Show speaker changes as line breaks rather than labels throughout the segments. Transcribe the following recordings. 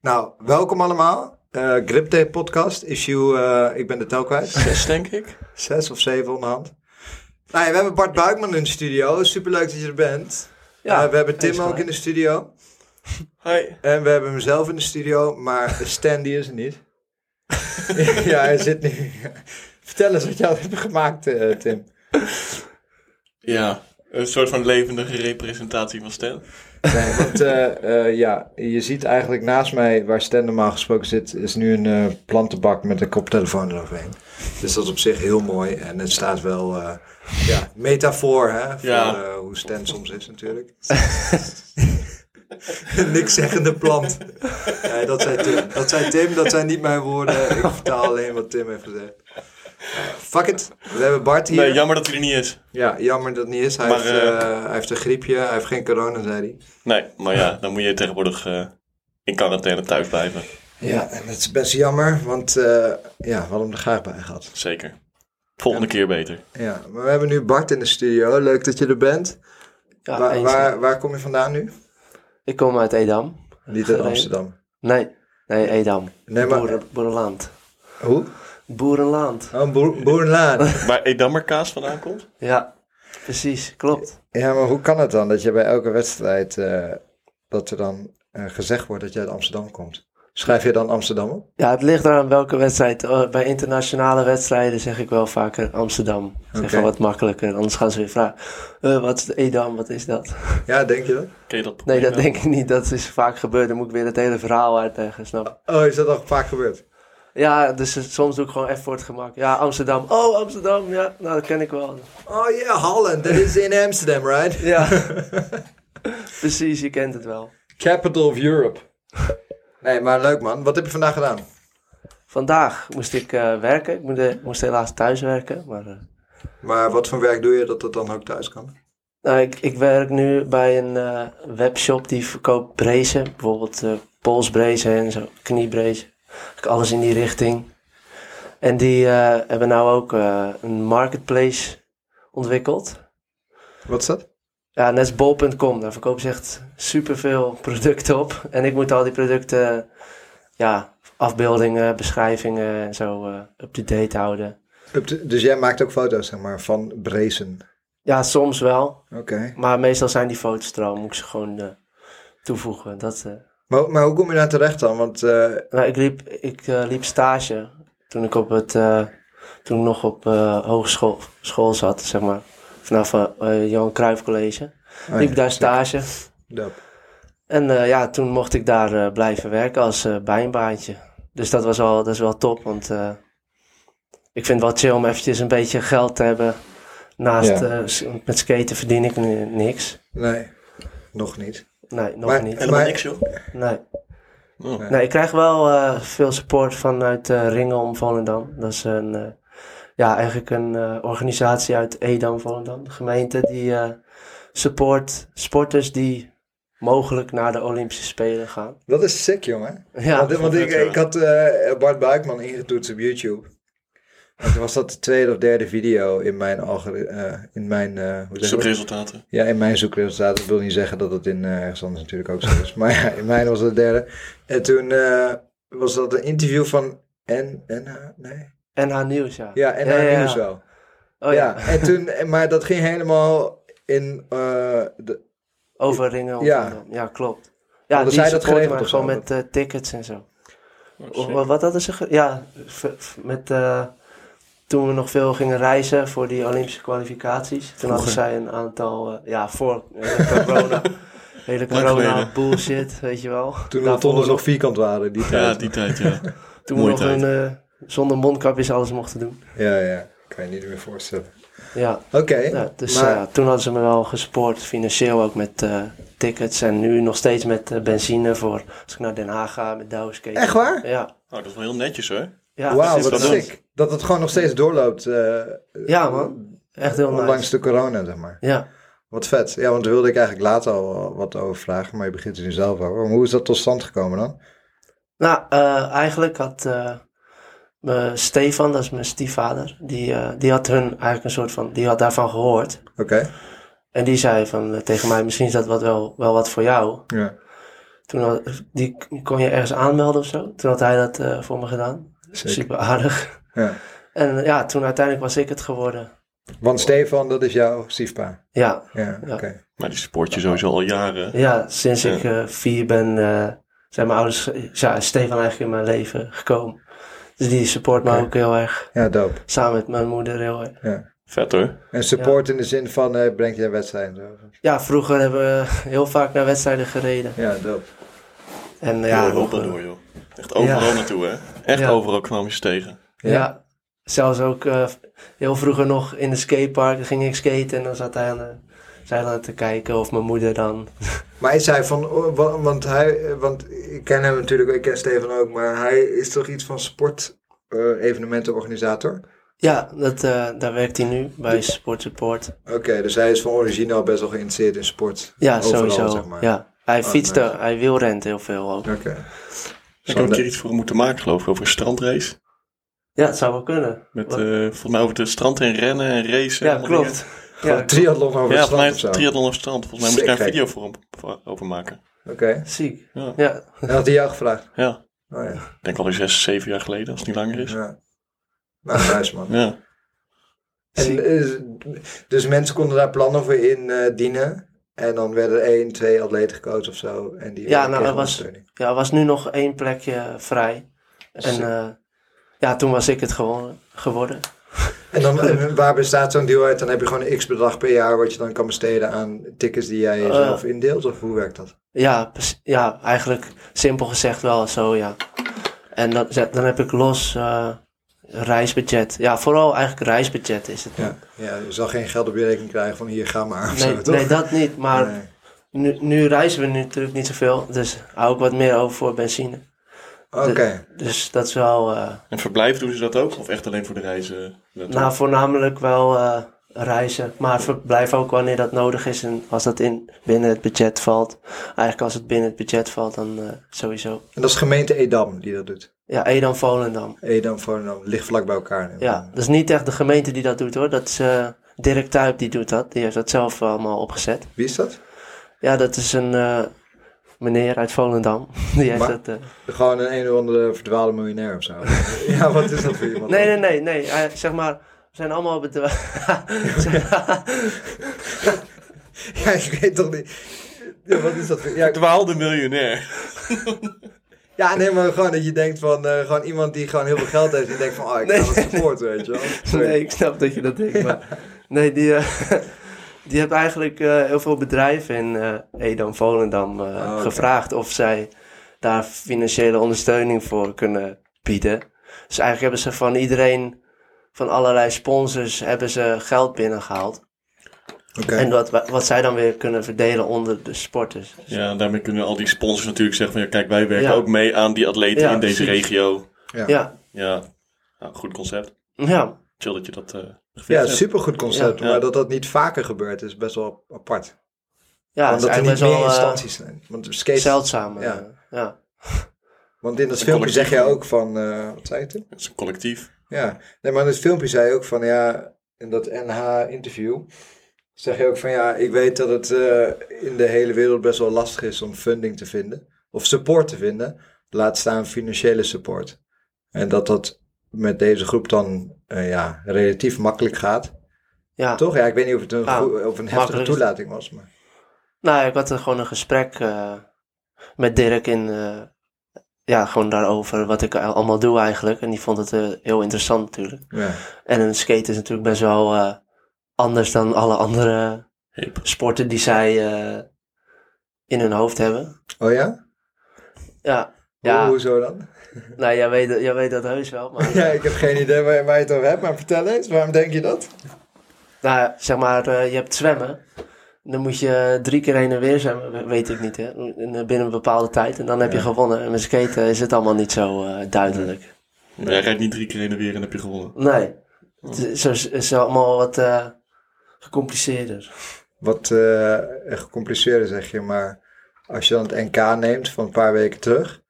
Nou, welkom allemaal. Eh Grip Day podcast, issue, eh, ik ben de tel kwijt.
Zes, denk ik.
Zes of zeven onderhand. Nou ja, we hebben Bart Buikman in de studio. Superleuk dat je er bent. Ja, we hebben Tim ook in de studio.
Hoi.
En we hebben mezelf in de studio, maar Stan die is er niet. ja, hij zit nu. Vertel eens wat jij hebt gemaakt, eh, Tim.
Ja, een soort van levendige representatie van Stan.
Nee, want eh, eh, ja, je ziet eigenlijk naast mij, waar Stan normaal gesproken zit, is nu een eh, plantenbak met een koptelefoon eroverheen. Dus dat is op zich heel mooi en het staat wel, eh, ja, metafoor hè, voor
Ja.
eh, hoe Stan soms is natuurlijk. Niks zeggende plant. Nee, dat, zei Tim. dat zei Tim, dat zijn niet mijn woorden. Ik vertaal alleen wat Tim heeft gezegd. Eh, fuck it, we hebben Bart hier.
Nee, jammer dat hij er niet is.
Ja, jammer dat het niet is. Hij,
Maar,
heeft,
eh,
eh, hij heeft een griepje, hij heeft geen corona, zei hij.
Nee, maar ja, dan moet je tegenwoordig eh, in quarantaine thuis blijven.
Ja, en dat is best jammer, want eh, ja, we hadden hem er graag bij gehad.
Zeker. Volgende keer beter.
Ja, maar we hebben nu Bart in de studio. Leuk dat je er bent.
Ja,
waar,
eens.
waar, waar kom je vandaan nu?
Ik kom uit Edam.
Niet uit
Gereden.
Amsterdam.
Nee, nee Edam.
Nee, maar-
Boeren, boerenland.
Hoe?
Boerenland.
Oh, Boer- Boerenlaan.
Waar Edammerkaas vandaan komt?
Ja, precies, klopt.
ja, maar hoe kan het dan dat je bij elke wedstrijd, eh, dat er dan eh, gezegd wordt dat je uit Amsterdam komt? Schrijf je dan Amsterdam op?
Ja, het ligt eraan welke wedstrijd. Eh, Bij internationale wedstrijden zeg ik wel vaker Amsterdam. Dat is
Oké.
gewoon wat makkelijker, anders gaan ze weer vragen. eh, wat is de Edam, wat is dat?
Ja, denk je dat?
Ken je dat probleem
Nee, dat
wel?
denk ik niet. Dat is vaak gebeurd. Dan moet ik weer het hele verhaal uitleggen, snap je?
Oh, is dat al vaak gebeurd?
Ja, dus eh, soms doe ik gewoon even voor het gemak. Ja, Amsterdam. Oh, Amsterdam. Ja, nou, dat ken ik wel.
Oh ja, Holland, dat is in Amsterdam, right?
Ja, precies, je kent het wel.
Capital of Europe. Nee, maar leuk man. Wat heb je vandaag gedaan?
Vandaag moest ik eh, werken. Ik moest, eh, moest helaas thuis werken. Maar, eh,
Maar wat voor werk doe je dat dat dan ook thuis kan?
nou, ik, ik werk nu bij een eh, webshop die verkoopt brezen. Bijvoorbeeld eh polsbrezen en zo, kniebrezen. Eigenlijk Alles in die richting. En die eh, hebben nou ook eh, een marketplace ontwikkeld.
Wat is dat?
Ja, net als bol.com. Daar verkopen ze echt superveel producten op. En ik moet al die producten, ja, afbeeldingen, beschrijvingen en zo eh, up-to-date houden.
Op de- Dus jij maakt ook foto's, zeg maar, van Brezen.
Ja, soms wel.
Oké.
Maar meestal zijn die foto's er al, moet ik ze gewoon eh, toevoegen. Dat, eh.
Maar, maar hoe kom je daar terecht dan? Want eh,
nou, ik liep, ik, eh, liep stage toen ik, op het, eh, toen ik nog op eh, hogeschool school zat, zeg maar. Vanaf eh eh, Johan Cruijff College.
Oh Ah, ja,
liep ik daar stage.
dat-
En eh, ja, toen mocht ik daar eh, blijven werken als eh, bijbaantje. Dus dat was wel, dat is wel top, want eh, ik vind het wel chill om eventjes een beetje geld te hebben. Naast
Ja.
eh, s- met skaten verdien ik ni- niks.
nee, nog niet.
Nee, nog
Maar-
niet.
Helemaal
Maar-
niks, joh.
Nee.
Oh.
Nee.
Nee, ik krijg wel eh, veel support vanuit eh Ringom Volendam. Dat is een, eh, ja, eigenlijk een eh, organisatie uit Edam Volendam, de gemeente, die eh, support sporters die mogelijk naar de Olympische Spelen gaan.
Dat is sick, jongen.
Ja,
want want ik,
vet, ja.
ik had eh, Bart Buikman ingetoetst op YouTube. En toen was dat de tweede of derde video in mijn, algori- eh, in mijn, eh, hoe zeg je dat?
Zoekresultaten.
Ja, in mijn zoekresultaat. Dat wil niet zeggen dat het in eh, ergens anders natuurlijk ook zo is. Maar ja, in mijn was het de derde. En toen eh, was dat een interview van en, en, nee.
NH Nieuws, ja.
Ja, en
Ja,
haar
ja, ja.
nieuws wel.
Oh ja,
ja. en toen, en- maar dat ging helemaal in. eh, de,
over Ringom
Ja.
Volendam. Ja, klopt.
Hadden
Ja, die
zij dat
supporten
geregeld
mij
of zo?
gewoon met eh, tickets en zo.
Oh,
Of
shit.
Wat, wat hadden ze... ge- Ja, v- v- met... eh, toen we nog veel gingen reizen voor die Olympische kwalificaties. Toen hadden zij een aantal... eh, ja, voor eh, corona. Hele
Lang
corona
geleden.
bullshit, weet je wel.
toen de
Daarvoor
tonnen nog vierkant waren, die
Ja,
tijd.
die tijd, ja.
Toen we nog
Mooie
een, eh, zonder mondkapjes alles mochten doen.
Ja, ja. Kan je niet meer voorstellen.
Ja,
Oké.
ja dus
maar,
eh, ja, toen hadden ze me wel gespoord. Financieel ook met eh, tickets. En nu nog steeds met eh, benzine voor... Als ik naar Den Haag ga met douwskate.
Echt waar?
Ja.
Oh, dat is wel heel netjes, hoor.
eh, Ja, dus
Wauw,
precies,
wat
dat
sick. Dat het gewoon nog steeds doorloopt. eh,
ja man. Echt heel nice.
Ondanks de corona, zeg maar.
Ja.
Wat vet. Ja, want daar wilde ik eigenlijk later al wat over vragen. Maar je begint er nu zelf over. Maar hoe is dat tot stand gekomen dan?
Nou, eh, eigenlijk had eh, me- Stefan, dat is mijn stiefvader, die, eh, die had hun eigenlijk een soort van, die had daarvan gehoord.
Oké.
En die zei van eh, tegen mij, misschien is dat wat wel, wel wat voor jou.
Ja.
Toen Toen had- die kon je ergens aanmelden of zo. Toen had hij dat eh, voor me gedaan.
Zeker.
Super aardig.
Ja.
En eh, ja, toen uiteindelijk was ik het geworden.
Want Stefan, dat is jouw stiefpa.
Ja,
Ja, oké.
Ja.
Maar die support je sowieso al jaren.
ja sinds
Ja.
ik eh, vier ben, eh, zijn mijn ouders, ja, is Stefan eigenlijk in mijn leven gekomen. Dus die support
Oké.
me ook heel erg.
Ja, dope.
Samen met mijn moeder heel erg.
Vet hoor.
En support in de zin van, eh, breng je wedstrijden. zo.
Ja, vroeger hebben we heel vaak naar wedstrijden gereden.
Ja, dope.
En eh,
Ja,
ja,
Europa
nog, eh,
door joh. Echt overal
Ja.
naartoe hè. Echt
Ja.
overal kwam je ze tegen.
Ja.
Ja. Zelfs ook eh, heel vroeger nog in de skatepark. Dan ging ik skaten en dan zat hij aan de zijlijn te kijken. Of mijn moeder dan.
Maar is hij van, oh, wa- want hij, eh, want ik ken hem natuurlijk, ik ken Stefan ook, maar hij is toch iets van sport eh, evenementenorganisator?
Ja, dat, eh, daar werkt hij nu bij Sport Support.
Oké, dus hij is van origine al best wel geïnteresseerd in sport.
Ja,
Overal,
sowieso.
zeg maar.
ja. Hij
Ah,
Oh,
fietste,
nice.
hij wielrent heel veel ook.
Oké.
Ik heb een
Sander-
keer iets voor hem moeten maken geloof ik. Over een strandrace.
Ja, het zou wel kunnen.
Met
Wat-
eh, volgens mij over het strand heen rennen en racen.
ja,
allemaal dingen.
klopt.
Gewoon
Ja,
triathlon over
Ja,
het
volgens mij
strand
is
of zo.
het triathlon op strand. Volgens mij moet ik daar een
Sick,
video voor hem voor- over maken.
Oké.
ziek.
Ja.
Ja,
En had hij jou gevraagd?
Ja,
Oh ja.
ik denk al zes, zeven jaar geleden, als het niet langer is.
ja. Nou, nice man.
Ja.
En,
Ziek.
eh, dus mensen konden daar plannen voor indienen. En dan werden er één, twee atleten gekozen of zo. En die
Ja,
kregen
nou, dat was-
ondersteuning.
ja, er was nu nog één plekje vrij. En
Sick.
eh, ja, toen was ik het gewoon geworden.
En dan, en waar bestaat zo'n deal uit? Dan heb je gewoon een x bedrag per jaar wat je dan kan besteden aan tickets die jij
Eh.
zelf indeelt? Of hoe werkt dat?
Ja, pers- ja, eigenlijk simpel gezegd wel zo, ja. En dan, dan heb ik los eh, reisbudget. Ja, vooral eigenlijk reisbudget is het.
Ja. ja, je zal geen geld op je rekening krijgen van hier, ga maar. of
nee,
zo, toch?
nee, dat niet. Maar
Nee.
nu, nu reizen we nu natuurlijk niet zoveel. Dus hou ik wat meer over voor benzine.
Oké.
Dus dat is wel... eh,
En verblijf doen ze dat ook? Of echt alleen voor de reizen? naartoe?
nou, voornamelijk wel eh, reizen. Maar verblijf ook wanneer dat nodig is. En als dat in, binnen het budget valt. Eigenlijk als het binnen het budget valt, dan eh, sowieso.
En dat is gemeente Edam die dat doet.
Ja, Edam, Volendam.
Edam, Volendam, ligt vlak bij elkaar.
Ja, dat is niet echt de gemeente die dat doet hoor. Dat is eh, Dirk Tuyp die doet dat. Die heeft dat zelf allemaal opgezet.
Wie is dat?
Ja, dat is een eh, meneer uit Volendam. Die heeft
Maar-
dat... eh,
Gewoon een een of andere verdwaalde miljonair of zo. ja, wat is dat voor iemand?
Nee, nee, nee. nee. Eh, zeg maar, we zijn allemaal bedra-
Ja, ik weet toch niet. Ja, wat is dat voor... Ja, ik-
Dwaalde miljonair.
ja, nee, maar gewoon dat je denkt van... eh, gewoon iemand die gewoon heel veel geld heeft. Die denkt van, oh, ik
Nee.
kan het support, weet je wel. Sorry.
Nee, ik snap dat je dat denkt. Maar... Nee, die, eh, die heeft eigenlijk eh, heel veel bedrijven in eh Edam, Volendam eh,
Oh, oké.
gevraagd of zij daar financiële ondersteuning voor kunnen bieden. Dus eigenlijk hebben ze van iedereen, van allerlei sponsors, hebben ze geld binnengehaald.
Oké.
En wat, wat zij dan weer kunnen verdelen onder de sporters.
Ja, en daarmee kunnen al die sponsors natuurlijk zeggen van... Ja, kijk, wij werken
Ja.
ook mee aan die atleten
Ja,
in deze
precies.
regio.
Ja.
Ja,
Ja, nou, goed concept.
ja,
Chill dat je dat eh gefixt
Ja,
hebt.
supergoed concept.
Ja.
Maar dat dat niet vaker gebeurt is best wel apart.
ja dat is
Omdat er
eigenlijk
niet
best
meer
wel eh,
instanties zijn. Want skate...
zeldzaam. eh,
Ja.
ja.
Want in dat
Een
filmpje zeg
collectief.
jij ook van... eh, wat zei je toen?
Het is een collectief.
Ja, nee, maar in het filmpje zei je ook van ja, in dat NH-interview zeg je ook van ja, ik weet dat het eh, in de hele wereld best wel lastig is om funding te vinden of support te vinden, laat staan financiële support. En dat dat met deze groep dan eh, ja, relatief makkelijk gaat.
ja.
Toch? Ja, ik weet niet of het een,
Ah,
goe- of een heftige
makkelijk is-
toelating was, maar
Nou, ik had er gewoon een gesprek eh, met Dirk in. eh, ja, gewoon daarover wat ik al- allemaal doe eigenlijk. En die vond het eh, heel interessant natuurlijk.
ja.
En een skate is natuurlijk best wel eh, anders dan alle andere
Hip.
sporten die zij eh, in hun hoofd hebben.
Oh ja?
Ja,
Hoe,
ja.
hoezo dan?
nou jij weet, jij weet dat heus wel. Maar,
ja, ik heb geen idee waar, waar je het over hebt, maar vertel eens, waarom denk je dat?
Nou, zeg maar, eh, je hebt zwemmen. Dan moet je drie keer heen en weer zwemmen, we- weet ik niet, hè? in- eh, binnen een bepaalde tijd. En dan heb je
Ja.
gewonnen. En met skaten is het allemaal niet zo eh, duidelijk.
Jij rijdt niet drie keer heen en weer en heb je gewonnen.
Nee.
Oh.
Het is, zo is- is allemaal wat eh, gecompliceerder.
wat eh gecompliceerder, zeg je. Maar als je dan het NK neemt van een paar weken terug,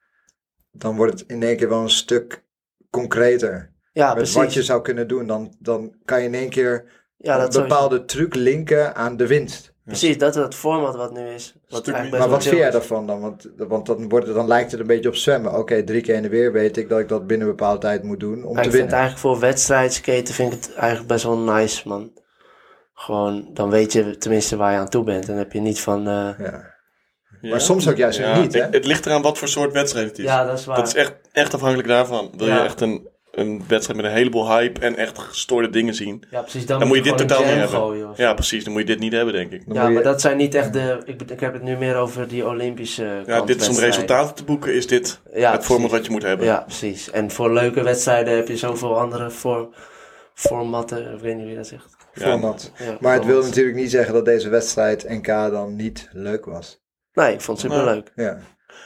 dan wordt het in één keer wel een stuk concreter.
Ja,
Met
precies.
wat je zou kunnen doen, dan, dan kan je in één keer
ja,
een
dat sowieso.
bepaalde truc linken aan de winst.
Precies, dat is het format wat nu is. Wat
Stuk
eigenlijk
minder.
Maar
best wel
wat
chill
vind jij
is.
daarvan dan? Want, want dan, wordt het, dan lijkt het een beetje op zwemmen. Oké, drie keer in de weer weet ik dat ik dat binnen een bepaalde tijd moet doen om
Maar
te
ik vind het
winnen.
eigenlijk voor wedstrijdskaten vind ik het eigenlijk best wel nice, man. Gewoon, dan weet je tenminste waar je aan toe bent. Dan heb je niet van... eh,
Ja.
Ja.
Maar soms ook juist
Ja,
weer niet, hè?
ik- het ligt eraan wat voor soort wedstrijd het is.
ja, dat is waar.
Dat is echt, echt afhankelijk daarvan. Wil
Ja.
je echt een, een wedstrijd met een heleboel hype en echt gestoorde dingen zien?
ja, precies. Dan,
Dan moet je dit
gewoon een
totaal niet
jam
hebben.
gooien of zo.
Ja, precies. Dan moet je dit niet hebben, denk ik.
Dan
Ja,
moet je-
maar dat zijn niet echt de... Ik, ik heb het nu meer over die Olympische
Ja,
kant
dit is om
wedstrijden.
resultaten te boeken, is dit
Ja,
het format
precies.
wat je moet hebben.
Ja, precies. En voor leuke wedstrijden heb je zoveel andere vorm, formatten. Ik weet niet wie dat zegt.
Ja.
format.
Ja,
Maar het wil
format.
natuurlijk niet zeggen dat deze wedstrijd NK dan niet leuk was.
Nee, ik vond het superleuk.
Ja. Maar,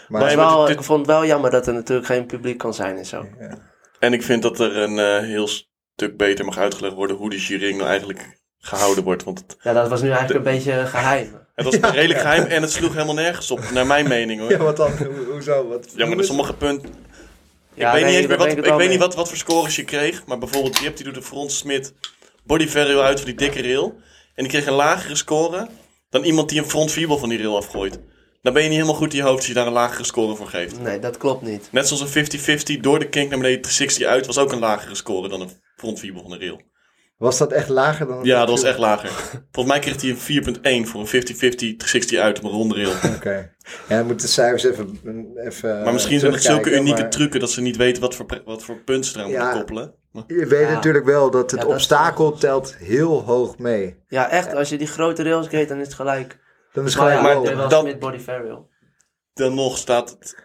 Maar
Nee, Nou, maar
wel,
dit-
ik vond het wel jammer dat er natuurlijk geen publiek kan zijn en zo.
ja.
En ik vind dat er een eh, heel stuk beter mag uitgelegd worden hoe die juring nou eigenlijk gehouden wordt. Want het,
Ja, dat was nu eigenlijk een beetje geheim.
het was redelijk geheim en het sloeg helemaal nergens op, naar mijn mening hoor.
ja,
Ja,
wat dan? Hoe- hoezo? Wat,
maar
hoe is-
sommige punten...
Ja,
ik weet
nee,
niet, eens meer
daar
wat,
ben
ik
het wel
weet niet
mee.
wat, wat voor scores je kreeg, maar bijvoorbeeld Jip die doet een front smit body varial uit van die dikke rail. En die kreeg een lagere score dan iemand die een front vierbal van die rail afgooit. Dan ben je niet helemaal goed in je hoofd als je daar een lagere score voor geeft.
Nee, dat klopt niet.
Net zoals een 50-50 door de kink naar beneden 360 uit was ook een lagere score dan een front vierbal van de rail.
Was dat echt lager dan...
Ja, dat was echt lager. Volgens mij kreeg hij een 4.1 voor een 50-50 360 uit op een ronde rail.
Oké. Ja, dan moeten de cijfers even... mm, even eh,
Maar misschien zijn het zulke
terugkijken,
unieke
maar-
trucken dat ze niet weten wat voor, pre- wat voor punten ze eraan
Ja.
moeten koppelen. Maar-
Je weet
Ja.
natuurlijk wel dat het
Ja, dat is-
obstakel telt heel hoog mee.
Ja, echt, als je die grote rails kreeg, dan is het gelijk.
Dat is
Maar
gewoon...
ja,
maar
maar
wow.
dit-
was
dat-
met body farewell.
Dan nog staat het...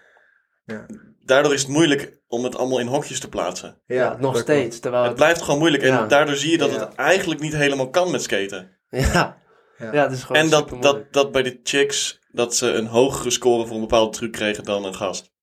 Ja.
Daardoor is het moeilijk om het allemaal in hokjes te plaatsen.
Ja, nog
dat klopt.
steeds. Terwijl
Het blijft gewoon moeilijk en
Ja.
daardoor zie je dat
Ja.
het eigenlijk niet helemaal kan met skaten.
Ja.
Ja.
Ja, dat is gewoon
en dat,
supermoeilijk.
dat, dat bij de chicks dat ze een hogere score voor een bepaalde truc kregen dan een gast.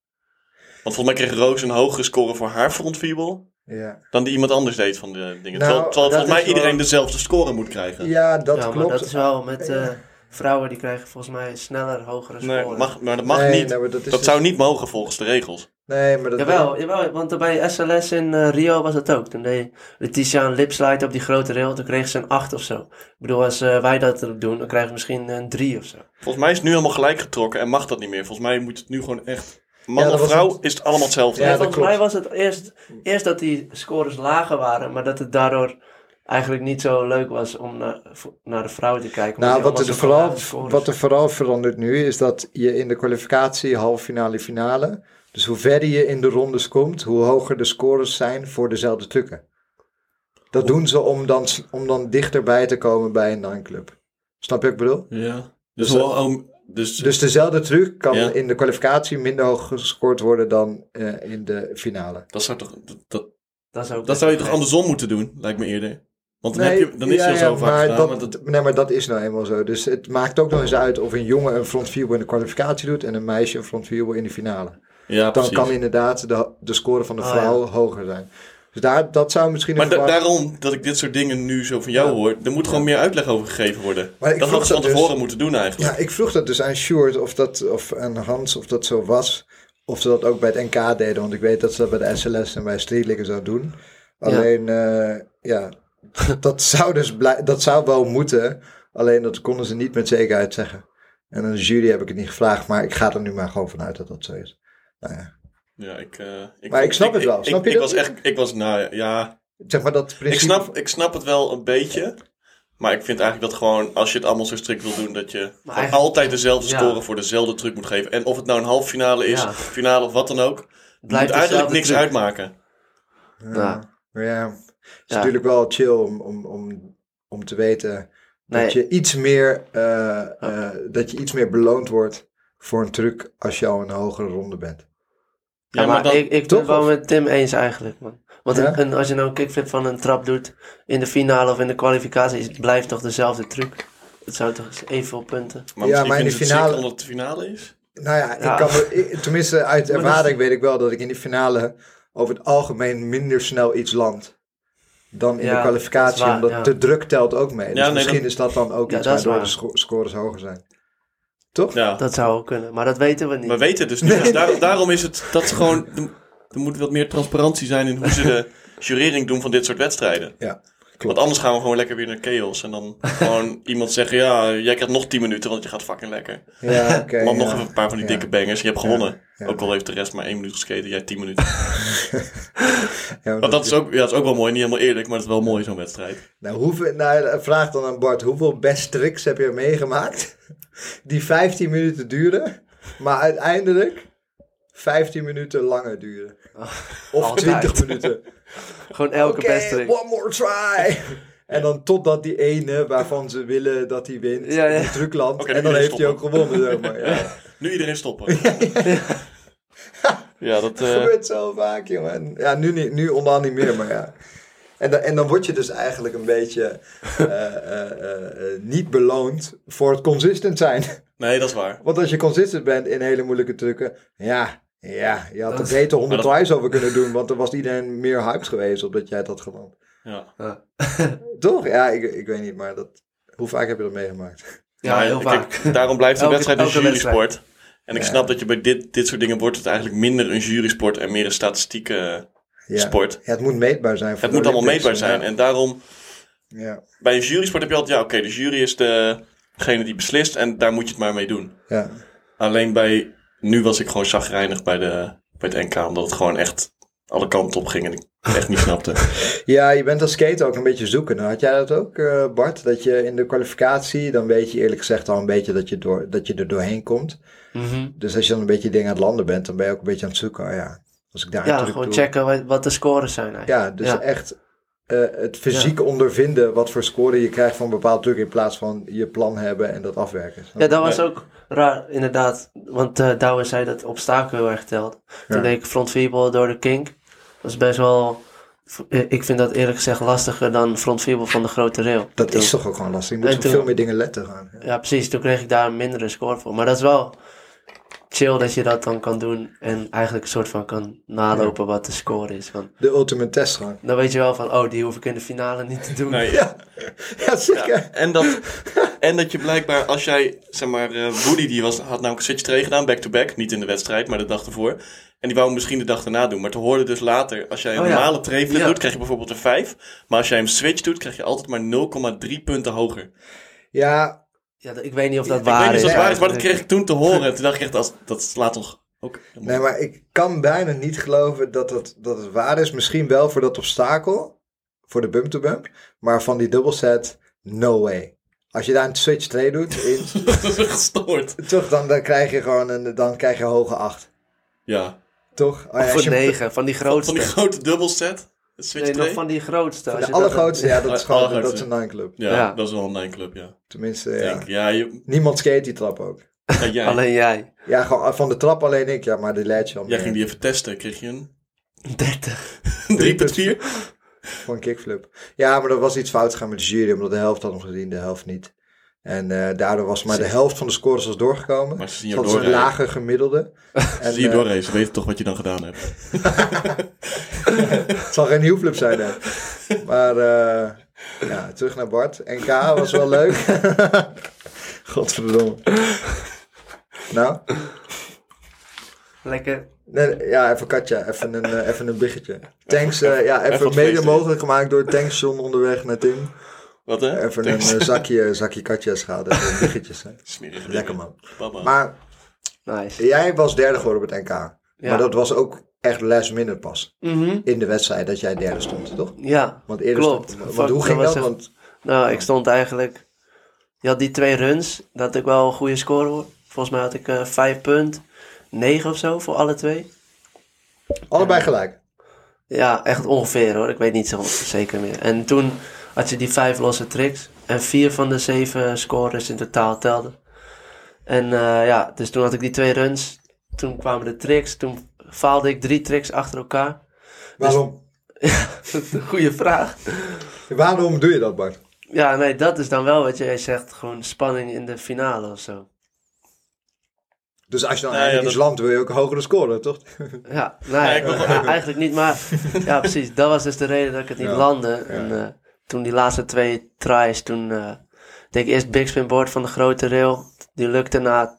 Want volgens mij kreeg Roos een hogere score voor haar front vierwiel
Ja,
dan die iemand anders deed van de
Nou,
dingen. terwijl terwijl
dat
volgens mij
is wel-
iedereen dezelfde score moet krijgen.
ja dat
ja,
klopt.
maar dat is wel met eh,
Ja.
vrouwen, die krijgen volgens mij sneller hogere
Nee,
scoren.
mag, maar dat mag
Nee,
niet.
nou, maar is
dat
dus-
zou niet mogen volgens de regels.
Nee, maar dat...
Jawel, jawel, want bij SLS in eh, Rio was dat ook. Toen deed Letitia een lipslide op die grote rail, toen kreeg ze een 8 of zo. Ik bedoel, als eh, wij dat doen, dan krijgen we misschien een 3 of zo.
Volgens mij is het nu helemaal gelijk getrokken en mag dat niet meer. Volgens mij moet het nu gewoon echt...
Ja,
Man
dat
of
was
vrouw
het.
is het allemaal hetzelfde.
Ja,
Ja,
dat
volgens
klopt.
mij was het eerst, eerst dat die scores lager waren, maar dat het daardoor eigenlijk niet zo leuk was om naar, vo- naar de vrouwen te kijken.
Nou,
omdat
wat
die
er,
allemaal
vooral,
zo lage scores-
wat er vooral verandert nu is dat je in de kwalificatie, halve finale, finale. Dus hoe verder je in de rondes komt, hoe hoger de scores zijn voor dezelfde trucken. Dat doen ze om dan, s- om dan dichterbij te komen bij een nanclub. Snap je wat ik bedoel?
Ja.
Dus wel- Dus dezelfde truc kan
Ja.
in de kwalificatie minder hoog gescoord worden dan eh, in de finale.
dat zou toch... dat,
dat, is ook
Dat zou je toch andersom moeten doen, lijkt me eerder. Want dan, heb je, dan is
ja,
hij al
ja,
zo vaak
maar
gedaan.
dat,
want dat-
Nee, maar dat is nou eenmaal zo. Dus het maakt ook nog eens uit of een jongen een front vierwiel in de kwalificatie doet en een meisje een front vierwiel in de finale.
ja,
dan
precies.
kan inderdaad de, de score van de
Ah,
vrouw hoger zijn. Dus daar, dat zou misschien
maar
een
da-
verwa-
daarom dat ik dit soort dingen nu zo van jou
Ja.
hoor, er moet gewoon meer uitleg over gegeven worden.
Maar ik
dat
vroeg
hadden ze van
dat dus-
tevoren moeten doen eigenlijk.
Ja, ik vroeg dat dus aan Sjoerd of, dat, of aan Hans of dat zo was. Of ze dat ook bij het NK deden. Want ik weet dat ze dat bij de SLS en bij Streetlikken zo doen. Alleen, ja, ja dat, zou dus blij- dat zou wel moeten. Alleen dat konden ze niet met zekerheid zeggen. En aan de jury heb ik het niet gevraagd. Maar ik ga er nu maar gewoon vanuit dat dat zo is. Nou ja,
Ja, ik, eh,
Maar ik snap het wel. Snap
ik,
je
ik
dat?
was echt, ik was, nou ja, ja.
zeg maar dat principe...
Ik, snap, ik snap het wel een beetje. Maar ik vind eigenlijk dat gewoon, als je het allemaal zo strikt wil doen, dat je gewoon
eigenlijk-
altijd dezelfde
ja.
score voor dezelfde truc moet geven. En of het nou een halve finale is,
Ja.
finale of wat dan ook, het moet
Blijft
eigenlijk
dezelfde
niks
truc.
uitmaken.
Ja.
Maar ja, het is
Ja.
natuurlijk wel chill om, om, om, om te weten
Nee.
dat, je iets meer, eh, eh, dat je iets meer beloond wordt voor een truc als je al een hogere ronde bent.
Ja, maar
dan-
ik, ik ben
Toch,
het wel
of-
met Tim eens eigenlijk, man. Want
Ja?
een- een- als je nou een kickflip van een trap doet in de finale of in de kwalificatie, is het blijft toch dezelfde truc. Het zou toch eens evenveel punten.
Maar
Ja,
misschien
maar in
vinden
de
ze het
finale-
ziek omdat het de finale is.
Nou ja, ik
Ja.
kan me- ik- tenminste uit ervaring weet ik wel dat ik in die finale over het algemeen minder snel iets land dan in
Ja,
de kwalificatie.
dat is waar,
omdat
ja.
de druk telt ook mee. Dus
nee,
misschien
dat-
is dat dan ook
Ja,
iets
dat is
waardoor de
waar.
sco- scores hoger zijn. Toch?
Ja.
Dat zou ook kunnen, maar dat weten we niet.
We weten het dus niet. Dus daar- daarom is het dat is gewoon. Er, er moet wat meer transparantie zijn in hoe ze de jurering doen van dit soort wedstrijden.
Ja.
Want anders gaan we gewoon lekker weer naar chaos. En dan gewoon iemand zeggen, ja, jij krijgt nog 10 minuten, want je gaat fucking lekker.
Ja, oké.
Want
ja.
nog even een paar van die
Ja.
dikke bangers. Je hebt gewonnen.
Ja.
Ook al heeft de rest maar 1 minuut gesketen, jij 10 minuten.
Ja, maar
Want
dat-
dat is, ook, ja, dat is ook wel mooi. Niet helemaal eerlijk, maar het is wel mooi zo'n wedstrijd.
Nou, hoeveel, nou, vraag dan aan Bart, hoeveel best tricks heb je meegemaakt? Die 15 minuten duren, maar uiteindelijk 15 minuten langer duren. Of
Oh, altijd.
20 minuten.
Gewoon elke
Oké,
best trick.
one more try. En dan totdat die ene waarvan ze willen dat hij wint,
Ja, ja.
in het truc landt.
Oké,
en dan
nu
heeft hij ook
stoppen.
gewonnen. Zeg maar. ja.
Nu iedereen stoppen. Ja, dat...
Het
eh,
gebeurt zo vaak, jongen. En Ja, nu, niet, nu onderhand niet meer, maar ja. En, dan en dan word je dus eigenlijk een beetje eh, eh, eh, eh, niet beloond voor het consistent zijn.
nee, dat is waar.
Want als je consistent bent in hele moeilijke trucken, ja, ja je had er
Dat-
beter 100
Maar
tries over kunnen doen. Want er was iedereen meer hyped geweest opdat jij dat had gewonnen.
Ja.
Toch? Ja, ik, ik weet niet, maar dat, hoe vaak heb je dat meegemaakt?
Ja,
Maar
heel
ik-
vaak.
ik- daarom blijft een
Elke-
wedstrijd een
elke
jury
wedstrijd.
sport. En ik
Ja.
snap dat je bij dit, dit soort dingen wordt het eigenlijk minder een jury sport en meer een statistieke eh,
Ja.
sport.
Ja, het moet meetbaar zijn. voor
Het
de
moet allemaal
Olympics.
meetbaar zijn. En daarom,
Ja,
bij een jury sport heb je altijd, ja oké, de jury is de- degene die beslist en daar moet je het maar mee doen.
ja.
Alleen bij, nu was ik gewoon chagrijnig bij, de, bij het NK, omdat het gewoon echt alle kanten op ging en ik het echt niet snapte.
Ja, je bent als skater ook een beetje zoeken. Nou, had jij dat ook, eh, Bart? Dat je in de kwalificatie, dan weet je eerlijk gezegd al een beetje dat je, door, dat je er doorheen komt.
Mhm.
Dus als je dan een beetje dingen aan het landen bent, dan ben je ook een beetje aan het zoeken. Oh ja, als ik daar
Ja,
een truc
gewoon
doe.
checken wat, wat de scores zijn eigenlijk.
Ja, dus
Ja.
echt eh, het fysiek ondervinden wat voor score je krijgt van een bepaald truc in plaats van je plan hebben en dat afwerken.
Ja, dat was
Nee.
ook raar, inderdaad. Want eh Douwe zei dat obstakel heel erg telt. Toen
Ja.
deed ik front vierbal door de kink. Dat is best wel... Ik vind dat eerlijk gezegd lastiger dan front vierbal van de grote rail.
Dat
Toen-
is toch ook gewoon lastig. Je moet
En
op
toen-
veel meer dingen letten gaan.
Ja, precies. Toen kreeg ik daar een mindere score voor. Maar dat is wel chill dat je dat dan kan doen. En eigenlijk een soort van kan nalopen wat de score is. Want
De ultimate test gewoon.
dan weet je wel van, oh, die hoef ik in de finale niet te doen.
Nee,
Ja, ja zeker.
Ja, en, dat, en dat je blijkbaar, als jij, zeg maar, eh Woody die was, had namelijk een switch trade gedaan, back-to-back. Niet in de wedstrijd, maar de dag ervoor. En die wou hem misschien de dag daarna doen. Maar te hoorde dus later, als jij een
Oh ja.
normale trade flip
Ja.
doet, krijg je bijvoorbeeld een 5. Maar als jij hem switch doet, krijg je altijd maar 0,3 punten hoger.
Ja,
Ja, dat- ik weet niet of dat
Ik
waar
ik weet niet of
is.
dat waar is, maar dat kreeg
eigenlijk.
ik toen te horen. En toen dacht ik echt, als, dat slaat toch ook...
nee, maar ik kan bijna niet geloven dat het, dat het waar is. Misschien wel voor dat obstakel, voor de bump-to-bump. Maar van die dubbelset, no way. Als je daar een switch 2 doet, in,
dat is gestoord.
toch, dan, dan krijg je gewoon een, dan krijg je een hoge 8.
Ja.
Toch? Oh ja,
Of
als
voor
je-
negen, van die
Van die
grootste.
grote dubbelset, de switch
Nee, nog
trade.
van die grootste. als
De
je dat-
allergrootste, ja, dat is gewoon dat is
Allergrootste.
een nine club.
Ja,
Ja.
dat is wel een nine club, ja.
Tenminste,
Ja,
ja.
Denk, ja, je,
Niemand skate die trap ook.
ja, jij,
Alleen jij.
Ja, gewoon eh, van de trap alleen ik, ja, maar die leidt je al
jij
meer.
ging die even testen, kreeg je een
30.
3.4?
Voor een kickflip. Ja, maar er was iets fout gaan met de jury, omdat de helft had hem gezien, de helft niet. En eh, daardoor was maar de helft van de scores was doorgekomen.
Maar ze zien
Dus
jou
dat is een
doorrijden.
lager gemiddelde. en,
Zie je
eh,
doorheen, ze weten toch wat je dan gedaan hebt.
het zal geen nieuwflip zijn, hè. Maar eh, ja, terug naar Bart. NK was wel leuk. Godverdomme. Nou,
Lekker.
nee, ja, even Katja, even een, eh, even een biggetje. Thanks, eh, ja, even,
Even wat
mede
feesten.
mogelijk gemaakt door Tankstation onderweg naar Tim.
Wat hè?
Even een
Thanks.
eh, zakje, zakje Katja's gehad, even een biggetjes, hè.
Smerige dingen.
Lekker man.
Baba.
Maar
Nice.
Jij was derde geworden op het NK.
Ja.
Maar dat was ook echt last minute pas.
Mhm.
In de wedstrijd dat jij derde stond, toch?
Ja,
Want eerder
Klopt.
Stond,
Fuck,
want hoe ging
dat
dat?
was echt-
Want,
nou, ik stond eigenlijk... Je had die twee runs, dat had ik wel een goede score hoor. Volgens mij had ik eh 5 punt, 9 of zo voor alle twee.
allebei gelijk.
Ja, echt ongeveer hoor, ik weet niet zo zeker meer. En toen had je die vijf losse tricks en vier van de zeven scores in totaal telden. En eh, ja, dus toen had ik die twee runs, toen kwamen de tricks, toen faalde ik drie tricks achter elkaar.
Waarom?
Goeie vraag.
Waarom doe je dat, Bart?
Ja, nee, dat is dan wel wat jij zegt, gewoon spanning in de finale of zo.
Dus als je dan
Nou ja,
eigenlijk
dat-
iets land wil je ook hogere scoren, toch?
Ja, nee,
ik wil gewoon-
eh, eigenlijk niet, maar ja, precies. Dat was dus de reden dat ik het niet
Ja,
landde. En eh, toen die laatste twee tries, toen eh deed ik eerst big spin board van de grote rail. Die lukte na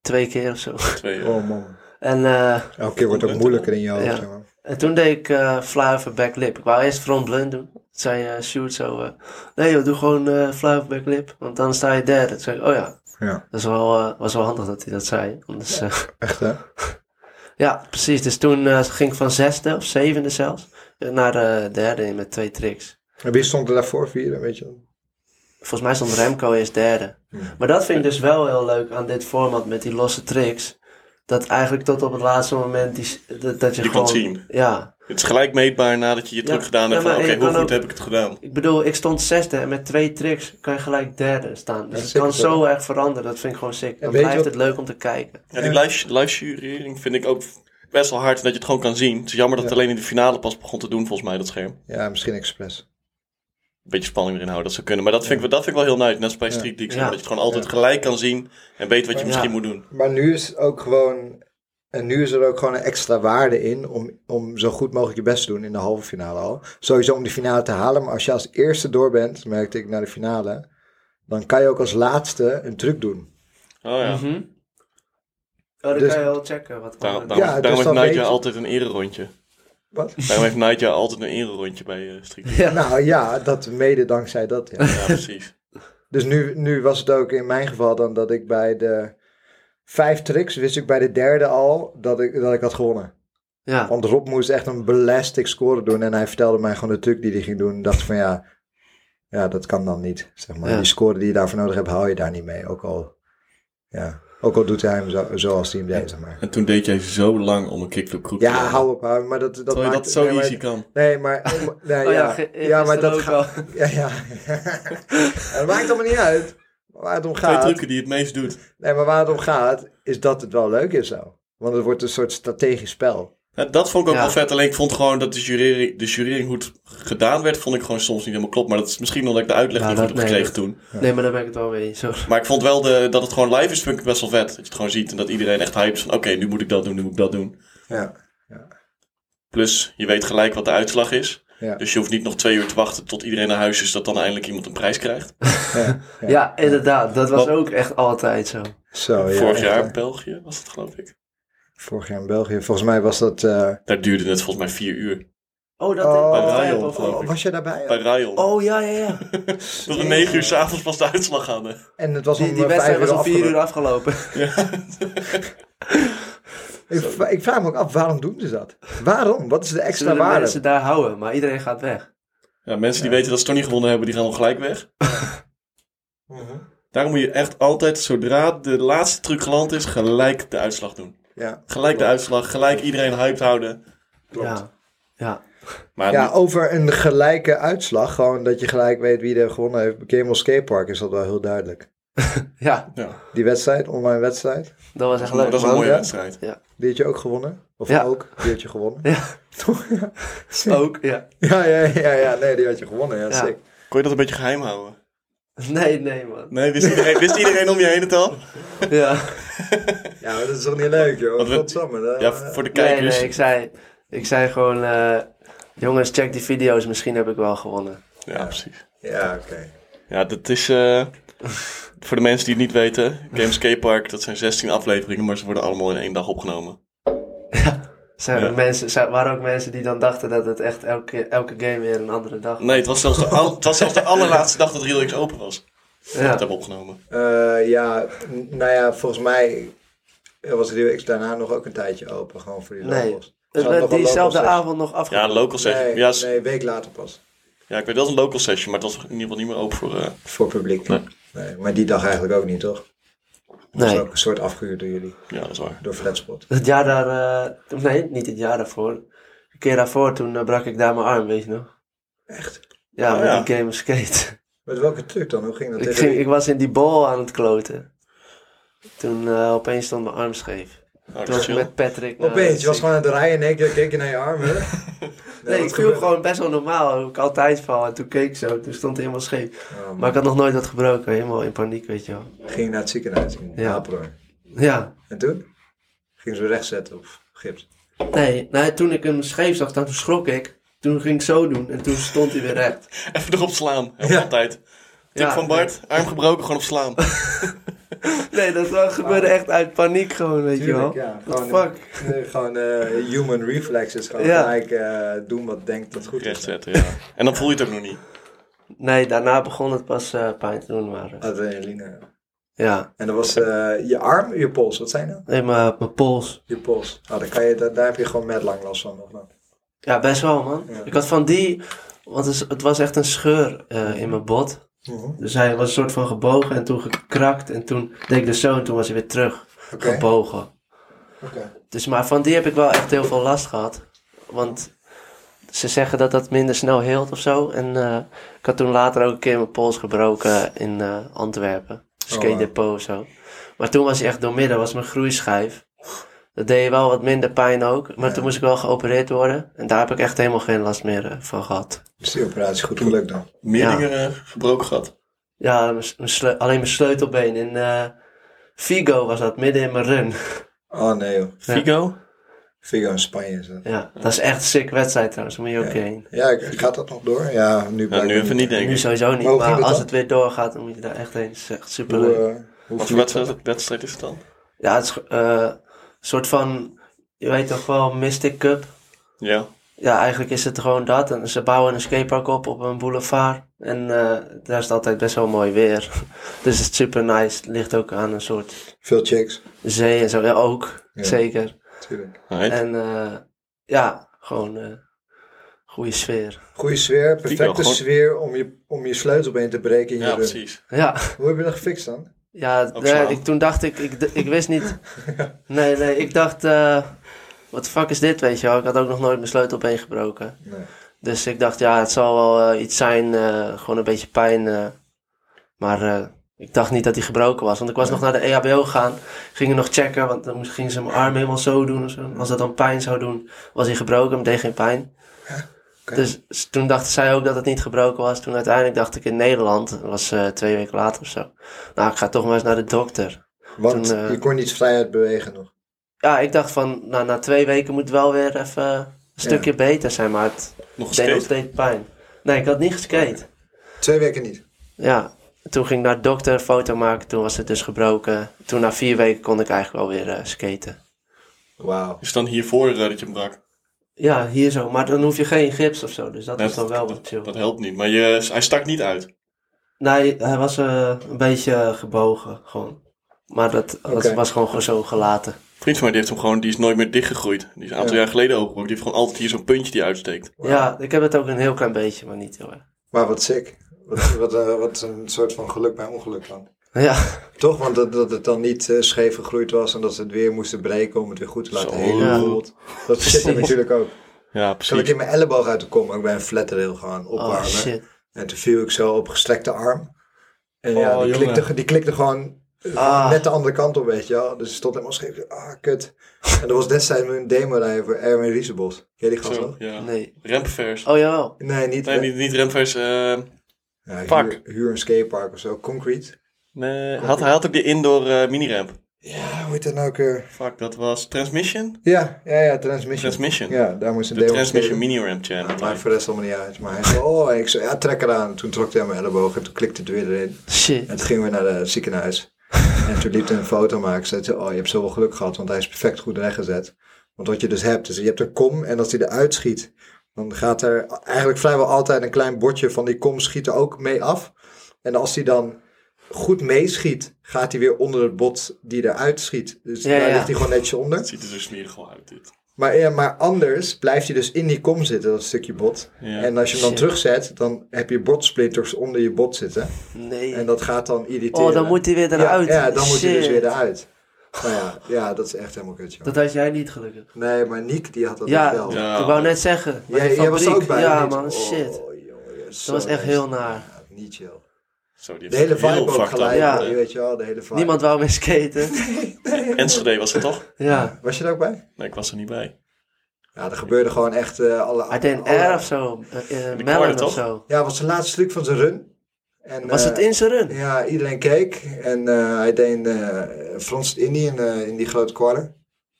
twee keer of zo.
Twee, ja.
Oh man.
En, eh,
Elke keer wordt het ook moeilijker in je hoofd.
Ja.
zeg maar.
en toen deed ik eh fly over back lip. Ik wou eerst front blunt doen. Toen zei eh Sjoerd zo, eh, nee joh, doe gewoon eh fly back lip, want dan sta je derde. Toen zei ik, oh ja,
Ja,
dat is wel, eh, was wel handig dat hij dat zei. Anders, eh,
echt hè?
ja, precies. Dus toen eh, ging ik van zesde of zevende zelfs eh, naar de derde in met twee tricks.
En wie stond er daarvoor? Vierde, weet je?
Volgens mij stond Remco eerst derde. Maar dat vind ik dus wel heel leuk aan dit format met die losse tricks. Dat eigenlijk tot op het laatste moment die, s- dat, dat je
Je
gewoon...
kan zien.
Ja,
Het is gelijk meetbaar nadat je je
Ja,
truc gedaan hebt.
ja,
van,
maar
Oké,
je
hoe
kan
goed
ook-
heb ik het gedaan?
ik bedoel, ik stond zesde en met twee tricks kan je gelijk derde staan. Dus
Ja,
het
zeker
kan
zo.
zo erg veranderen. Dat vind ik gewoon sick. Dan
weet je
blijft
wat-
het leuk om te kijken.
Ja, die live, live jurering vind ik ook best wel hard dat je het gewoon kan zien. Het is jammer dat het alleen in de finale pas begon te doen, volgens mij, dat scherm.
Ja, misschien expres.
Een beetje spanning erin houden, dat zou kunnen. Maar dat vind, ik, dat vind ik wel heel nice, net als bij
Ja.
Street League.
Ja.
Dat je het gewoon altijd gelijk kan zien en weet wat je
Ja.
misschien moet doen. Oh,
Maar nu is het ook gewoon. En nu is er ook gewoon een extra waarde in om, om zo goed mogelijk je best te doen in de halve finale al. Sowieso om de finale te halen, maar als je als eerste door bent, merkte ik naar de finale, dan kan je ook als laatste een truc doen.
Oh ja,
Oh, dan
Dus-
kan je wel checken wat
Daar- daarom,
Ja, dus
daarom
dan
heeft Nadja
weet je-
altijd een ererondje.
Wat?
Daarom heeft Nadja altijd een ererondje bij eh, Street League.
Ja.
Nou ja, dat mede dankzij dat. Ja.
Ja, precies.
Dus nu, nu was het ook in mijn geval dan dat ik bij de vijf tricks wist ik bij de derde al dat ik, dat ik had gewonnen.
Ja,
Want Rob moest echt een belastic score doen. En hij vertelde mij gewoon de truc die hij ging doen. En dacht van ja, ja, dat kan dan niet. Zeg maar.
Ja.
Die score die je daarvoor nodig hebt, haal je daar niet mee. Ook al, ja, ook al doet hij hem zo, zoals hij hem deed. Zeg maar.
En toen deed jij zo lang om een kickflip kroeg
Ja, hou op, hou op, Maar dat, dat,
Terwijl je
maakt,
dat zo
nee, maar-
easy kan.
Nee, maar... Nee,
Oh ja,
ja,
ge-
ja, maar
gisteren
dat
ook
gaat... Ja, ja. Het maakt allemaal niet uit waar het om
Twee
gaat.
trucken die het meest doet.
Nee, maar waar het om gaat, is dat het wel leuk is zo. Want het wordt een soort strategisch spel.
Ja, dat vond ik ook
Ja.
wel vet. Alleen ik vond gewoon dat de jurering, de jurering hoe het gedaan werd, vond ik gewoon soms niet helemaal klopt. Maar dat is misschien omdat ik de uitleg
Ja,
niet
dat-
goed heb
nee,
gekregen
dat-
toen.
Nee, maar daar ben ik het wel mee eens. hoor.
Maar ik vond wel de, dat het gewoon live is, vind ik best wel vet. Dat je het gewoon ziet en dat iedereen echt hype is van oké, nu moet ik dat doen, nu moet ik dat doen.
Ja.
Plus, je weet gelijk wat de uitslag is.
Ja.
Dus je hoeft niet nog twee uur te wachten tot iedereen naar huis is, dat dan eindelijk iemand een prijs krijgt.
ja.
Ja, inderdaad. Dat was
Wat-
ook echt altijd zo.
Zo, ja,
Vorig
echt,
jaar
hè.
België was het geloof ik.
Vorig jaar in België. Volgens mij was dat... eh,
Daar duurde het volgens mij vier uur.
Oh, dat
oh,
bij Rayon,
oh,
geloof ik.
was jij daarbij?
Bij Rayon.
Oh, ja, ja, ja.
Tot om negen uur s'avonds pas de uitslag hadden.
En het was
Die,
om
die
eh,
wedstrijd
vijf
was
uur
om vier uur
afgelopen.
afgelopen.
Ik, v- ik vraag me ook af, waarom doen ze dat? Waarom? Wat is de
Zullen
extra
de
waarde?
mensen daar houden, maar iedereen gaat weg.
Ja, mensen die weten dat ze toch niet gewonnen hebben, die gaan al gelijk weg.
Mhm.
Daarom moet je echt altijd, zodra de laatste truc geland is, gelijk de uitslag doen.
Ja,
Gelijk de uitslag, gelijk iedereen hyped houden.
Klopt.
Ja. ja.
Maar
ja, over een gelijke uitslag. Gewoon dat je gelijk weet wie er gewonnen heeft. Bij Camel Skatepark is dat wel heel duidelijk.
Ja,
ja,
Die wedstrijd, online wedstrijd,
dat was echt
maar
leuk.
dat is een
man.
mooie
ja.
wedstrijd.
die had je ook gewonnen. Of
Ja.
ook, die had je gewonnen.
Ja.
Toch? Ja.
Ook, ja.
Ja, ja, ja, ja, nee, die had je gewonnen. Ja,
Ja.
sick.
Kon je dat een beetje geheim houden?
Nee, nee, man.
Nee, wist iedereen, wist iedereen om je heen het al?
Ja,
Ja, maar dat is toch niet leuk, joh.
Want we-
Godsamme, dat-
Ja, voor de
nee,
kijkers.
nee, ik zei, ik zei gewoon... eh, jongens, check die video's, misschien heb ik wel gewonnen.
Ja, precies.
Ja, oké.
Ja, dat is... eh, voor de mensen die het niet weten, Games Park, dat zijn 16 afleveringen, maar ze worden allemaal in één dag opgenomen.
Zijn
Ja.
er mensen, zijn, waren ook mensen die dan dachten dat het echt elke, elke game weer een andere dag was.
Nee, het was zelfs de, al- het was zelfs de allerlaatste dag dat Real X open was. Dat we het
Ja.
hebben opgenomen.
Eh, ja, n- nou ja, volgens mij eh, was Rio X daarna nog ook een tijdje open, gewoon voor die
Nee.
locals.
Het
Zou
werd
nog een
diezelfde
local
avond nog afge...
Ja, een local
session-
session.
Nee,
ja, s-
nee, een week later pas.
Ja, ik weet dat is een local session, maar dat was in ieder geval niet meer open voor. eh,
Voor publiek.
Nee.
Nee. maar die dag eigenlijk ook niet, toch? Dat is
Nee,
ook een soort afgehuurd door jullie,
ja, dat is waar.
door Flatspot.
het jaar daar... eh, toen- nee, niet het jaar daarvoor. Een keer daarvoor, toen eh, brak ik daar mijn arm, weet je nog?
Echt?
Ja,
Oh,
met
ja.
die game of skate.
Met welke truc dan? Hoe ging dat?
ik,
tegen
ging,
wie?
ik was in die bal aan het kloten. Toen eh, opeens stond mijn arm scheef.
Oh,
Toen
dat is
was ik
chill.
met Patrick... naar-
Opeens, je was gewoon aan het rijden en ik keek je naar je armen. nee, wat
Nee, ik viel
gebeurde?
gewoon best wel normaal, hoe ik altijd val. En toen keek ik zo, toen stond hij helemaal scheef.
Oh, man.
Maar ik had nog nooit wat gebroken, helemaal in paniek, weet je wel.
Ging naar het ziekenhuis in
Ja.
Apeldoorn.
Ja,
En toen? Ging ze weer rechtzetten op gips.
Nee, nou, toen ik hem scheef zag, dan toen schrok ik. Toen ging ik zo doen en toen stond hij weer recht.
Even erop slaan. Helpt
Ja.
altijd. Tip
Ja.
van Bart, arm gebroken, gewoon op slaan.
Nee, dat wel gebeurde echt uit paniek gewoon, weet
Tuurlijk,
je wel.
ja.
What the
Gewoon,
fuck?
eh, gewoon eh, human reflexes. Gewoon
Ja.
gelijk eh, doen wat denkt dat goed
Recht
is.
zetten, ja. En dan voel je het ook nog niet.
Nee, daarna begon het pas eh, pijn te doen, maar... eh,
Adrenaline.
ja,
En dat was eh, je arm, je pols. Wat zijn dat?
nee, maar mijn pols.
Je pols. Nou, dan kan je, daar, daar heb je gewoon met lang last van. Of wat?
Ja, best wel, man.
Ja.
Ik had van die... Want het is- het was echt een scheur eh, in mijn bot. Dus hij was een soort van gebogen en toen gekrakt. En toen deed ik dus zo en toen was hij weer terug.
Oké.
Gebogen.
Oké.
Dus, maar van die heb ik wel echt heel veel last gehad. Want ze zeggen dat dat minder snel heelt of zo. En eh, ik had toen later ook een keer mijn pols gebroken in eh, Antwerpen. Skate
Oh, wow.
depot of zo. Maar toen was hij echt doormidden, was mijn groeischijf. Dat deed wel wat minder pijn ook. Maar
Ja.
toen moest ik wel geopereerd worden. En daar heb ik echt helemaal geen last meer eh, van gehad.
Is die operatie goed gelukt dan?
Meer
Ja.
dingen eh, gebroken gehad.
Ja, mijn s- mijn sleu- alleen mijn sleutelbeen in eh, Vigo was dat, midden in mijn run.
Oh nee joh.
Figo?
Figo in Spanje is dat.
ja, dat is echt een sick wedstrijd trouwens. Daar moet je ook
Ja.
heen.
Ja, ik- gaat dat nog door? Ja, nu
Ja,
blijkt
nu
het
even niet denken.
Nu sowieso niet,
Maar hoe
maar
ging dat
als
dan?
het weer doorgaat, dan moet je daar echt heen. Het is echt
Hoe,
superleuk.
eh, hoe
Wat voor
vliegt
wedstrijd, wedstrijd is het dan?
Ja, het is eh, een soort van, je weet toch wel, Mystic Cup.
Ja.
Ja, eigenlijk is het gewoon dat. En ze bouwen een skatepark op op een boulevard. En eh, daar is het altijd best wel mooi weer. dus het is super nice. Het ligt ook aan een soort
Veel chicks.
zee en zo. Ja, ook.
Ja.
Zeker.
Tuurlijk.
Alright.
En eh, ja, gewoon eh goede sfeer.
Goede sfeer,
Figo,
perfecte
gewoon-
sfeer om je, om je sleutelbeen te breken in je
Ja,
rug.
precies.
Ja.
Hoe heb je dat gefixt dan?
Ja,
Ook
nee,
slaan.
ik, toen dacht ik, ik, d- ik wist niet. Nee, nee, ik dacht, eh, wat de fuck is dit, weet je wel? Ik had ook nog nooit mijn sleutelbeen gebroken.
Nee.
Dus ik dacht, ja, het zal wel eh, iets zijn, eh, gewoon een beetje pijn. eh. maar eh, ik dacht niet dat die gebroken was, want ik was nog naar de E EHBO gegaan. Gingen nog checken, want dan moest- gingen ze mijn arm helemaal zo doen of zo. Als dat dan pijn zou doen, was hij gebroken, maar deed geen pijn.
oké.
Dus s- toen dachten zij ook dat het niet gebroken was. Toen uiteindelijk dacht ik in Nederland, dat was eh, twee weken later of zo. Nou, ik ga toch maar eens naar de dokter.
Want
Toen, eh,
je kon niet vrijheid bewegen nog.
Ja, ik dacht van, nou, na twee weken moet het wel weer even een stukje beter zijn, maar het
Nog een
deed nog
skate.
steeds pijn. Nee, ik had niet geskate.
Twee weken niet.
Ja, toen ging ik naar de dokter een foto maken, toen was het dus gebroken. Toen na vier weken kon ik eigenlijk wel weer eh, skaten.
Wauw.
Is het dan hiervoor eh, dat je hem brak?
Ja, hier zo, maar dan hoef je geen gips of zo, dus dat
Nee,
is dan wel wat
dat,
chill.
dat helpt niet. Maar je, hij stak niet uit.
Nee, hij was eh, een beetje eh, gebogen, gewoon. Maar dat, dat
Oké.
was gewoon zo gelaten.
Een vriend van mij die heeft hem gewoon, die is nooit meer dichtgegroeid. Die is een aantal
Ja.
jaar geleden opengebroken. Die heeft gewoon altijd hier zo'n puntje die uitsteekt.
Ja, ik heb het ook een heel klein beetje, maar niet heel erg.
Maar wat sick. Wat, wat, eh, wat een soort van geluk bij ongeluk dan.
Ja.
Toch, want dat, dat het dan niet eh, scheef gegroeid was en dat ze het weer moesten breken om het weer goed te laten
Zo.
helen.
Ja.
bijvoorbeeld. Dat zit er
Precies.
natuurlijk ook.
Ja,
Toen ik
precies.
in mijn elleboog uit de kom, ook bij een flatrail gewoon opwarmen.
Oh, shit.
En toen viel ik zo op gestrekte arm. En ja,
Oh,
die,
jongen.
klikte, die klikte gewoon eh,
Ah.
net de andere kant op, weet je wel. Dus ik stond helemaal scheef. Ah, kut. En dat was destijds mijn demo-rij voor Erwin Riesebos. Ken je die gast
Zo,
nog?
ja.
Nee.
Rempvers.
Oh, jawel.
Nee, niet.
Nee, niet, niet rempvers. eh,
Ja, huur-
Pak.
Huur, een skatepark of zo. Concrete.
nee, had, hij had ook die indoor eh mini-ramp.
Ja, hoe heet dat nou ook? weer?
Fuck, dat was Transmission?
Ja, ja, ja, Transmission.
Transmission.
Ja, daar moest een
De
demo
Transmission
skaten.
mini-ramp champ.
Ja, maar voor de rest allemaal niet uit. Maar hij zei, oh, en ik zei, ja, trek eraan. Toen trok hij aan mijn elleboog en toen klikte het weer erin.
Shit.
En toen gingen we naar het ziekenhuis. En toen liep hij een foto maken. Zei hij, oh, je hebt zoveel geluk gehad, want hij is perfect goed rechtgezet. Want wat je dus hebt, is je hebt een kom en als hij eruit schiet, dan gaat er eigenlijk vrijwel altijd een klein bordje van die kom schiet er ook mee af. En als hij dan goed meeschiet, gaat hij weer onder het bot die eruit schiet. Dus
Ja,
daar
ja.
ligt hij gewoon netjes onder.
Het ziet er zo smerig wel uit, dit.
Maar, ja, maar anders blijft hij dus in die kom zitten, dat stukje bot.
Ja.
En als je hem dan
Shit.
terugzet, dan heb je botsplitters onder je bot zitten.
Nee.
En dat gaat dan irriteren.
Oh, dan moet hij weer eruit.
Ja, ja dan moet hij dus
Shit.
weer eruit. Nou ja, ja, dat is echt helemaal kut, joh.
Dat had jij niet gelukkig.
Nee, maar Nick, die had dat
ja,
wel. Ja.
Ja.
ik wou net zeggen. Maar
Jij,
die
jij was er
fabriek,
ook bij.
Ja,
niet?
man,
Oh,
shit.
jongen, zo
dat was echt
nasty.
heel naar.
Ja, niet chill.
Zo, die heeft
De hele
het heel
vibe ook
fucked up.
gelijk.
Ja.
Je weet je wel, de hele vibe.
Niemand wou meer skaten.
eh.
Enschede was het toch?
ja.
Was je er ook bij?
Nee, ik was er niet bij.
Ja, er gebeurde gewoon echt eh, alle...
Hij deed een
alle-
R of zo. eh, eh,
De
Mellon
quarter,
of
toch?
zo.
Ja, was het laatste stuk van zijn run. En,
Was
eh,
het in zijn run?
Ja, iedereen keek. En eh, hij deed een frans Indie in, eh, in die grote quarter.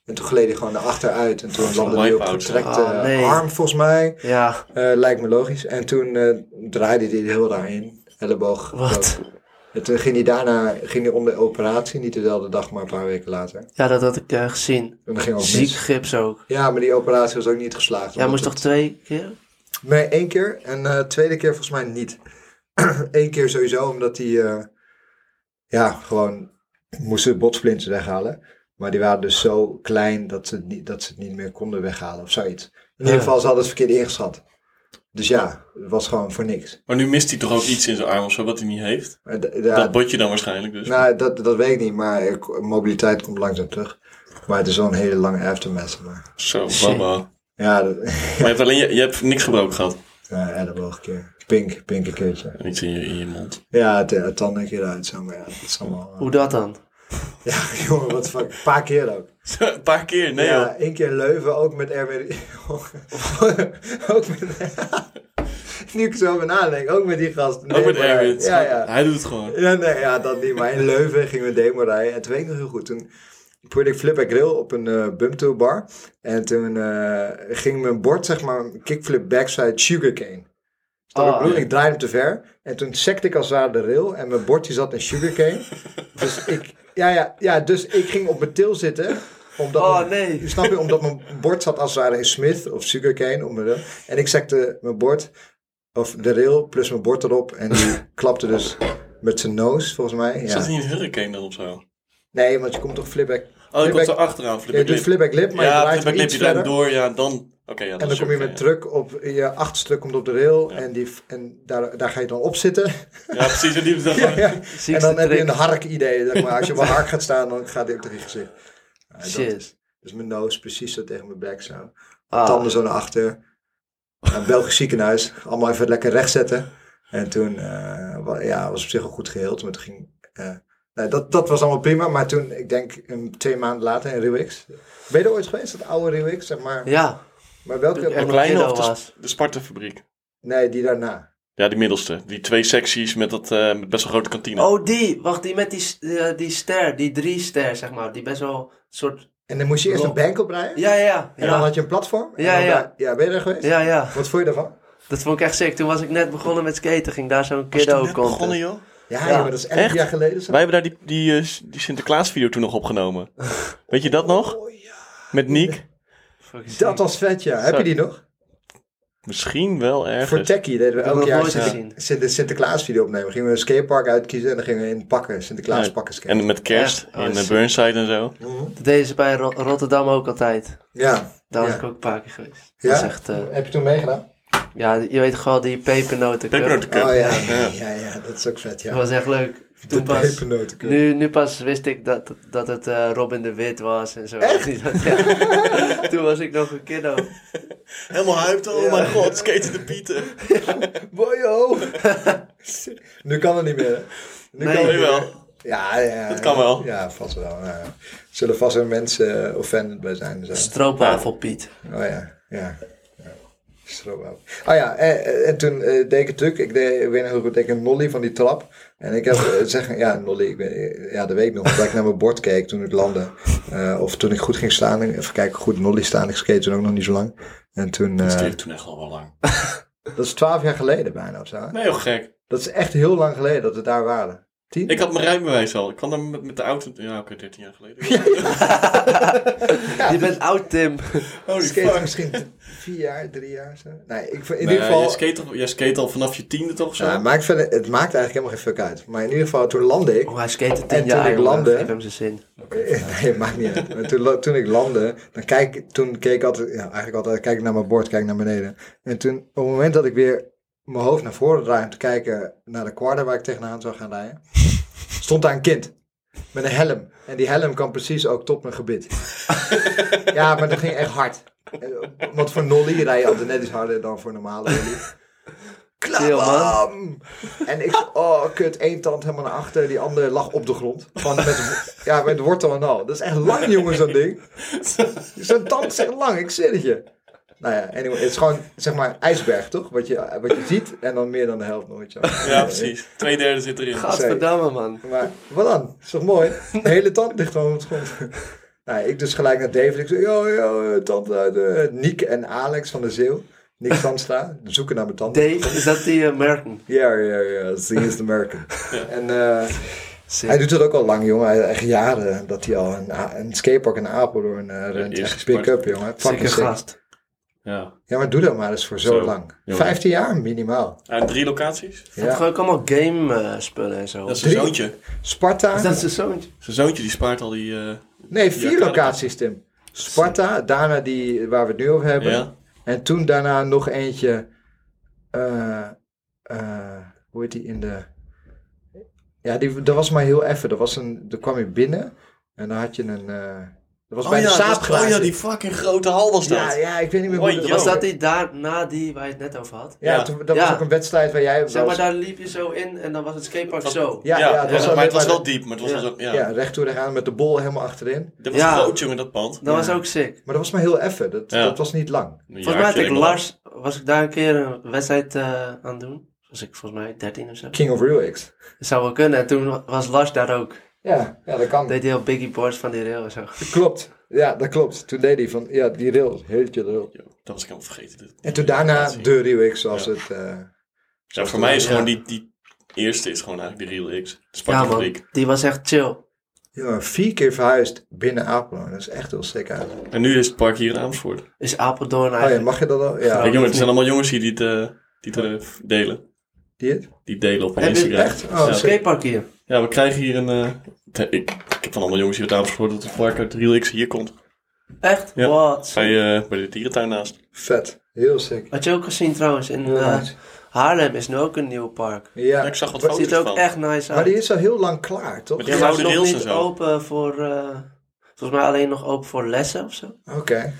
En toen gleed hij gewoon naar achteruit. En toen landde hij op
wipeout,
getrekte
ja. Ah, nee.
arm, volgens mij.
Ja.
Eh, lijkt me logisch. En toen eh, draaide hij er heel raar in. Elleboog.
Wat?
Ook. En toen ging hij daarna ging hij onder operatie, niet dezelfde dag, maar een paar weken later. En
Ja, dat had ik eh, gezien.
dat ging ook
Ziek
Oh, mis.
gips ook.
Ja, maar die operatie was ook niet geslaagd.
Jij moest
omdat
toch twee keer?
het- Nee, één keer. En de tweede keer volgens mij niet. Eén keer sowieso, omdat hij... eh, ja, gewoon moesten botsplinten weghalen. Maar die waren dus zo klein dat ze het niet, dat ze het niet meer konden weghalen of zoiets. In ieder
Ja.
geval, ze hadden het verkeerd ingeschat. Dus ja, het was gewoon voor niks.
Maar nu mist hij toch ook iets in zijn arm of zo wat hij niet heeft?
Maar d- ja,
Dat botje dan waarschijnlijk dus.
Nou, dat, dat weet ik niet, maar eh, mobiliteit komt langzaam terug. Maar het is wel een hele lange aftermath. Maar
Zo,
Shit.
baba.
ja, dat,
Maar je hebt, alleen, je, je hebt niks gebroken gehad.
ja, elleboog een keer. Pink, pink een keertje.
En iets in je, in je mond.
Ja, het, het tanden een keer uit, zo, maar ja, dat is allemaal... eh,
Hoe dat dan?
ja, jongen, wat fuck. Een paar keer ook.
Een paar keer, nee joh.
ja, één keer Leuven, ook met RWD. ook met... nu ik er zo over nadenk, ook met die gast.
Ook met
maar-
Erwin.
Ja, ja.
Hij doet het gewoon.
Ja, nee, ja, dat niet. Maar in Leuven gingen we demo rijden. En toen weet ik nog heel goed. Toen probeerde ik flip en grill op een eh bump bar. En toen eh, ging mijn bord, zeg maar, kickflip backside sugarcane. Dus
Ah,
ik, bedoel,
Oh, ja.
ik draaide hem te ver. En toen sekte ik als het ware de rail. En mijn bordje zat in sugarcane. dus ik... Ja, ja, ja, dus ik ging op mijn til zitten. Omdat
Oh,
mijn-
nee.
Snap je? Omdat mijn bord zat als het ware in Smith of sugarcane. Op mijn rail. En ik sekte mijn bord... Of de rail plus mijn bord erop. En die klapte dus met zijn neus, volgens mij.
Zat hij
Ja.
in een hurricane dan of zo?
Nee, want je komt toch flipback.
Oh, ik
flipback-
komt zo achteraan. Flip
je
ik
doet
lip.
flipback lip, maar je
Ja,
draait
flip
hem
ik lip.
iets
Je draait
verder.
hem door, ja, dan... Oké, ja,
En
dat
dan
is
kom je met
hurricane,
druk op, je achterste komt op de rail
Ja.
en, die, en daar, daar ga je dan op zitten.
ja. Ja, precies. En die dan
Ja, ja. En
Ziekste
dan heb je
trick.
een hark idee. Zeg maar. Als je op een hark gaat staan, dan gaat die ook tegen je gezicht. Ja, dat
Shit.
is- Dus mijn nose precies zo tegen mijn bek zo.
Ah,
Tanden zo naar achter. Een Belgisch ziekenhuis. Allemaal even lekker recht zetten. En toen eh, wa- ja, was op zich al goed geheeld. Maar toen ging, eh, nou, dat, dat was allemaal prima. Maar toen, ik denk een, twee maanden later in Ruwix. Ben je er ooit geweest, dat oude Ruwix? Zeg maar,
Ja,
maar welke?
en
De kleine
Kiddo
of de,
was.
s- de Sparta-fabriek?
Nee, die daarna.
Ja, die middelste. Die twee secties met dat eh, met best wel grote kantine.
Oh, die. Wacht, die met die, s- eh, die ster. Die drie ster, zeg maar. Die best wel soort...
En dan moest je eerst
Klopt.
een bank oprijden.
Ja, ja,
En dan
ja.
had je een platform. en
Ja,
dan
ja.
daar- ja, ben je er geweest?
Ja, ja.
Wat vond je daarvan?
Dat vond ik echt sick. Toen was ik net begonnen met skaten. Ging daar zo'n
Was toen
kiddo
net begonnen,
content.
joh?
Ja,
Ja.
joh, maar dat is elf
Echt?
jaar geleden. Zo.
Wij hebben daar die, die, eh, s- die Sinterklaas-video toen nog opgenomen. Weet je dat nog?
Oh, ja.
Met Niek?
Fucking sick.
Dat was vet, ja. Heb
Zo.
je die nog?
Misschien wel
Voor
ergens.
Techie deden we
heb
elk
nog
jaar
nooit
Sinter-
gezien.
Sinter- Sinterklaas video opnemen. Gingen we een skatepark uitkiezen en dan gingen we in pakken, Sinterklaas
Ja.
pakken skaten.
En met kerst
Echt? Oh,
in eh,
shit.
Burnside en zo.
Mhm.
Dat deden ze bij Ro- Rotterdam ook altijd.
Ja.
Daar was
Ja.
ik ook een paar keer geweest.
Ja?
Dat is echt... eh,
Heb je toen meegedaan?
ja, je weet gewoon die pepernoten.
Pepernotencup.
Oh ja.
Ja.
Ja. ja, dat is ook vet,
Dat
ja.
was echt leuk.
De
Toen pas...
pepernotencup.
Nu, nu pas wist ik dat, dat het eh, Robin de Wit was en zo.
Echt?
Ja. Toen was ik nog een kiddo.
Helemaal hyped, oh
Ja.
mijn god, skaten de pieten.
Boy, oh. nu kan het niet meer. hè? Nu
Nee.
kan het
Nu
niet
wel.
meer. Ja, ja.
Dat kan wel.
Ja, vast wel. ja. Er zullen vast weer mensen eh, offended bij zijn. Zo.
Stroopwafelpiet.
Oh ja, ja. ja. Stroopwafel. Oh ja, en, en- en toen eh, deed ik het truc. Ik deed, ik weet nog heel goed, deed ik een nollie van die trap. En ik heb eh, zeggen, ja, nollie, ik weet, ja, dat weet ik nog. Dat ik naar mijn bord keek toen ik landde. Eh, of toen ik goed ging staan. Even kijken, goed nollie staan. Ik skate toen ook nog niet zo lang. En toen, eh,
Dat deed ik toen echt al wel lang.
dat is twaalf jaar geleden bijna of zo. hè?
Nee, heel gek.
Dat is echt heel lang geleden dat we daar waren. Tien?
Ik had mijn rijbewijs al. Ik kwam dan met, met de auto. Ja, oké, 13 jaar geleden.
Je bent oud, Tim.
Holy
skate
fuck.
misschien vier jaar, drie jaar zo. Nee, ik, in
In
ieder geval...
Jij skate, al, jij skate al vanaf je tiende toch of zo?
Ja, maakt verder, het maakt eigenlijk helemaal geen fuck uit. Maar in ieder geval, toen landde ik...
Oh, hij skate
En
tien
toen
jaar.
ik
jongen.
landde-
Geef hem zijn zin.
Nee, maakt niet uit. Maar toen, lo- toen ik landde, dan kijk, ik- toen keek ik altijd, ja, eigenlijk altijd kijk ik naar mijn bord, kijk naar beneden. En toen, op het moment dat ik weer mijn hoofd naar voren draai om te kijken naar de quarter waar ik tegenaan zou gaan rijden, stond daar een kind. Met een helm. En die helm kwam precies ook tot mijn gebit. ja, maar dat ging echt hard. Eh, Want voor nollie rij je altijd net iets harder dan voor normale nollie.
Chill,
Klapam! En ik, oh kut, één tand helemaal naar achter, die andere lag op de grond. Gewoon met, ja, met wortel en al. Dat is echt lang, jongen, zo'n ding. Zo'n tand is echt lang, ik zit het je. Nou ja, anyway, het is gewoon, zeg maar, ijsberg, toch? Wat je, wat je ziet en dan meer dan de helft nooit. zo.
Ja, precies. Twee derde zit erin.
Gadverdamme, man.
Maar wat dan? Is toch mooi? De hele tand ligt gewoon op het grond. Nou, ik dus gelijk naar David. Ik zei, yo, yo, tand uit. eh, Niek en Alex van de Zeeuw. Niks van staan. Zoeken naar mijn tanden.
Dave, is dat die eh, Merton?
Ja, ja, ja. He is American. En eh, hij doet dat ook al lang, jongen. Hij- Echt jaren dat hij al een, a- een skatepark in Apeldoorn eh rent.
is
Echt
apart.
pick-up, jongen.
Zeker
Fucking sick.
gast.
Ja.
Ja, maar doe dat maar eens voor zo,
Zo,
lang.
jongen.
15 jaar minimaal.
Uit drie locaties.
Ja.
Ja.
ook allemaal game eh, spullen en zo.
Dat is zijn
Drie?
zoontje.
Sparta.
Is dat zijn zoontje?
Zijn zoontje die spaart al die... eh,
Nee, vier
Ja, kan
locaties, Tim. Sparta, daarna die waar we het nu over hebben.
ja.
En toen daarna nog eentje. eh, eh, hoe heet die in de. Ja, die, dat was maar heel even. Er was een, daar kwam je binnen en dan had je een. eh dat was bij de
ja, dat is-
saapgraas.
oh ja, die fucking grote hal was dat.
ja, ja, ik weet niet meer hoe
Oh,
dat
joh.
Was
was.
dat die daar na die waar je het net over had?
Ja,
Ja.
toen- dat
Ja.
was ook een wedstrijd waar jij.
Zeg
wel-
maar, daar liep je zo in en dan was het skatepark
Dat-
zo.
ja, ja, dat was wel
maar
net
het was
waar
wel diep. Maar het was
Ja.
wel zo- ja.
ja. recht toe recht aan met de bol helemaal achterin.
Dat was
Ja.
groot, jongen, dat pand.
Dat
Ja.
was ook sick.
Maar dat was maar heel even. Dat,
Ja.
dat was niet lang.
Volgens mij had ik Lars, was ik daar een keer een wedstrijd eh, aan het doen. Was ik volgens mij 13 of zo.
King of Real X.
Dat zou wel kunnen. En toen was Lars daar ook.
Ja, ja, dat kan.
Deed heel biggie boards van die rail en zo.
Klopt. Ja, dat klopt. Toen deed hij van, ja, die rail, heeltje rail.
Dat was ik helemaal vergeten. Dit-
En toen daarna
Ja,
de Real X, zoals
Ja.
het... eh,
Ja, voor mij is
eh, Ja.
gewoon die, die eerste is gewoon eigenlijk de Real X.
Ja
Sparta
man, die was echt chill.
Ja, vier keer verhuisd binnen Apeldoorn. Dat is echt heel sick uit. Oh
En nu is het park hier in Amersfoort. Kijk
Is Apeldoorn
ja,
eigenlijk.
mag je dat al? Ja.
Ja.
jongen,
dat
er
is
zijn allemaal jongens hier die het, eh, die het eh, delen.
Die het?
Die delen op
Heb je het
Instagram.
echt? Oh,
ja.
sick.
Skatepark hier.
Ja, we krijgen hier een... eh, te- ik, ik heb van allemaal jongens hier uit Amersfoort dat het park uit de Real X hier komt.
Echt?
Ja.
Wat?
Bij, eh, bij de dierentuin naast.
Vet. Heel sick.
Had je ook gezien trouwens, in
Heel
eh,
nice.
Haarlem is nu ook een nieuw park.
Ja,
Ja.
ik zag wat
Maar-
foto's
Ziet er ook
van.
echt nice
Maar
uit.
die is al heel lang klaar, toch?
Maar
Oké.
die-
was
gouden rails
nog
en
niet
zo.
open voor, eh, volgens mij alleen nog open voor lessen of zo.
Is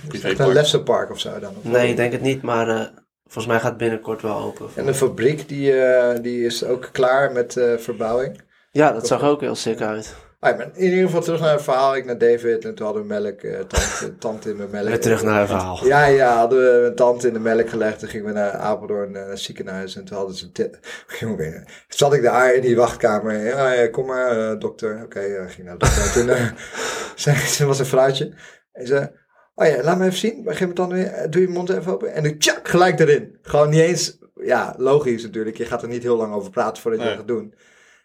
Privépark.
het een lessenpark of zo dan?
Nee, ik denk het niet, maar eh, volgens mij gaat binnenkort wel open.
En de fabriek, die, eh, die is ook klaar met eh, verbouwing.
Ja, dat zag ook heel sick uit.
Ah, ik ben in ieder geval terug naar het verhaal. Ik naar David en toen hadden we melk, eh, tand, tand in mijn melk.
Weer terug naar het verhaal.
Ja, ja, hadden we mijn tante in de melk gelegd. Toen gingen we naar Apeldoorn, eh, naar het ziekenhuis. En toen hadden ze... te- Jongen, weet je, toen zat ik daar in die wachtkamer. Ja, ja, kom maar, eh, dokter. Oké, eh, ging naar de dokter. En toen eh, zei ze, was een vrouwtje. En ze... Oh ja, laat me even zien. Begin met dan weer. eh, Doe je mond even open. En ik tjak, gelijk erin. Gewoon niet eens... Ja, logisch natuurlijk. Je gaat er niet heel lang over praten voordat je
Nee.
dat gaat doen.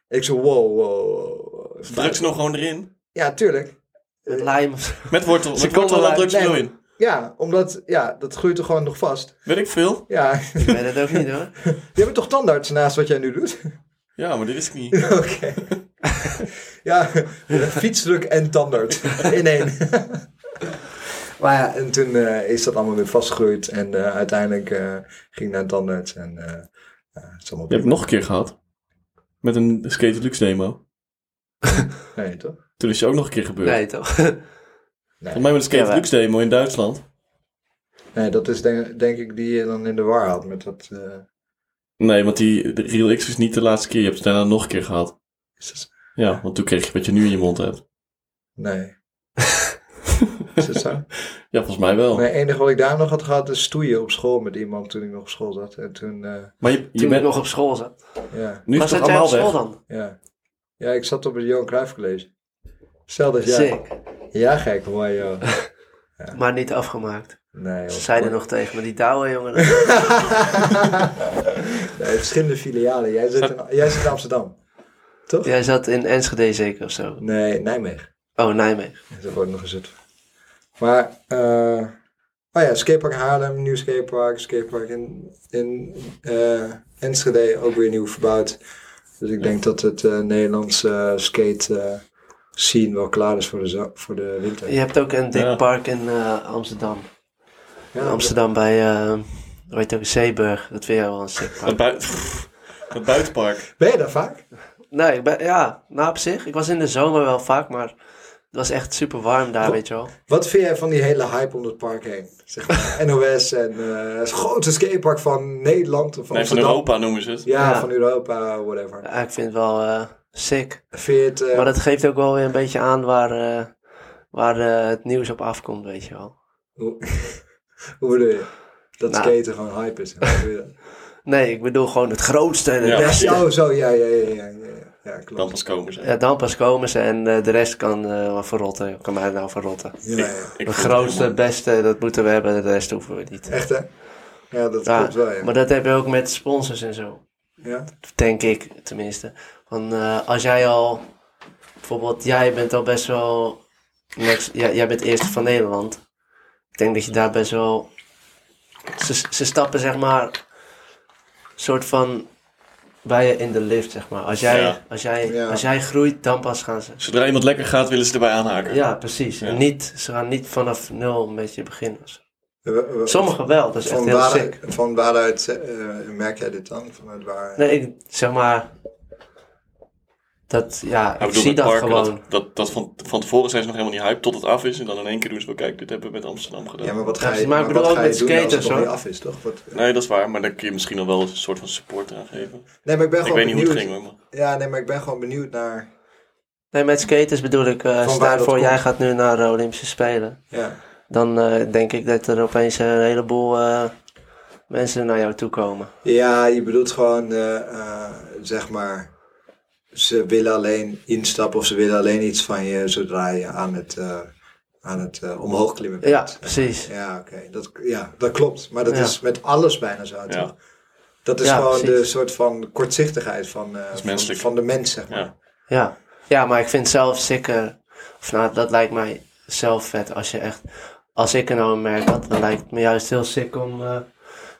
Ik zo, wow, wow, wow.
Druk ze nog gewoon erin.
Ja, tuurlijk.
Met lijm of zo.
Met wortel.
Ze
Met
komen
wortel, wat
uit-
druk ze er
nee.
wel in.
Ja, omdat... Ja, dat groeit er gewoon nog vast.
Weet ik veel.
Ja,
Ik weet het ook niet hoor.
Je bent toch tandarts naast wat jij nu doet?
Ja, maar dit is niet.
Oké. ja, fietsdruk en tandarts in één. maar ja, en toen eh, is dat allemaal weer vastgegroeid. En eh, uiteindelijk eh, ging ik naar een tandarts. En eh, eh, het is allemaal
Je hebt
weer...
het nog een keer gehad. Met een Skate Deluxe demo.
Nee, toch?
Toen is je ook nog een keer gebeurd.
Nee toch?
Volgens mij met een Skate
Jawel.
Deluxe demo in Duitsland.
Nee, dat is denk, denk ik die je dan in de war had met dat... eh,
Nee, want die de Real X is niet de laatste keer. Je hebt het daarna nog een keer gehad.
is dat-
Ja, want toen kreeg je wat je nu in je mond hebt.
Nee. is dat zo?
Ja, volgens mij
Oh.
wel.
Nee, het enige wat ik daar nog had gehad is stoeien op school met iemand toen ik nog op school zat. En toen, eh,
Maar je, je
Toen ik
bent
nog op school zat.
ja,
nu is
Maar
het
zat
toch
jij op
allemaal
school
weg.
dan?
ja. Ja, ik zat op het Johan Cruijff College. Stel dat jij...
Sick.
Ja, gek, mooi joh.
Maar niet afgemaakt.
Nee, joh.
Ze zeiden nog tegen me, die douwe jongen.
nee, verschillende filialen. Jij zit, in, jij zit in Amsterdam. Toch?
Jij zat in Enschede zeker of zo.
Nee, Nijmegen.
Oh, Nijmegen.
Dat wordt nog eens Maar, eh oh ja, skatepark Haarlem, nieuw skatepark, skatepark in, in eh, Enschede, ook weer nieuw verbouwd. Dus ik denk dat het eh, Nederlandse eh, skate eh, scene wel klaar is voor de, zo- voor de winter.
Je hebt ook een dik
Ja.
park in eh, Amsterdam.
Ja,
In Amsterdam bij, eh, hoe heet het ook, Zeeburg. Dat vind jij wel een sick
Het,
park.
bui- het buitenpark.
Ben je daar vaak?
Nee, ik ben, ja, nou op zich. Ik was in de zomer wel vaak, maar het was echt super warm daar, weet je wel.
Wat vind jij van die hele hype om het park heen? Zeg maar, NOS en eh, het grootste skatepark van Nederland of
Nee, van
Amsterdam.
Europa noemen ze het.
Ja,
Ja.
van Europa, whatever.
Ja, ik vind het wel eh, sick.
Vind je het, eh,
Maar dat geeft ook wel weer een beetje aan waar, eh, waar eh, het nieuws op afkomt, weet je wel.
hoe bedoel je? Dat
Nou.
skaten gewoon hype is. Hoe bedoel je dat?
Nee, ik bedoel gewoon het grootste en het
Ja.
beste.
Ja, oh, zo, ja, ja, ja, ja, ja, ja, ja
Dan
klopt.
pas komen ze.
Ja, dan pas komen ze en eh, de rest kan eh, wel verrotten. Kan mij nou verrotten.
Ja, ja.
Ik
Het
vond het
grootste,
helemaal-
beste, dat moeten we hebben. De rest hoeven we niet.
Echt, hè? Ja, dat
Ja,
klopt wel, ja.
Maar dat heb je ook met sponsors en zo.
ja.
Denk ik tenminste. Want eh, als jij al, bijvoorbeeld, jij bent al best wel, next- ja, jij bent eerste van Nederland. Ik denk dat je daar best wel, ze, ze stappen zeg maar, soort van bij je in de lift zeg maar. Als jij,
Ja.
als jij,
Ja.
als jij groeit, dan pas gaan ze.
Zodra iemand lekker gaat, willen ze erbij aanhaken.
Ja, precies.
Ja.
En niet, ze gaan niet vanaf nul met je beginnen. of zo.
We- we-
Sommigen wel, dat is echt
van,
heel
waaruit,
sick.
van waaruit eh, merk jij dit dan? Vanuit waar?
Nee, ik zeg maar, dat, ja,
Ja,
ik zie dat
parken,
gewoon.
Dat, dat, dat van, van tevoren zijn ze nog helemaal niet hype tot het af is. En dan in één keer doen ze wel, kijk, dit hebben we met Amsterdam gedaan.
Ja, maar wat ga
Ja,
je,
maar ik
maar
bedoel
wat
ook
ga je
met
doen als het
skaters,
nog niet
hoor.
af is, toch? Wat,
Nee, dat is waar. Maar dan kun je misschien nog wel een soort van support aan geven.
nee, maar ik ben
ik
gewoon
weet niet
benieuwd.
hoe het ging hoor. maar-
Ja, nee, maar ik ben gewoon benieuwd naar...
Nee, met skaters bedoel ik, eh
Van
stel
waar dat
voor
komt.
jij gaat nu naar de Olympische Spelen.
Ja,
Dan eh, denk ik dat er opeens een heleboel eh, mensen naar jou toe komen.
ja je bedoelt gewoon, eh, eh, zeg maar... Ze willen alleen instappen of ze willen alleen iets van je zodra je aan het, eh, aan het eh, omhoog klimmen bent.
Ja, precies.
Ja, oké. Dat, ja, dat klopt. Maar dat
Ja.
is met alles bijna zo. toch?
Ja.
Dat is
Ja,
gewoon de
precies.
soort van kortzichtigheid van, eh, van,
menselijk.
van de mens, zeg maar.
Ja.
Ja. ja, maar ik vind zelf zeker, of nou, dat lijkt mij zelf vet als je echt, als ik er nou een merk had, dan lijkt het me juist heel sick om eh,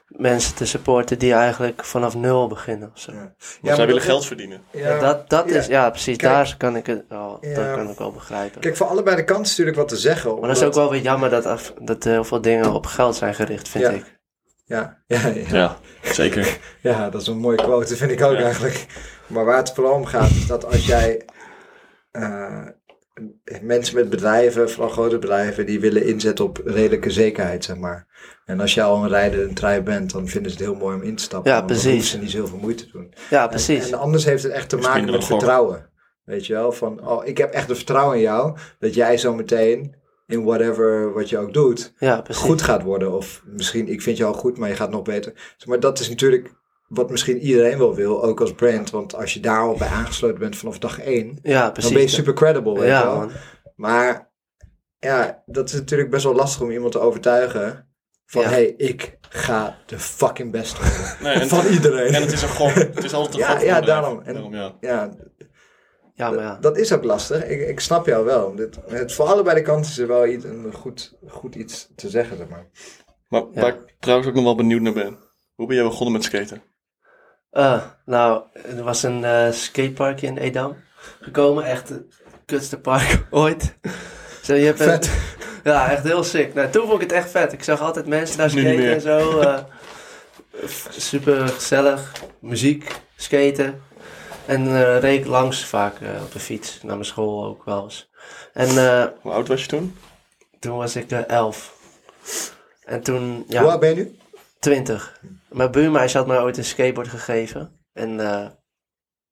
mensen te supporten die eigenlijk vanaf nul beginnen of zo.
Ja.
Want zij
maar
willen
dat-
geld verdienen.
ja.
Ja, dat, dat
Ja.
is, ja, precies,
Kijk.
daar kan ik het wel,
Ja.
dat kan ik wel begrijpen.
Kijk, voor allebei de kanten is natuurlijk wat te zeggen.
Maar dat is ook
omdat-
wel weer jammer dat, af- dat heel veel dingen op geld zijn gericht, vind
Ja.
ik.
Ja, ja, ja.
Ja, zeker.
ja, dat is een mooie quote, vind ik ook
Ja.
eigenlijk. Maar waar het vooral om gaat, is dat als jij... eh, mensen met bedrijven, vooral grote bedrijven, die willen inzetten op redelijke zekerheid, zeg maar. En als jij al een rijder, een trui bent, dan vinden ze het heel mooi om in te stappen.
Ja,
want dan
precies.
hoeven ze niet zoveel moeite te doen.
Ja,
En-
precies.
En, anders heeft het echt te
Is
maken
minder
met
een gok.
vertrouwen. Weet je wel, van oh, ik heb echt het vertrouwen in jou dat jij zo meteen in whatever wat je ook doet
ja, precies.
goed gaat worden. Of misschien, ik vind jou al goed, maar je gaat nog beter. Zeg Maar dat is natuurlijk wat misschien iedereen wel wil, ook als brand. Want als je daar al bij aangesloten bent vanaf dag één,
Ja, precies.
dan ben je super credible. Weet je
ja,
wel.
man.
Maar ja, dat is natuurlijk best wel lastig om iemand te overtuigen van
Ja.
hey, ik ga de fucking best worden.
Nee, en,
van iedereen.
en het is een gok. Het is altijd een
Ja,
gok. voor
ja,
bedrijven.
daarom. En-
ja.
ja,
Ja, maar ja.
Dat- Dat is ook lastig. Ik, ik snap jou wel. Dit, het, voor allebei de kanten is er wel iets, een goed, goed iets te zeggen. Zeg maar.
Maar waar ik trouwens ook nog wel benieuwd naar ben. Hoe ben jij begonnen met skaten?
Eh, nou, er was een eh, skateparkje in Edam gekomen. Echt het kutste park ooit. Zo, je hebt een-
Vet.
ja, echt heel sick. Nou, toen vond ik het echt vet. Ik zag altijd mensen daar
Nu niet
skaten
meer.
en zo. eh, f- super gezellig. Muziek, skaten. En eh, reed ik langs vaak eh, op de fiets. Naar mijn school ook wel eens. En eh,
Hoe oud was je toen?
Toen was ik eh, elf. En toen,
Hoe
ja,
oud ben je nu?
twintig. Mijn buurmeisje had mij ooit een skateboard gegeven. En eh,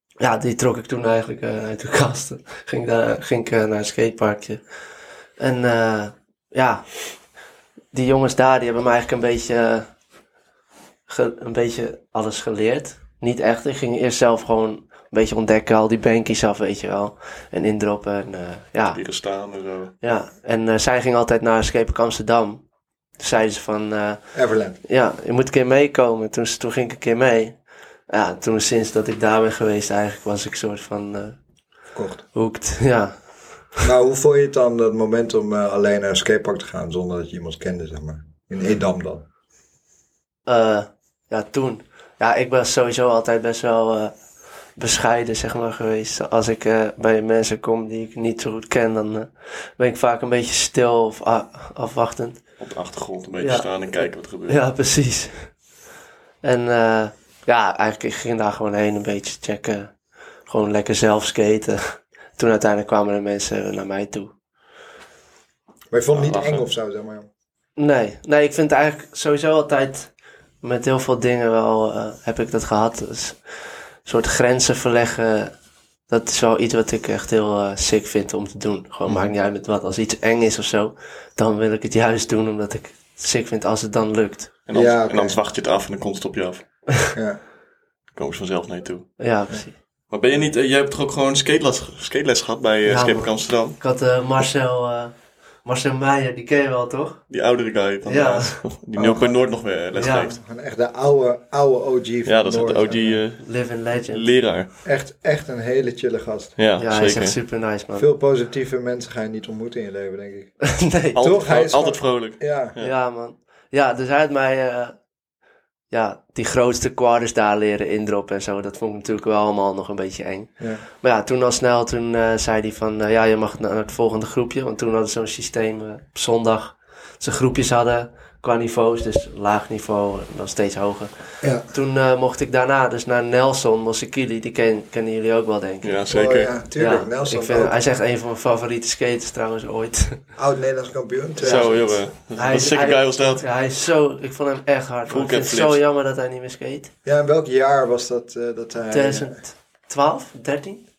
ja, die trok ik toen eigenlijk eh, uit de kast. Ging, daar, ging ik eh, naar een skateparkje. En eh, ja, die jongens daar, die hebben me eigenlijk een beetje, eh, ge- een beetje alles geleerd. Niet echt, ik ging eerst zelf gewoon een beetje ontdekken, al die bankjes af, weet je wel. En indroppen en eh, ja.
Hier staan en zo.
Ja, en eh, zij ging altijd naar Escape Park Amsterdam. Toen zeiden ze van, eh,
Everland.
ja, je moet een keer meekomen. Toen, toen ging ik een keer mee. Ja, toen sinds dat ik daar ben geweest eigenlijk was ik soort van eh
Verkocht.
hooked. Ja.
Nou, hoe vond je het dan, dat moment om eh, alleen naar een skatepark te gaan zonder dat je iemand kende, zeg maar? In Edam dan.
Eh, ja, toen. Ja, ik was sowieso altijd best wel eh, bescheiden, zeg maar, geweest. Als ik eh, bij mensen kom die ik niet zo goed ken, dan eh, ben ik vaak een beetje stil of a- afwachtend.
Op de achtergrond een beetje
Ja.
staan en kijken wat er gebeurt.
Ja, precies. En eh, ja, eigenlijk ik ging daar gewoon heen een beetje checken. Gewoon lekker zelf skaten. Toen uiteindelijk kwamen de mensen naar mij toe.
Maar je vond het niet
Ja, lachen.
eng of zo, zeg maar.
Nee, nee, ik vind eigenlijk sowieso altijd met heel veel dingen wel eh, heb ik dat gehad. Dus een soort grenzen verleggen, dat is wel iets wat ik echt heel eh, sick vind om te doen. Gewoon maakt niet uit met wat. Als iets eng is of zo, dan wil ik het juist doen omdat ik het sick vind als het dan lukt.
En anders,
Ja, oké.
en anders wacht je het af en dan komt het op je af. Dan
Ja.
komen ze vanzelf naar je toe.
Ja, precies.
Maar ben je niet, eh, jij hebt toch ook gewoon skateles, skateles gehad bij eh
Ja,
Skate Park
man.
Amsterdam?
Ik had eh, Marcel, eh, Marcel Meijer, die ken je wel toch?
Die oudere guy van
Ja.
eh, die nu ook bij Noord nog weer les
Ja.
geeft.
Gewoon echt de oude, oude OG van
Ja, dat is de
Noord.
eh,
Living Legend.
OG-leraar.
Echt, echt een hele chille gast.
ja,
ja, hij is
zeker.
echt super nice, man.
Veel positieve mensen ga je niet ontmoeten in je leven, denk ik.
nee,
altijd,
Toch? Hij is
altijd vrolijk.
Ja,
ja. man. Ja, dus hij had mij eh, ja, die grootste quarters daar leren indroppen en zo. Dat vond ik natuurlijk wel allemaal nog een beetje eng.
ja.
Maar ja, toen al snel, toen eh, zei hij van, eh, ja, je mag naar het volgende groepje. Want toen hadden ze zo'n systeem eh, op zondag. Dat ze groepjes hadden qua niveaus, dus laag niveau en dan steeds hoger.
ja.
Toen eh, mocht ik daarna dus naar Nelson Mosekili. Die ken, kennen jullie ook wel, denk ik.
Ja, zeker.
Oh, ja, tuurlijk.
Ja,
Nelson,
ik vind-
ook
hij is echt een van mijn favoriete skaters trouwens ooit.
oud Nederlands kampioen.
Zo,
2000.
jongen.
Hij
Wat
is-
sicker
hij-
guy was dat.
Ja, hij is zo... Ik vond hem echt hard. man.
Full
Ik vind het
cap
zo
flips.
jammer dat hij niet meer skate.
Ja, in welk jaar was dat? eh, dat hij,
2012? 13?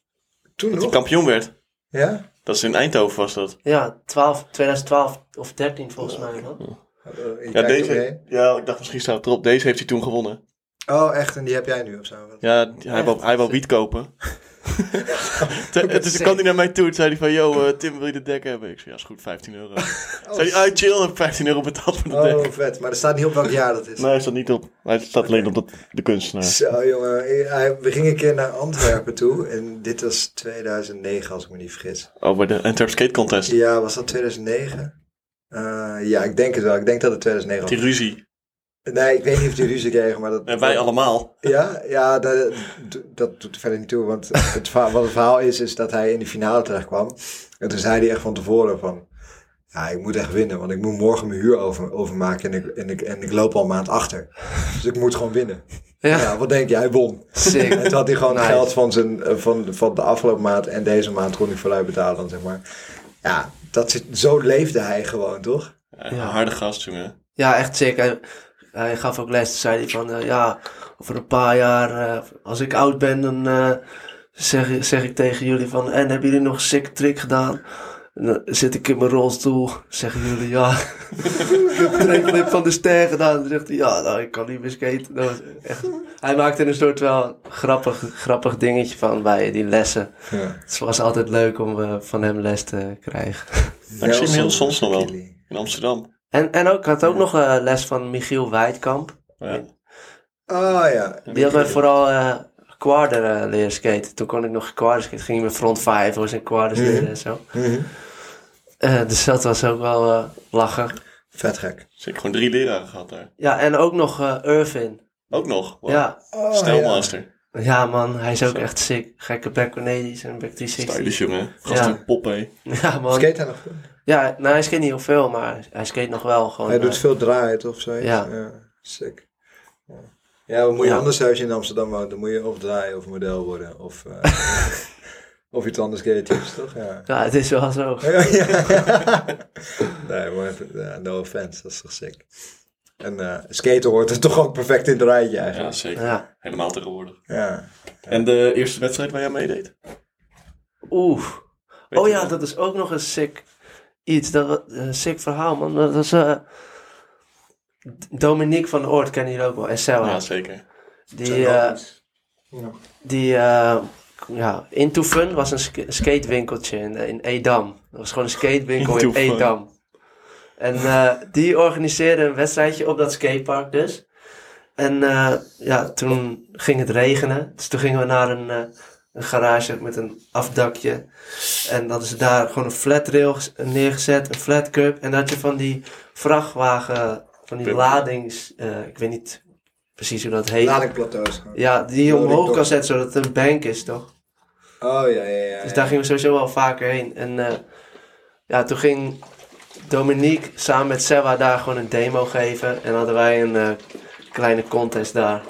Toen
Dat hij
nog?
kampioen werd.
Ja?
Dat is in Eindhoven was dat.
Ja, 12, 2012 of 13 volgens mij, man.
Ja, deze, ja, ik dacht misschien staat het erop. Deze heeft hij toen gewonnen.
Oh, echt? En die heb jij nu of zo?
Ja, hij wou, hij wou wiet kopen. Toen- dus toen kwam hij naar mij toe. Toen zei hij van, yo eh, Tim, wil je de dek hebben? Ik zei, ja is goed, 15 euro.
Oh,
zei hij, ah chill, heb ik 15 euro betaald voor de
oh,
dek.
vet. Maar er staat niet op welk jaar dat is.
Nee, hij staat niet op. Hij staat alleen op dat, de kunstenaar.
Zo jongen, Eh, Hij- we gingen een keer naar Antwerpen toe en dit was 2009 als ik me niet vergis.
Oh, bij de Antwerp Skate Contest.
Ja, was dat 2009? Eh, ja, ik denk het wel. Ik denk dat het 2009 was.
Die ruzie.
Nee, ik weet niet of die ruzie kregen, maar dat...
En wij allemaal.
Ja, ja dat, dat doet er verder niet toe. Want het, verhaal- wat het verhaal is, is dat hij in de finale terecht kwam. En toen zei hij echt van tevoren van... Ja, ik moet echt winnen, want ik moet morgen mijn huur over, overmaken en ik, en, ik, en ik loop al een maand achter. Dus ik moet gewoon winnen.
Ja,
Ja, wat denk je? Hij won.
sick.
En toen had hij gewoon
Nice.
geld van, zijn, eh, van, van de afgelopen maand en deze maand kon hij vooruit betalen, dan, zeg maar. Ja, dat, zit- zo leefde hij gewoon, toch?
Ja, Eh, Harde gast, jongen.
Ja, echt sick. Hij, hij gaf ook les. Toen zei hij van, eh, ja, over een paar jaar, eh, als ik oud ben, dan eh, zeg, zeg ik tegen jullie van, en hebben jullie nog een sick trick gedaan? En dan zit ik in mijn rolstoel, zeggen jullie, ja, ik heb een trekclip van de ster gedaan. Dan zegt hij, ja, nou, ik kan niet meer skaten. Dat was echt... Hij maakte er een soort wel grappig, grappig dingetje van bij die lessen.
Ja.
Het was altijd leuk om eh, van hem les te krijgen.
ik zie hem heel
Nelson
soms nog wel.
Kelly.
In Amsterdam.
En, en ook, ik had ook nog eh, les van Michiel Wijdkamp.
Ja.
Oh ja,
Die had mij vooral eh quader eh, leren skaten. Toen kon ik nog quader skaten. Ging ik met front 5 was en quaders
Mhm.
leren en zo. Eh, dus dat was ook wel eh, lachen.
vet gek.
Dus ik heb gewoon drie leraren gehad daar.
Ja, en ook nog eh, Irvin.
Ook nog. Wow.
Ja.
Oh, ja.
Stijlmaster.
ja, man, hij is ook echt sick. Gekke back Cornelis en back 360.
Stylish, jongen. Gast
Ja.
een pop, hé.
Ja, man.
Skate hij nog?
Ja, nou, hij skate niet heel veel, maar hij skate nog wel. Gewoon,
Hij
eh,
doet veel draaien of zoiets.
Ja.
sick. Ja. Ja, wat moet je
Ja.
anders als je in Amsterdam woont? Dan moet je of draaien of model worden of, eh, of iets anders creatiefs, toch? Ja.
ja, het is wel zo.
Ja, ja. nee, maar ja, no offense, dat is toch sick. En eh, skaten hoort er toch ook perfect in het rijtje
Ja,
eigenlijk.
zeker.
Ja.
Helemaal tegenwoordig.
Ja.
En de eerste wedstrijd waar jij meedeed?
Oeh.
Weet
oh
je
ja,
nog?
dat is ook nog een sick iets. Dat, wa- een sick verhaal, man. Dat was... eh, D- Dominique van Oort kennen jullie ook wel. En Sarah.
Ja, zeker.
Die, eh, die eh, ja, Into Fun was een sk- skatewinkeltje in, eh, in Edam. Dat was gewoon een skatewinkel
Into
in
Fun.
Edam. En eh, die organiseerde een wedstrijdje op dat skatepark dus. En eh, ja, toen ging het regenen. Dus toen gingen we naar een, eh, een garage met een afdakje. En dat is daar gewoon een flat rail ges- neergezet, een flat cup. En dat je van die vrachtwagen, van die
Pumpen.
ladings... eh, ik weet niet precies hoe dat heet.
Ladingplateaus.
Ja, die je
Loading
omhoog
dock.
kan zetten zodat het een bank is, toch?
Oh ja, ja, ja.
Dus
ja.
daar gingen we sowieso wel vaker heen. En eh, ja, toen ging Dominique samen met Sewa daar gewoon een demo geven. En hadden wij een eh, kleine contest daar.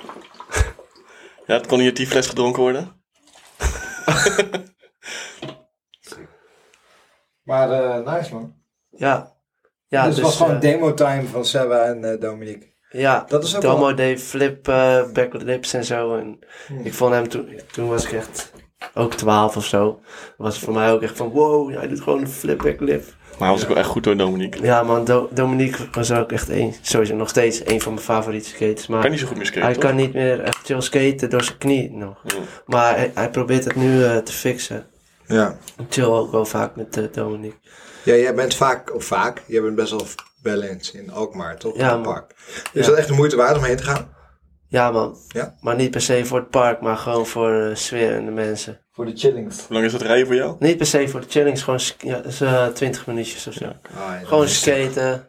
Ja, het kon hier die fles gedronken worden.
Maar eh, nice man.
Ja. Ja,
dus het
dus,
was gewoon
eh,
demo time van Seba en eh, Dominique.
Ja,
Dat is ook
Domo
wel-
deed flip, eh backflips en zo. En
Hmm.
ik vond hem toen, toen was ik echt ook 12 of zo. Was voor mij ook echt van wow, hij doet gewoon een flip, backflip.
Maar hij was ook wel echt goed door Dominique.
Ja man, Do- Dominique was ook echt een, sowieso nog steeds een van mijn favoriete skaters. Maar
Kan niet zo goed meer skaten,
Hij
toch?
kan niet meer echt chill skaten door zijn knie nog.
Ja.
Maar hij, hij probeert het nu eh, te fixen.
Ja.
Ik chill ook wel vaak met eh, Dominique.
Ja, jij bent vaak, of vaak, jij bent best wel wel eens in Alkmaar, toch?
Ja,
In het
man.
park. Is dat echt de moeite waard om heen te gaan?
Ja, man.
Ja.
Maar niet per se voor het park, maar gewoon voor de sfeer en de mensen.
Voor de chillings.
Hoe lang is dat rijden voor jou?
Niet per se voor de challenge, gewoon sk- ja, dus, eh, 20 minuutjes of zo.
Ah,
Gewoon skaten, een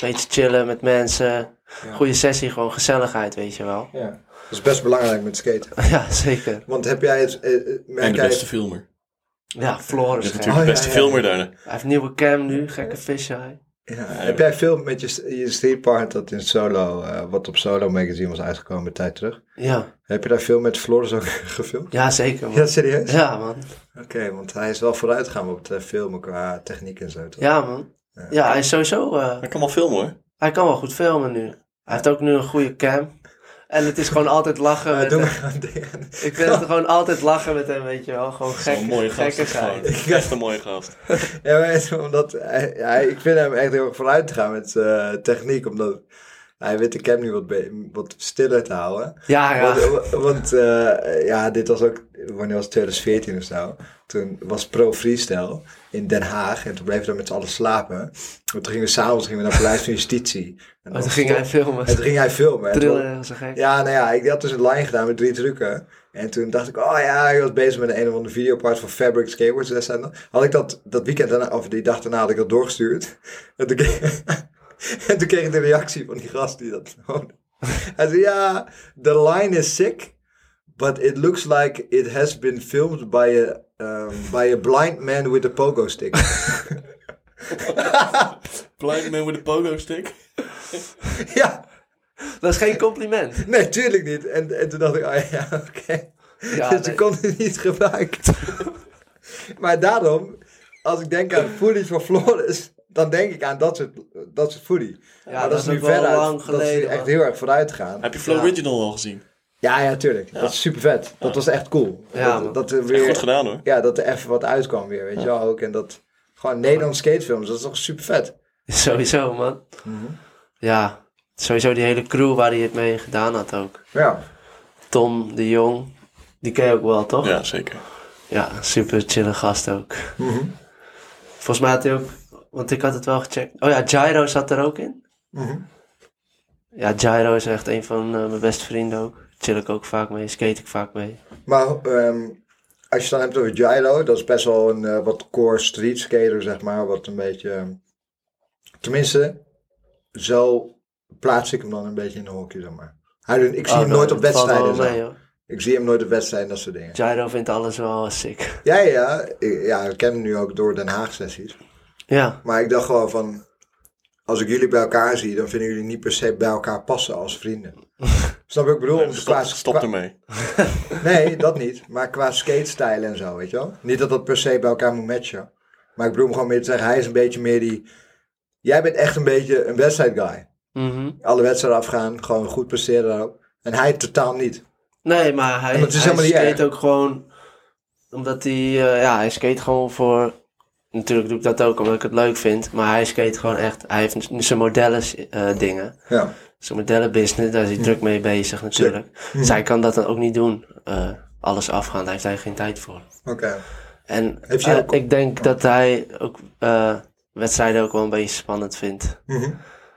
beetje chillen met mensen.
Ja.
Goede sessie, gewoon gezelligheid, weet je wel.
Ja. Dat is best belangrijk met skaten.
ja, zeker.
Want heb jij het, eh, eh,
en
merk
de
jij
beste
het,
filmer.
Ja,
Dat
Floris.
is
gek.
natuurlijk
Oh,
de
ja,
beste
ja,
filmer daarna.
Hij heeft een nieuwe cam nu, gekke fisheye.
ja, heb jij veel met je, st- je streetpart dat in solo, eh, wat op Solo Magazine was uitgekomen een tijd terug?
Ja,
Heb je daar veel met Floris ook gefilmd?
ja zeker man.
Ja, serieus?
Ja man,
Oké, want hij is wel vooruitgegaan op het eh, filmen qua techniek en zo. Toch?
ja man. Ja, hij is sowieso... eh,
Hij kan wel filmen hoor.
hij kan wel goed filmen nu. Hij heeft ook nu een goede cam. En het is gewoon altijd lachen
Eh,
met
doe
hem.
maar aan dingen.
Ik vind het gewoon altijd lachen met hem, weet je wel. Gewoon
Wel
gek,
Een mooie gast.
gekke
is gewoon.
geit.
Echt een mooie gast.
Ja, maar, omdat hij, hij- ik vind hem echt heel erg vooruit te gaan met eh, techniek, omdat hij weet de cam nu wat, be- wat stiller te houden.
Ja, Ah, ja.
Want, want, eh, ja, dit was ook, wanneer was het 2014 of zo, toen was Pro Freestyle in Den Haag en toen bleven we daar met z'n allen slapen. En toen gingen we s'avonds gingen we naar Paleis van Justitie. En
Maar Oh, toen ging hij filmen.
en toen ging hij filmen. En toen-
Trillen als een gek.
Ja, nou ja, ik had dus een line gedaan met drie trucken. En toen dacht ik, oh ja, ik was bezig met een of andere videopart van Fabric Skateboards. Les en dan had ik dat, dat weekend, daarna, of die dag daarna, had ik dat doorgestuurd. En toen, kreeg, en toen kreeg ik de reactie van die gast die dat Hij zei, ja, the line is sick, but it looks like it has been filmed by a, um, by a blind man with a pogo stick.
Blind man with a pogo stick.
ja,
Dat is geen compliment.
nee, tuurlijk niet. En, en toen dacht ik, oh ja, oké.
Ja,
dus
nee.
ik kon het niet gebruiken. maar daarom, als ik denk aan footage van Flores, dan denk ik aan dat soort, dat soort footage.
Ja,
Maar
dat is ook wel lang
Dat is nu
geleden,
echt
man.
heel erg vooruit gegaan.
Heb je Flow
Ja.
Original al gezien?
Ja, ja, tuurlijk. Dat is super vet. Dat was echt cool.
Ja, man.
dat, dat er
Echt
weer,
goed gedaan hoor.
ja, dat er even wat uitkwam weer, weet je wel ook. En dat, gewoon Nederlandse skatefilms, dat is toch super vet.
Sowieso, man. Ja, sowieso die hele crew waar hij het mee gedaan had ook.
Ja,
Tom de Jong, die ken je ook wel, toch?
Ja, zeker.
Ja, super chille gast ook.
Mhm.
Volgens mij had hij ook, want ik had het wel gecheckt. Oh ja, Gyro zat er ook in.
Mhm.
Ja, Gyro is echt een van eh, mijn beste vrienden ook. Chill ik ook vaak mee, skate ik vaak mee.
maar ehm, als je het dan hebt over Gyro, dat is best wel een eh, wat core street skater, zeg maar. Wat een beetje, ehm, tenminste, zo plaats ik hem dan een beetje in een hokje, zeg maar. Hij, doet- ik zie
Oh,
hem
nou,
nooit op
dat valt wel
wedstrijden.
mee,
zo.
hoor.
Ik zie hem nooit op wedstrijden, dat soort dingen.
Gyro vindt alles wel sick.
Ja, ja, ik, ja, ik ken hem nu ook door Den Haag sessies.
Ja,
Maar ik dacht gewoon van, als ik jullie bij elkaar zie, dan vinden jullie niet per se bij elkaar passen als vrienden. Snap je wat ik bedoel? Om te
Stop,
plaatsen-
stop
Dus qua-
ermee.
Nee, dat niet. Maar qua skatestijl en zo, weet je wel. Niet dat dat per se bij elkaar moet matchen. Maar ik bedoel hem gewoon meer te zeggen, hij is een beetje meer die... Jij bent echt een beetje een wedstrijdguy.
mhm.
Alle wedstrijden afgaan, gewoon goed presteren daarop. En hij totaal niet.
Nee, maar hij,
En dat is
hij
helemaal niet
skate
erg.
ook gewoon... Omdat hij... eh, ja, hij skate gewoon voor... Natuurlijk doe ik dat ook omdat ik het leuk vind. Maar hij skate gewoon echt... Hij heeft n- zijn modellen eh, dingen.
Ja,
Zijn modellenbusiness. Daar is hij druk mee bezig natuurlijk. Dus hij kan dat dan ook niet doen. eh, alles afgaan. Daar heeft hij geen tijd voor.
oké.
En
Heeft hij
eh,
ook-
ik denk dat hij ook... eh, wedstrijden ook wel een beetje spannend vindt.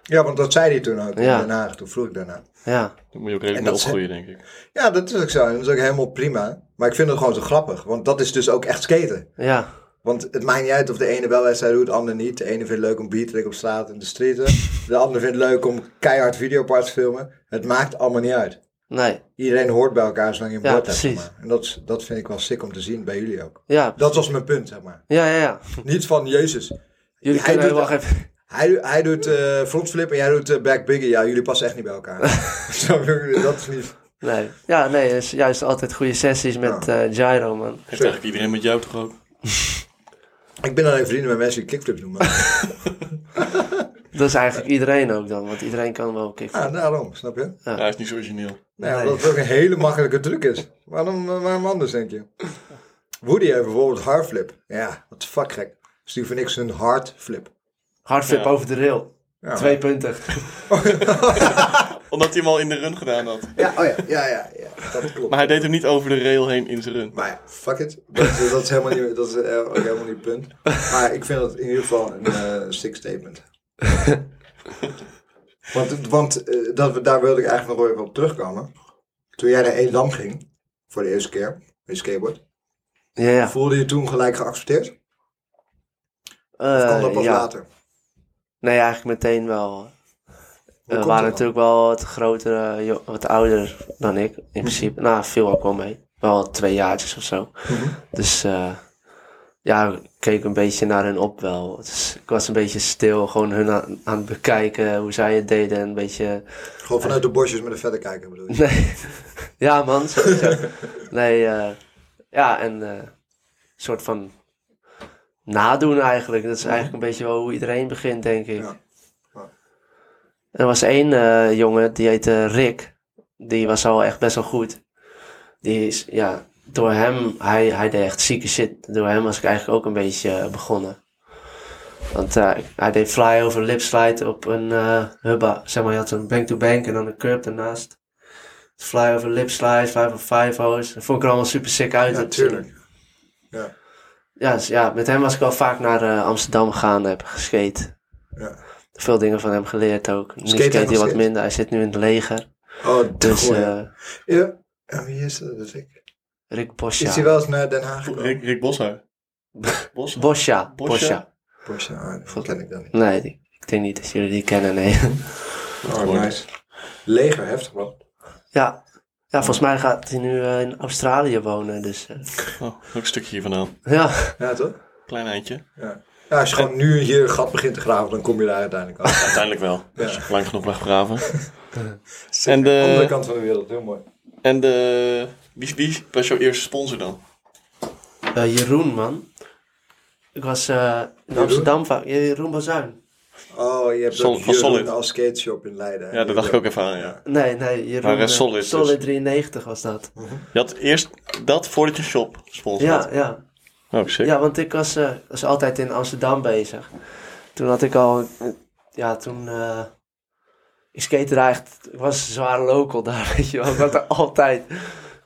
Ja, want dat zei hij toen ook
Ja.
in Den Haag. Toen vroeg ik daarna.
Ja.
Dan moet je ook redelijk
En
mee
dat ze-
opgroeien, denk ik.
Ja, dat is ook zo. En dat is ook helemaal prima. Maar ik vind het gewoon zo grappig. Want dat is dus ook echt skaten.
Ja.
Want het maakt niet uit of de ene wel wedstrijd doet, de ander niet. De ene vindt het leuk om beatrik op straat en de streeten. De ander vindt het leuk om keihard videoparts te filmen. Het maakt allemaal niet uit.
Nee.
Iedereen hoort bij elkaar zolang je een
Ja,
bord hebt. zeg
precies.
maar. En dat, is- dat vind ik wel sick om te zien bij jullie ook.
Ja.
Dat was mijn punt, zeg maar.
Ja, ja, ja.
Niet van, jezus,
Jullie
Hij
kunnen
doet
helemaal
dat-
geen...
hij, hij doet eh frontflip en jij doet eh, back biggie. Ja, jullie passen echt niet bij elkaar. Snap je? dat is niet...
Nee. Ja, nee, het is juist altijd goede sessies met eh Gyro, man.
Heeft eigenlijk iedereen met jou toch ook?
Ik ben alleen vrienden met mensen die kickflip noemen.
Dat is eigenlijk iedereen ook dan, want iedereen kan wel kicken.
Ja, Ah, daarom, snap je?
Ja, hij is niet zo origineel.
Nee,
Nee.
omdat het ook een hele makkelijke truc is. Waarom, eh, waarom anders, denk je? Woody heeft bijvoorbeeld hardflip. Ja, wat de fuck gek. Dus die vind ik zijn hardflip.
Hardflip
Ja.
over de rail.
Ja.
Twee punten.
Omdat hij hem al in de run gedaan had.
Ja, oh ja, ja, ja. ja. dat klopt.
Maar hij deed hem niet over de rail heen in zijn run.
Maar ja, fuck it. Dat, is- dat is helemaal niet, dat is eh, ook helemaal niet het punt. Maar ik vind dat in ieder geval een eh sick statement. Want, want eh, dat, we- daar wilde ik eigenlijk nog wel even op terugkomen. Toen jij naar Edam ging, voor de eerste keer, met je skateboard,
Ja, ja.
voelde je toen gelijk geaccepteerd? Of kwam dat
Eh,
pas
ja.
later?
Nee, eigenlijk meteen wel.
komt
We
dat
waren
dan?
natuurlijk wel wat grotere, jo- wat ouder dan ik in
Mhm.
principe. Nou, veel ook wel mee. Wel twee jaartjes of zo.
Mhm.
Dus eh, ja, ik keek een beetje naar hun op wel. Dus ik was een beetje stil, gewoon hun aan, aan het bekijken hoe zij het deden. En een beetje
Gewoon vanuit de bosjes met een vette kijker bedoel je?
Nee. Ja, man. sowieso. nee, eh, ja, en eh, een soort van nadoen eigenlijk. Dat is eigenlijk een beetje wel hoe iedereen begint, denk ik.
Mhm. Ja. Ja.
Er was één eh, jongen, die heette Rick. Die was al echt best wel goed. Die is, ja, door hem, hij, hij deed echt zieke shit. Door hem was ik eigenlijk ook een beetje eh, begonnen. Want eh, hij deed flyover lipslide op een eh, hubba. Zeg maar, je had een bank-to-bank en dan een curb daarnaast. Flyover lip slide, flyover five hoes. Dat vond ik er allemaal super sick uit.
Ja,
Het-
tuurlijk.
Ja, dus ja, met hem was ik wel vaak naar eh, Amsterdam gegaan en heb geskate.
Ja.
Veel dingen van hem geleerd ook. Nu
Skate hij
skate hij
nog
wat
steeds?
minder. Hij zit nu in het leger.
Oh, te
Dus
gooi.
eh
ja. En wie is dat? Dat is ik.
Rick
Is
Bosja.
hij wel eens naar Den Haag gekomen?
Rick, Rick Boshaar. Boshaar.
Bosja.
Bosja?
Bosja.
Bosje, ah, dat ken ik dan niet.
Nee, die- ik denk niet dat jullie die kennen, nee.
Oh, nice. Leger, heftig man.
ja. ja, volgens mij gaat hij nu eh, in Australië wonen. Dus eh,
Oh, ook een stukje hier vandaan.
ja.
Ja, toch?
Klein eindje.
Ja. ja, als je gewoon nu hier een gat begint te graven, dan kom je daar uiteindelijk af.
Uiteindelijk wel.
Ja.
Dus lang genoeg weggraven.
en
En
de
de-
andere kant van de wereld, heel mooi.
En de... Wie, wie was jouw eerste sponsor dan?
Eh, Jeroen, man. Ik was eh, in
Jeroen?
Amsterdam vaak. Ja, Jeroen Bazuin.
Oh, je hebt
Sol-
ook
van
Jeroen
Solid.
als skateshop in Leiden.
Ja, dat dacht ik ook even aan, ja.
Nee, nee, Jeroen.
Maar, eh,
eh,
Solid dus.
93 was dat.
Oh,
Je had eerst dat voordat je shop sponsor
Ja, ja.
had. Oh, sick.
ja, want ik was, eh, was altijd in Amsterdam bezig. Toen had ik al... Ja, toen... eh, ik skate daar echt... Ik was zwaar local daar, weet je wel. Ik was er altijd...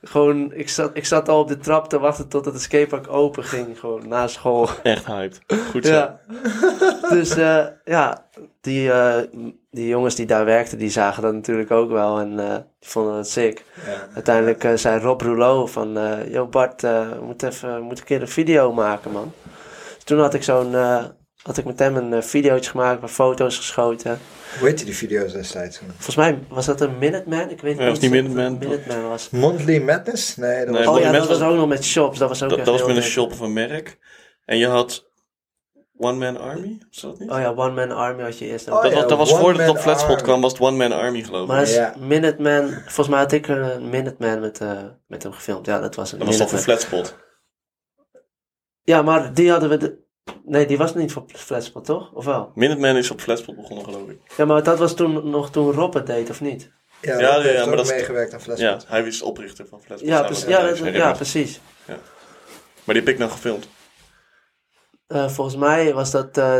Gewoon, ik zat, ik zat al op de trap te wachten totdat het skatepark open ging. Gewoon na school.
Echt hyped. Goed zo.
Ja. dus eh, ja, die, eh, die jongens die daar werkten, die zagen dat natuurlijk ook wel. En eh, die vonden dat sick.
Ja.
Uiteindelijk eh, zei Rob Rouleau van... eh Yo Bart, eh, we moeten even, we moeten een keer een video maken, man. Dus toen had ik zo'n... eh, had ik met hem een eh, videootje gemaakt, met foto's geschoten.
Hoe heette die video's destijds?
Volgens mij was dat een Minuteman. Ik weet
Ja, was
niet
die
of het
Minuteman.
een Minuteman was.
Monthly Madness? Nee, dat
Nee,
was...
Oh ja,
Minuteman
dat was
was-
ook nog met shops. Dat was ook
Dat,
echt
dat was
heel
met een
dik.
shop of een merk. En je had One Man Army, was dat niet?
Oh ja, One Man Army had je eerst.
Oh
dat,
ja,
was, dat was
One
voordat het
Man
op Flatspot
Army.
kwam, was het One Man Army geloof ik.
Maar dat is
Ja.
Minuteman. Volgens mij had ik een Minuteman met, eh, met hem gefilmd. Ja, dat was een
dat was toch voor
Minuteman.
Flatspot?
Ja, maar die hadden we... De... Nee, die was niet voor Flatspot, toch? Of wel?
Minuteman is op Flatspot begonnen geloof ik.
Ja, maar dat was toen, nog toen Rob het deed, of niet?
Ja,
Ja,
dat
ja,
heeft
maar
ook
dat is-
meegewerkt aan
Ja,
Flashpoint.
hij is oprichter van Flatspot.
Ja,
samen
precies.
met
Ja,
Dave
dat-
Herrick.
ja, precies.
Maar die heb ik nou gefilmd.
Eh, volgens mij was dat eh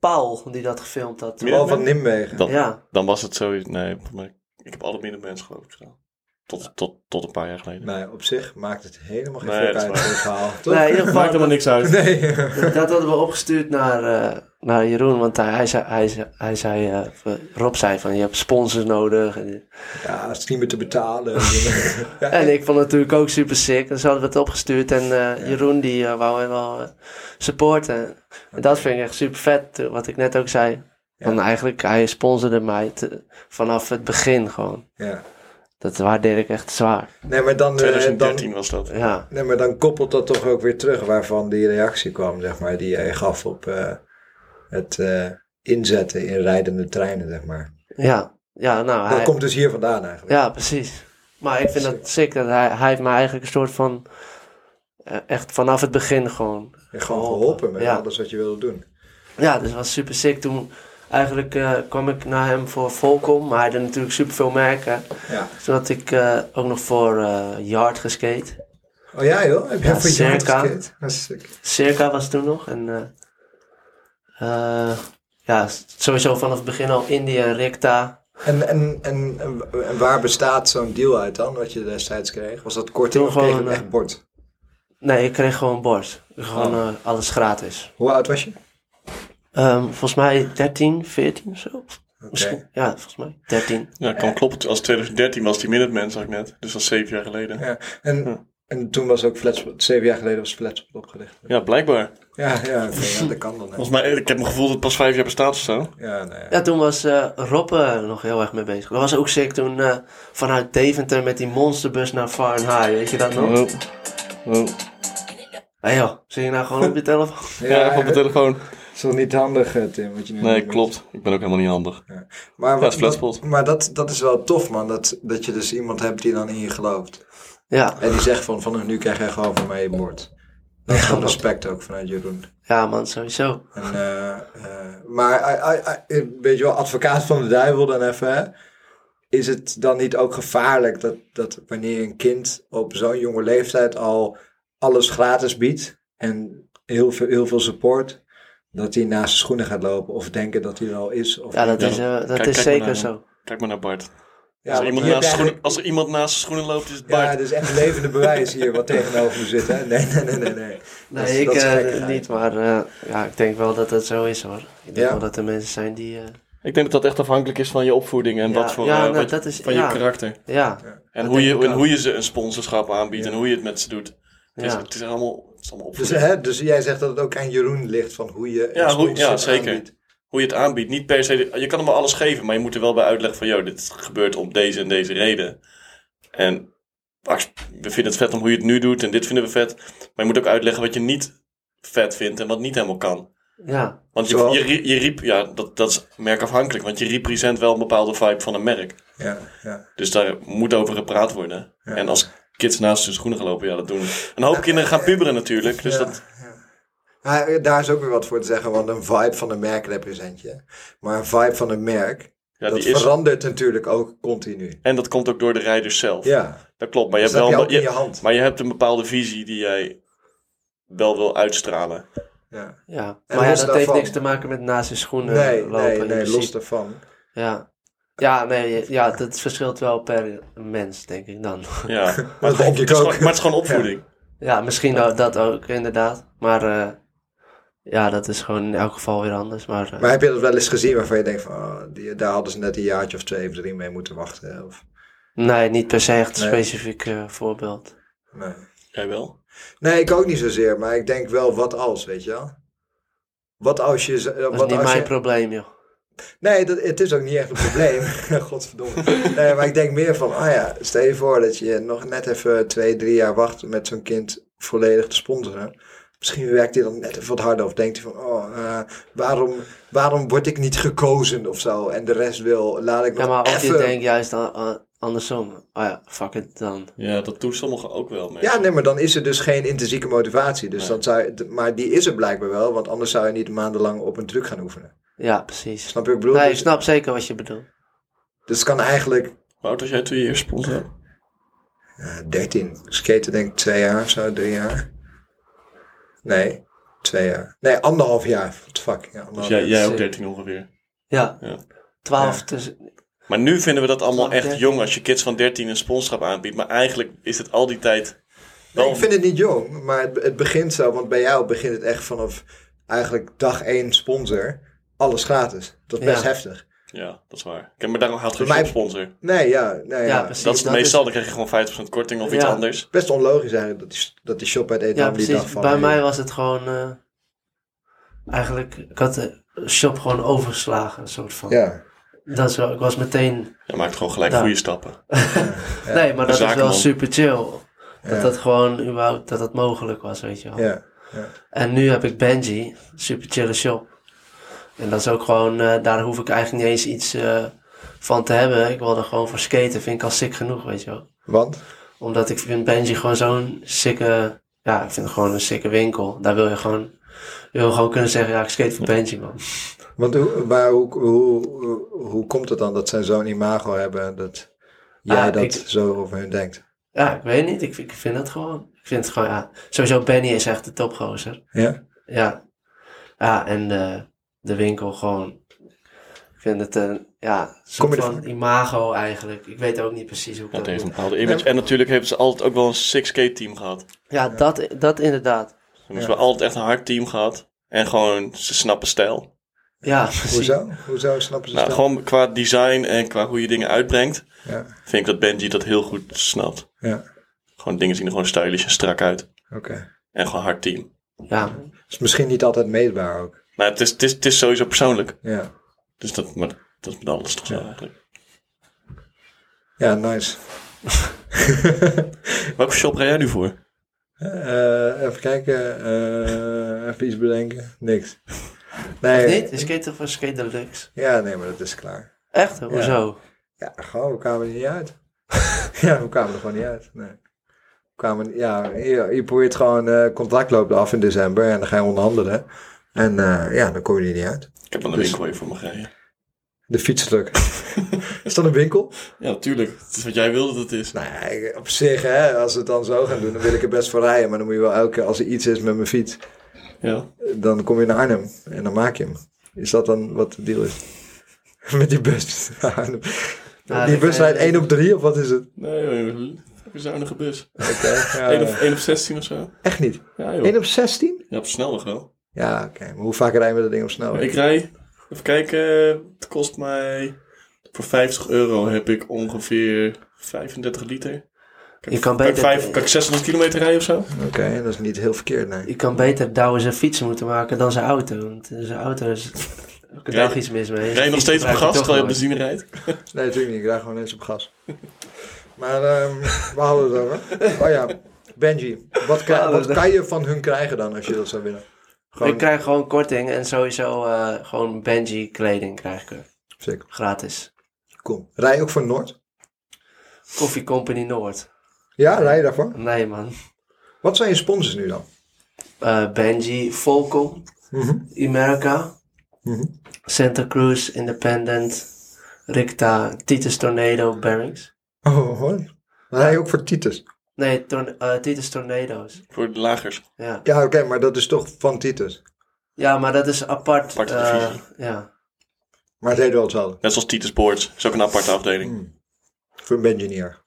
Paul die dat gefilmd had.
Ja.
Paul van Nimwegen.
Dan,
Ja.
dan was het zo... Nee, maar ik heb alle Minutemans geloof ik gedaan. Tot, tot, tot een paar jaar geleden.
Nee, op zich maakt het helemaal geen
Nee,
fuck
dat is
uit
waar.
voor het verhaal, toch?
Nee, in ieder geval, dat,
niks uit.
Nee.
dat hadden we opgestuurd naar, eh, naar Jeroen. Want hij, hij zei, hij, zei- hij zei eh, van- Rob zei van, je hebt sponsors nodig. En,
ja, het is niet meer te betalen. Ja,
en ik vond het natuurlijk ook super sick. Dus hadden we het opgestuurd. En eh, Jeroen die eh, wou hem wel eh, supporten. En dat vind ik echt super vet, eh, wat ik net ook zei. Want eigenlijk, hij sponsorde mij te- vanaf het begin gewoon.
ja.
Dat waardeer ik echt zwaar.
Nee, maar dan, eh, dan,
2013 was dat.
Ja,
Nee, maar dan koppelt dat toch ook weer terug waarvan die reactie kwam, zeg maar, die jij gaf op eh, het eh, inzetten in rijdende treinen, zeg maar.
ja, ja nou,
Dat
hij,
komt dus hier vandaan eigenlijk.
ja, precies. Maar ik vind dat sick, dat hij, hij heeft me eigenlijk een soort van, eh, echt vanaf het begin gewoon.
Je hebt gewoon geholpen met
Oh, Ja.
alles wat je wilde doen.
Ja, dus dat was super sick. Toen eigenlijk eh, kwam ik naar hem voor Volcom, maar hij deed natuurlijk super veel merken.
Ja.
Toen had ik eh, ook nog voor eh, Yard geskate.
Oh ja joh, heb
Ja,
jij voor je hand
circa.
geskipt? Dat is sick.
Circa was toen nog en... eh, eh, ja, sowieso vanaf het begin al India en Ricta.
En, en, en, en waar bestaat zo'n deal uit dan, wat je destijds kreeg? Was dat korting
Toen
of kreeg je
eh,
gewoon,
echt bord?
Nee, ik kreeg gewoon een bord. Gewoon eh, alles gratis.
Hoe oud was je?
Ehm, volgens mij 13, 14 of zo. Misschien, ja, volgens mij 13.
Ja, kan kloppen. Als 2013 was die Minuteman, zag ik net. Dus dat is zeven jaar geleden. Ja,
Ja. En, en toen was ook Flatspot, zeven jaar geleden was Flatspot opgelicht.
blijkbaar.
Ja, ja, oké, ja, dat kan dan. hè.
Volgens mij, ik heb mijn gevoel dat het pas vijf jaar bestaat of zo.
Ja, nee.
Ja, toen was eh Rob eh, nog heel erg mee bezig. Dat was ook sick toen eh, vanuit Deventer met die monsterbus naar Far and High. Weet je dat
Oh.
nog? Hé joh, zing je nou gewoon op je telefoon?
Ja, even op mijn telefoon.
is wel niet handig, eh, Tim, wat je nu
Nee,
doet.
klopt. Ik ben ook helemaal niet handig.
Maar,
het is
wat,
Flatspot.
wat- maar dat, dat is wel tof, man. Dat, dat je dus iemand hebt die dan in je gelooft.
Ja,
En die zegt van, vanaf nu krijg jij gewoon van mij je bord. Dat is gewoon respect ook vanuit Jeroen.
ja man, sowieso.
En, eh, eh, maar, eh, eh, eh, weet je wel, advocaat van de duivel dan even, hè? Is het dan niet ook gevaarlijk dat, dat wanneer een kind op zo'n jonge leeftijd al alles gratis biedt en heel veel, heel veel support, dat hij naast zijn schoenen gaat lopen of denken dat hij er al is? Of
Ja, dat
Ja,
is, eh, dat
kijk-
is
kijk maar
zeker
naar hem.
zo.
Kijk maar naar Bart.
Ja,
als, er
want
iemand
je hebt
naast schoenen,
eigenlijk-
als er iemand naast zijn schoenen loopt, is het
Ja,
Bart.
het is echt levende bewijs hier wat tegenover me zit. Hè? Nee, nee, nee, nee. nee. Dat is-
Nee, ik
dat is
eh,
gekkigheid.
niet, maar eh, ja, ik denk wel dat dat zo is hoor. Ik denk
Ja.
wel dat er mensen zijn die... eh,
Ik denk dat dat echt afhankelijk is van je opvoeding en
Ja,
wat voor,
ja,
eh,
nou,
wat-
dat is-
van
ja.
je karakter.
ja,
En
Dat
hoe,
denk
je,
ik
en
ook.
hoe je ze een sponsorschap aanbiedt en hoe je het met ze doet. Het, is,
ja.
het is allemaal, het is allemaal
Dus,
opvoeding.
hè, dus jij zegt dat het ook aan Jeroen ligt van hoe je.
Ja,
een
hoe- ja,
sponsorship
zeker.
aanbiedt.
hoe je het aanbiedt. Niet per se, de- je kan hem wel alles geven, maar je moet er wel bij uitleggen van, joh, dit gebeurt om deze en deze reden. En ach, we vinden het vet om hoe je het nu doet en dit vinden we vet. Maar je moet ook uitleggen wat je niet vet vindt en wat niet helemaal kan.
ja.
Want je,
Zoals?
je, rie- je riep, ja, dat, dat is merkafhankelijk, want je represent wel een bepaalde vibe van een merk.
Ja, ja.
Dus daar moet over gepraat worden. En als kids naast hun schoenen gelopen, ja, dat doen. Een hoop kinderen gaan puberen natuurlijk, dus
Ja.
dat...
Maar Ah, daar is ook weer wat voor te zeggen, want een vibe van een merk represent je. Maar een vibe van een merk,
Ja,
dat
die is-
verandert natuurlijk ook continu.
En dat komt ook door de rijders zelf.
Ja,
Dat klopt, maar je,
Dus
hebt
dat
wel
heb je ook
een-
in je hand.
maar je hebt een bepaalde visie die jij wel wil uitstralen.
ja.
ja.
En
Maar ja,
los
dat
daarvan-
heeft niks te maken met naast je schoenen
Nee,
lopen.
nee,
in
nee,
principe.
los daarvan.
Ja. Ja, nee, ja, dat verschilt wel per mens, denk ik dan.
Ja, maar,
denk
gewoon-
ik
het is
ook.
gewoon- maar het is gewoon opvoeding.
Ja, misschien ook dat ook, inderdaad. Maar eh, ja, dat is gewoon in elk geval weer anders. Maar, eh,
Maar heb je dat wel eens gezien waarvan je denkt van, oh, die, daar hadden ze net een jaartje of twee of drie mee moeten wachten? hè, Of,
nee, niet per se echt een
Nee.
specifiek eh, voorbeeld.
nee.
Jij wel?
nee, ik ook niet zozeer, maar ik denk wel wat als, weet je wel? Wat als je... z- eh,
Dat is
wat
niet
als
mijn
je...
probleem, joh.
Nee, dat, het is ook niet echt een probleem. Godverdomme. Nee, maar ik denk meer van, ah ja, stel je voor dat je nog net even twee, drie jaar wacht om met zo'n kind volledig te sponsoren. Misschien werkt hij dan net even wat harder of denkt hij van, oh, eh, waarom, waarom word ik niet gekozen of zo? En de rest wil, laat ik
Ja,
nog
maar of
even...
je denkt juist a- a- andersom. Oh ja, fuck it dan.
Ja, dat doen sommigen ook wel mee.
Ja, nee, maar dan is er dus geen intrinsieke motivatie. Dus
Nee.
dan zou je, maar die is er blijkbaar wel, want anders zou je niet maandenlang op een truc gaan oefenen.
Ja, precies.
Snap je wat ik bedoel?
Nee, ik
dus,
snap zeker wat je bedoelt.
dus het kan eigenlijk
Hoe oud was jij toen je eerst sponsor?
Eh, 13. Skaten denk ik twee jaar of zo, drie jaar. Nee, twee jaar. Nee, anderhalf jaar. What the fuck. Ja,
Dus
anderhalf
jij,
jaar.
jij ook 13 ongeveer.
Ja,
Ja.
twaalf
Ja.
tussen...
Maar nu vinden we dat allemaal
Vanaf
echt
13.
jong als je kids van 13 een sponsorschap aanbiedt. Maar eigenlijk is het al die tijd wel...
Nee, ik vind het niet jong, maar het, het begint zo. Want bij jou begint het echt vanaf eigenlijk dag één sponsor. Alles gratis. Dat is best
Ja.
heftig.
Ja, dat is waar. Kijk, maar daarom haalt geen
Voor mij-
sponsor.
Nee, ja. Nee,
Ja,
ja,
precies.
Dat is het
dat is-
meestal, dan krijg je gewoon 50% korting of iets
Ja.
anders.
Best onlogisch eigenlijk dat die, dat die shop uit Edam
Ja,
die dag
precies.
van...
Bij
hey,
mij was het gewoon... eh, eigenlijk, ik had de shop gewoon overgeslagen, een soort van.
Ja.
Dat is wel, ik was meteen
Je maakt gewoon gelijk
Ja.
goede stappen.
Nee, maar dat is wel
zakenman.
super chill. Dat
Eh, Ja.
dat gewoon überhaupt, dat dat mogelijk was, weet je wel.
Ja.
En nu heb ik Benji, super chille shop. En dat is ook gewoon, eh, daar hoef ik eigenlijk niet eens iets eh, van te hebben. Ik wil er gewoon voor skaten, vind ik al sick genoeg, weet je wel.
Want?
Omdat ik vind Benji gewoon zo'n sicke, ja, ik vind het gewoon een sicke winkel. Daar wil je gewoon, je wil gewoon kunnen zeggen, ja, ik skate voor Benji, man.
Want hoe, maar hoe, hoe, hoe, hoe komt het dan dat zij zo'n imago hebben dat jij
Ah,
dat
ik-
zo over hun denkt?
Ja, ik weet niet, ik, ik vind dat gewoon. Ik vind het gewoon, ja, sowieso Benny is echt de topgozer.
Ja.
Ja. Ja, en eh, de winkel gewoon. Ik vind het een ja,
Kom je
soort van imago eigenlijk. Ik weet ook niet precies hoe ik
Dat
dat
heeft een
moet.
bepaalde image. En natuurlijk hebben ze altijd ook wel een 6K-team gehad.
Ja, dat, dat inderdaad.
Ze hebben wel altijd echt een hard team gehad. En gewoon, ze snappen stijl.
Ja, precies.
Hoezo? Hoezo snappen ze
Nou,
dat?
gewoon qua design en qua hoe je dingen uitbrengt,
Ja,
vind ik dat Benji dat heel goed snapt.
ja.
Gewoon dingen zien er gewoon stylish en strak uit.
oké.
En gewoon hard team.
Ja,
Is misschien niet altijd meetbaar ook.
Maar het is, het is, het is sowieso persoonlijk.
Ja,
Dus dat, maar dat is met alles toch zo eigenlijk.
ja nice.
Welke shop rij jij nu voor?
Eh, even kijken. eh, even iets bedenken. Niks. Nee.
niet? Is skate of skate deluxe?
Ja, nee, maar dat is klaar.
Echt? Hoezo?
Ja, gewoon, we kwamen er niet uit. ja, we kwamen er gewoon niet uit. Nee. We kwamen, ja, je, je probeert gewoon, eh contract loopt af in december en dan ga je onderhandelen. En eh, ja, dan kom je er niet uit.
Ik heb wel een
Dus-
winkel weer voor me rijden.
De fiets is leuk. is dat een winkel?
Ja, natuurlijk. Het is wat jij wilde dat het is.
Nou ja, ik- op zich, hè, als we het dan zo gaan doen, dan wil ik er best voor rijden. Maar dan moet je wel elke keer, als er iets is met mijn fiets,
Ja.
dan kom je naar Arnhem en dan maak je hem. Is dat dan wat de deal is? Met die bus naar Arnhem.
Ja,
die
Ah, Nou, dat- eh,
bus rijdt 1 op 3 of wat is het?
Nee, joh, een zuinige bus.
Oké, ja,
1
ja.
op, 1 op 16 of zo.
Echt niet.
Ja,
1
joh.
op 16?
Ja, op snelweg wel.
Ja, oké. Maar hoe vaak rijden we dat ding op snelweg?
Ik rij, even kijken, het kost mij, voor 50 euro heb ik ongeveer 35 liter. Kan
Je kan
Kan ik,
beter,
vijf, kan ik 600 kilometer rijden of zo?
Oké, dat is niet heel verkeerd, nee.
je kan beter Douwe zijn fiets moeten maken dan zijn auto. Want eh, zijn auto is elke
Rij-
dag iets mis mee.
Rij je nog steeds op gas terwijl je benzine rijdt?
Nee, natuurlijk niet. Ik rijd gewoon eens op gas. Maar ehm we hadden het over. Oh ja, Benji. Wat,
We
kan,
hadden
wat
het-
kan je van hun krijgen dan als je dat zou willen? Gewoon
Ik krijg gewoon korting en sowieso eh, gewoon Benji kleding krijg ik er.
Sick.
Gratis.
Cool. Rij je ook voor Noord?
Coffee Company Noord.
Ja, rij je daarvoor?
Nee man.
Wat zijn je sponsors nu dan?
Eh, Benji, Volcom, America,
Mhm.
Santa Cruz, Independent, Ricta, Titus Tornado, Bearings.
Oh, hoor. Rij je ook voor Titus?
Nee, torn- eh, Titus Tornado's.
Voor de lagers.
Ja.
Ja, oké, maar dat is toch van Titus?
ja, maar dat is apart.
Aparte
eh,
divisie.
ja.
Maar het heet wel hetzelfde.
Net zoals Titus Boards. Is ook een aparte afdeling.
Voor Benji niet erg.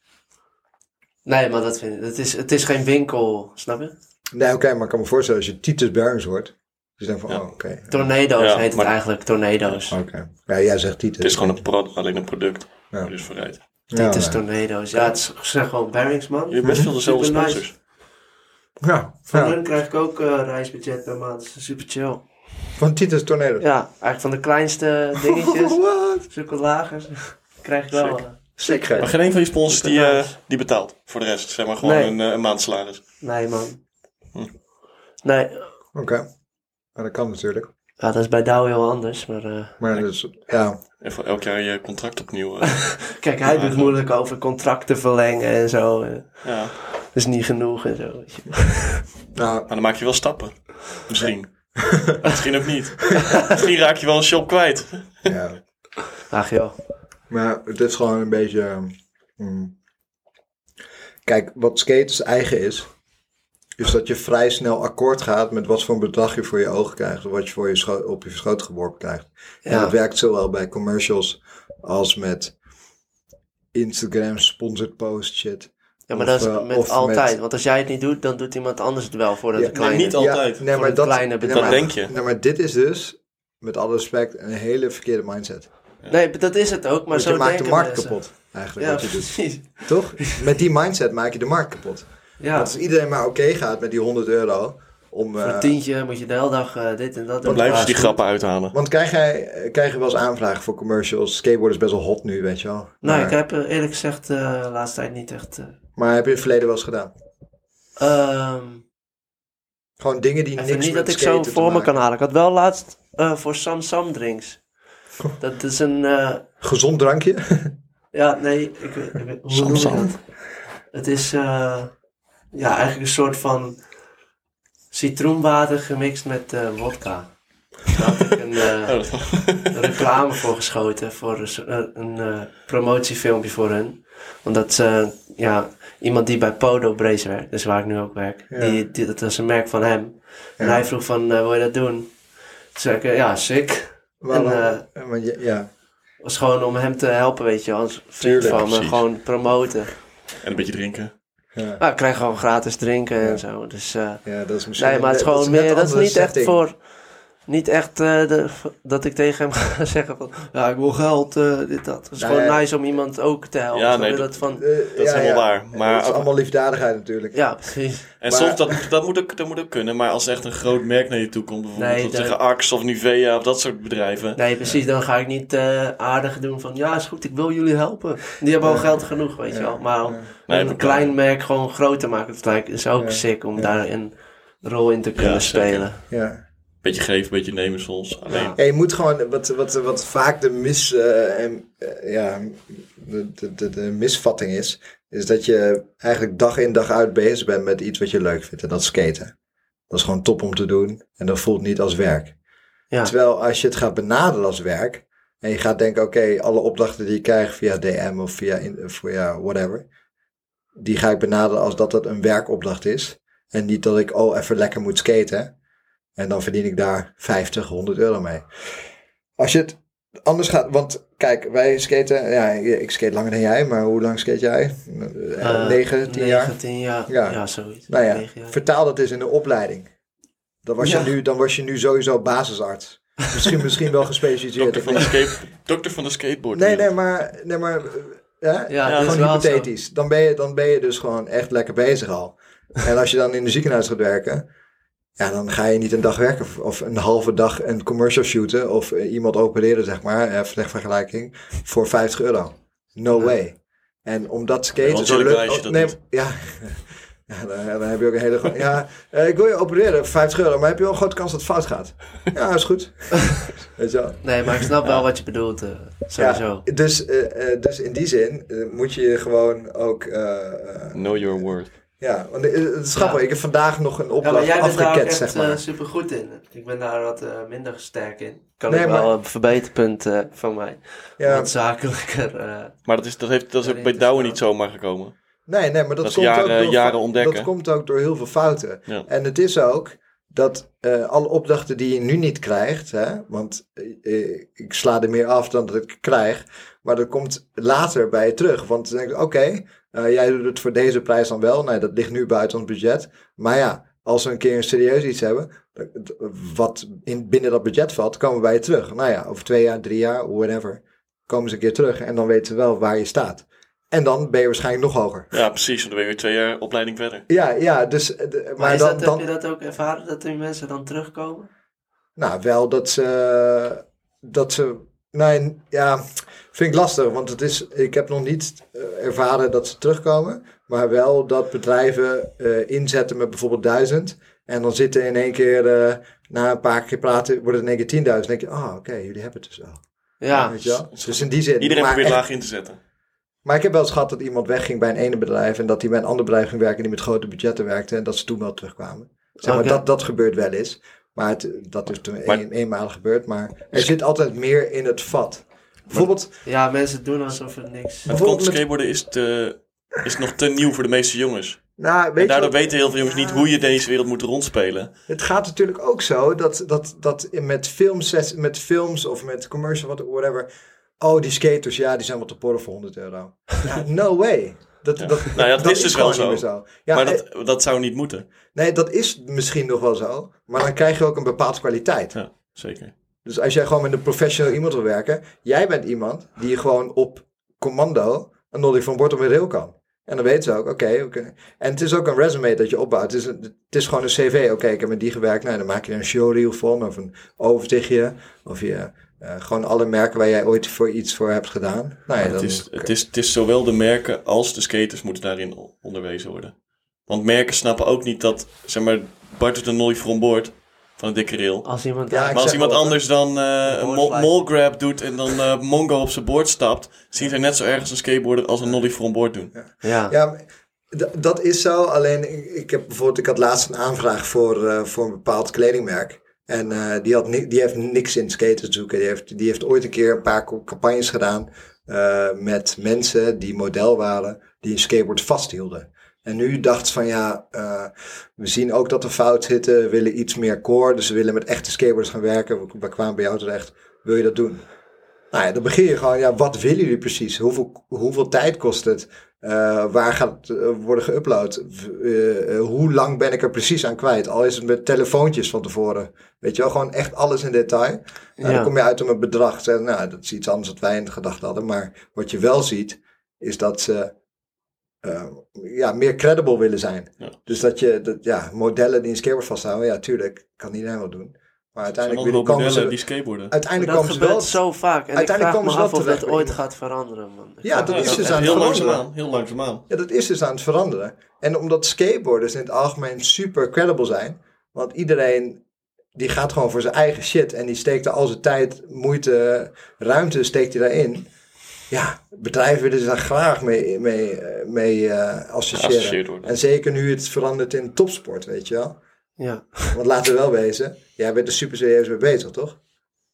Nee, maar dat vind ik. Het is, het is geen winkel, snap je?
Nee, oké, maar ik kan me voorstellen als je Titus Berings wordt. Dus dan van, oh, oké.
Tornado's
Ja,
heet
maar-
het eigenlijk, Tornado's.
Oké. Ja, jij zegt
Het is
Titus.
gewoon een pro- alleen een product.
Ja.
waar je Dus voor rijdt.
Ja,
Titus
nee.
Tornado's. Ja, het is zeg gewoon Bearings, man.
Je hebt best veel dezelfde
Super nice.
sponsors.
ja,
Van
ja.
hun krijg ik ook eh, reisbudget per maand. Dat is super chill.
van Titus Tornado.
Ja, eigenlijk van de kleinste dingetjes,
Wat?
zulke lagers, krijg ik wel.
Sick.
eh,
Sick,
Maar geen een van je sponsors
Super
die, eh,
nice.
die betaalt. Voor de rest. Zeg maar gewoon
Nee.
een, eh, een maandsalaris.
Nee, man.
Hm.
Nee,
Oké. Maar dat kan natuurlijk.
ja, dat is bij Douwe heel anders. Maar eh,
Maar dat is, ja.
En voor elk jaar je contract opnieuw. eh,
kijk, hij doet moeilijk over contracten verlengen en zo. eh,
ja.
dat is niet genoeg en zo. weet je.
Nou,
Maar dan maak je wel stappen. Misschien. Misschien ook niet. Misschien raak je wel een shop kwijt.
ja.
Ach joh.
Maar het is gewoon een beetje. eh, mm. Kijk, wat skaters eigen is, is dat je vrij snel akkoord gaat met wat voor een bedrag je voor je ogen krijgt. Of wat je, voor je scho- op je schoot geworpen krijgt. En
Ja.
dat werkt zowel bij commercials als met Instagram sponsored post shit.
Ja, maar
Of,
dat is
eh,
met
of
altijd.
met-
Want als jij het niet doet, dan doet iemand anders het wel voordat
Ja,
de
maar
kleine...
niet altijd.
nee,
Voor
maar
een
dat,
kleine
nee,
bedrag.
maar-
Dat denk je.
Nee, maar dit is dus, met alle respect, een hele verkeerde mindset.
Nee, dat is het ook, maar
Want
zo
je maakt de
denken
markt
mensen.
kapot, eigenlijk,
Ja,
wat je doet.
precies.
Toch? Met die mindset maak je de markt kapot.
Ja,
Nou, Als iedereen maar oké gaat met die 100 euro. Om,
voor
eh,
een tientje moet je de hele dag eh, dit en dat
Dan
doen.
blijven ze die
Ah,
grappen uithalen.
want krijg, jij, eh, krijg je wel eens aanvragen voor commercials? Skateboard is best wel hot nu, weet je wel.
Nou,
maar,
ik heb eh, eerlijk gezegd eh, de laatste tijd niet echt... eh,
maar heb je in het verleden wel eens gedaan?
ehm,
Gewoon dingen die
Even
niks
niet
met
dat ik zo
skaten te
voor me
maken-
kan halen. Ik had wel laatst eh, voor Sam Sam drinks. Dat is een... eh,
Gezond drankje?
ja, nee. Ik, weet- ik, weet- hoe
Sam
noem je
Sam.
dat? Het is eh, ja, eigenlijk een soort van citroenwater gemixt met eh wodka. Daar had ik een eh,
Oh, dat-
reclame voor geschoten. Voor een, so- eh, een eh, promotiefilmpje voor hun. Omdat ze, ja, iemand die bij Podo Brace werkt, dus waar ik nu ook werk.
Ja.
Die, die, dat was een merk van hem. En
Ja.
hij vroeg van, eh, wil je dat doen? Toen zei ik, eh, ja, sick.
Waarom?
En,
Want je- ja.
Op was gewoon om hem te helpen, weet je wel. Als vriend
Tuurlijk,
van me,
precies.
gewoon promoten.
En een beetje drinken.
Ja.
Nou, ik krijg gewoon gratis drinken
Ja.
en zo. Dus, eh,
Ja, dat is misschien.
nee, maar het is gewoon
net
meer, dat is
andere
niet echt
setting.
voor... Niet echt eh, de- dat ik tegen hem ga zeggen van... Ja, ik wil geld, eh, dit, dat. Het is
Nou
gewoon
ja.
nice om iemand ook te helpen.
Ja,
Snap
nee,
je?
dat-
dat van...
Eh,
Dat is
ja,
helemaal
ja.
waar. Maar,
het is allemaal liefdadigheid natuurlijk.
Ja, precies.
en
maar-
soms, dat, dat, moet ook, dat moet ook kunnen. Maar als echt een groot merk naar je toe komt, bijvoorbeeld
Nee,
dat
dat-
tegen Axe of Nivea of dat soort bedrijven.
Nee, precies. Dan ga ik niet eh, aardig doen van... Ja, is goed, ik wil jullie helpen. Die hebben al geld genoeg, weet je
Ja,
wel. Maar om
ja.
Nee,
een
maar-
klein merk gewoon groot te maken... Dat lijkt, is ook
Ja,
sick om
ja.
daar een rol in te kunnen
zeker.
spelen.
Ja.
Beetje geven, beetje nemen soms. Alleen,
Ja.
Ja, je moet gewoon, wat, wat, wat vaak de, mis, eh, en, eh, ja, de, de, de, de misvatting is, is dat je eigenlijk dag in dag uit bezig bent met iets wat je leuk vindt. En dat is skaten. Dat is gewoon top om te doen en dat voelt niet als werk.
Ja.
Terwijl als je het gaat benaderen als werk en je gaat denken, oké, alle opdrachten die ik krijg via DM of via, in- via whatever, die ga ik benaderen als dat dat een werkopdracht is. En niet dat ik, oh, even lekker moet skaten. En dan verdien ik daar 50, 100 euro mee. Als je het anders gaat, want kijk, wij skaten, ja, ik skate langer dan jij, maar hoe lang skate jij?
Eh,
9, 10 jaar?
19 jaar. Ja,
Ja.
zoiets.
Nou ja,
Negen jaar.
vertaal dat eens in een opleiding. Dan was,
Ja.
je, nu, dan was je nu sowieso basisarts. Misschien, misschien wel gespecialiseerd.
dokter,
ik
van de
weet-
skate, dokter van de skateboard.
Nee, nee, maar... Nee, maar eh, hè?
Ja,
Ja,
dat is
Gewoon
wel zo.
hypothetisch. Dan ben, je, dan ben je dus gewoon echt lekker bezig al. En als je dan in de ziekenhuis gaat werken... Ja, dan ga je niet een dag werken of- of een halve dag een commercial shooten... of eh, iemand opereren, zeg maar, eh, ter vergelijking, voor 50 euro. No
Ja.
way. En omdat skaten
want
zo
jullie
leuk...
prijzen dat
nee,
niet.
ja, ja dan, dan heb je ook een hele... gro- Ja, eh, ik wil je opereren, 50 euro, maar heb je wel een grote kans dat het fout gaat? Ja, is goed. Weet je wel?
Nee, maar ik snap wel wat je bedoelt. eh, sowieso.
Ja, dus, eh, eh, dus in die zin eh, moet je je gewoon ook. eh, eh,
Know your worth.
ja, want eh, het is grappig.
Ja.
Ik heb vandaag nog een
Ja,
opdracht
maar jij bent daar ook
afgeket,
echt eh,
zeg maar.
super goed in. Ik ben daar wat eh, minder sterk in. Kan
Nee,
ik wel
maar-
een verbeterpunt eh, van mij.
ja,
Wat zakelijker. eh,
Maar dat is, dat heeft, dat is ook bij Douwe niet zomaar gekomen.
nee, nee, maar dat,
Dat
komt
jaren-
ook door,
jaren
fa-
ontdekken.
Dat komt ook door heel veel fouten.
Ja.
En het is ook dat eh, alle opdrachten die je nu niet krijgt, hè, want eh, eh, ik sla er meer af dan dat ik krijg, maar dat komt later bij je terug. Want dan denk ik, oké, eh, jij doet het voor deze prijs dan wel. Nee, dat ligt nu buiten ons budget. Maar ja, als we een keer een serieus iets hebben, dat- dat- wat in, binnen dat budget valt, komen we bij je terug. Nou ja, over twee jaar, drie jaar, whatever, komen ze een keer terug en dan weten we wel waar je staat. En dan ben je waarschijnlijk nog hoger.
Ja, precies. Want dan ben je weer twee jaar opleiding verder.
Ja, ja, dus... eh, de-
maar is
dan,
dat,
dan,
heb je dat ook ervaren dat die mensen dan terugkomen?
Nou, wel dat ze. Dat ze. Nee, ja. Vind ik lastig, want het is, ik heb nog niet eh, ervaren dat ze terugkomen. Maar wel dat bedrijven eh, inzetten met bijvoorbeeld duizend. En dan zitten in één keer, eh, na een paar keer praten, wordt het in één keer 10.000. Dan denk je, ah, oké, jullie hebben het dus al.
Ja.
Weet je wel? Dus in die zin.
Iedereen
maar,
probeert
echt-
laag in te zetten.
maar ik heb wel eens gehad dat iemand wegging bij een ene bedrijf. En dat hij bij een ander bedrijf ging werken die met grote budgetten werkte. En dat ze toen wel terugkwamen. Zeg maar,
Oké.
dat, dat gebeurt wel eens. Maar het, dat is toen
Maar-
een, eenmaal gebeurd. Maar er zit altijd meer in het vat. Bijvoorbeeld,
Ja, mensen doen alsof er niks...
Het
Bijvoorbeeld
komt
met-
skateboarden is, te, is nog te nieuw voor de meeste jongens.
nou,
En
weet je
daardoor
wat,
weten heel veel jongens niet hoe je deze wereld moet rondspelen.
het gaat natuurlijk ook zo dat, dat, dat in- met, filmsets, met films of met commercial, wat- whatever. Oh, die skaters, ja, die zijn wel te porren voor 100 euro. Ja, no way. Dat, dat,
Nou ja, dat is dus wel
gewoon niet
zo.
meer Ja,
maar
eh,
dat, dat zou niet moeten.
Nee, dat is misschien nog wel zo. Maar dan krijg je ook een bepaalde kwaliteit.
Ja, zeker.
Dus als jij gewoon met een professional iemand wil werken, jij bent iemand die gewoon op commando een nollie van bord op een rail kan. En dan weten ze ook, oké, we kunnen- en het is ook een resume dat je opbouwt. Het is, een- het is gewoon een cv. Oké, ik heb met die gewerkt. Nou, dan maak je er een showreel van of een overzichtje. Of je, eh, gewoon alle merken waar jij ooit voor iets voor hebt gedaan. Nou ja,
Het
dan,
is, het, is, het is zowel de merken als de skaters moeten daarin o- onderwezen worden. Want merken snappen ook niet dat, zeg maar, Bart doet een nolly from board van een dikke rail.
Als iemand...
Ja,
daar-
ik
Maar als
zeg
iemand
wel,
anders dan eh, een mol-
boardslide.
mol grab doet en dan eh, Mongo op zijn board stapt, zien zij net zo erg als een skateboarder als een nolly from board doen.
ja.
Ja, maar d- dat is zo. Alleen ik- ik heb bijvoorbeeld, ik had laatst een aanvraag voor, eh, voor een bepaald kledingmerk. En eh, die, had ni- die heeft niks in skaters te zoeken. Die heeft, die heeft ooit een keer een paar co- campagnes gedaan eh, met mensen die model waren, die een skateboard vasthielden. En nu dacht ze van ja, eh, we zien ook dat er fout zitten, we willen iets meer core, dus we willen met echte skateboarders gaan werken. We, we kwamen bij jou terecht, wil je dat doen? Nou ja, dan begin je gewoon, ja, wat willen jullie precies? Hoeveel, hoeveel tijd kost het? Eh, waar gaat het eh, worden geüpload? Eh, eh, hoe lang ben ik er precies aan kwijt? Al is het met telefoontjes van tevoren. Weet je wel, gewoon echt alles in detail. Nou,
Ja.
Dan kom je uit om een bedrag. Zeg, nou, dat is iets anders wat wij in de gedachten hadden. Maar wat je wel ziet, is dat ze eh, ja, meer credible willen zijn.
Ja.
Dus dat je dat, ja, modellen die een skateboard vasthouden, ja, tuurlijk, kan iedereen wel doen. Maar
En
uiteindelijk,
dan
willen-
ook
komen
modellen die
ze,
skateboarden.
uiteindelijk
Dat
komen ze
gebeurt
wel
zo vaak. En
uiteindelijk
ik vraag
komen ze
me af
wel
of dat
terecht bij
ooit
iemand.
gaat veranderen, man. Ik
Ja,
vraag
dat
me
is
af.
dus
echt
aan het
heel
veranderen.
langzaamaan. Heel langzaamaan.
Ja, dat is dus aan het veranderen. En omdat skateboarders in het algemeen super credible zijn, want iedereen die gaat gewoon voor zijn eigen shit en die steekt er al zijn tijd, moeite, ruimte steekt hij daarin. Ja, bedrijven willen ze daar graag mee, mee, eh, mee eh,
Geassocieerd
associëren.
worden.
En zeker nu het verandert in topsport, weet je wel.
Ja.
Want laten we wel wezen, jij bent er super serieus mee bezig, toch?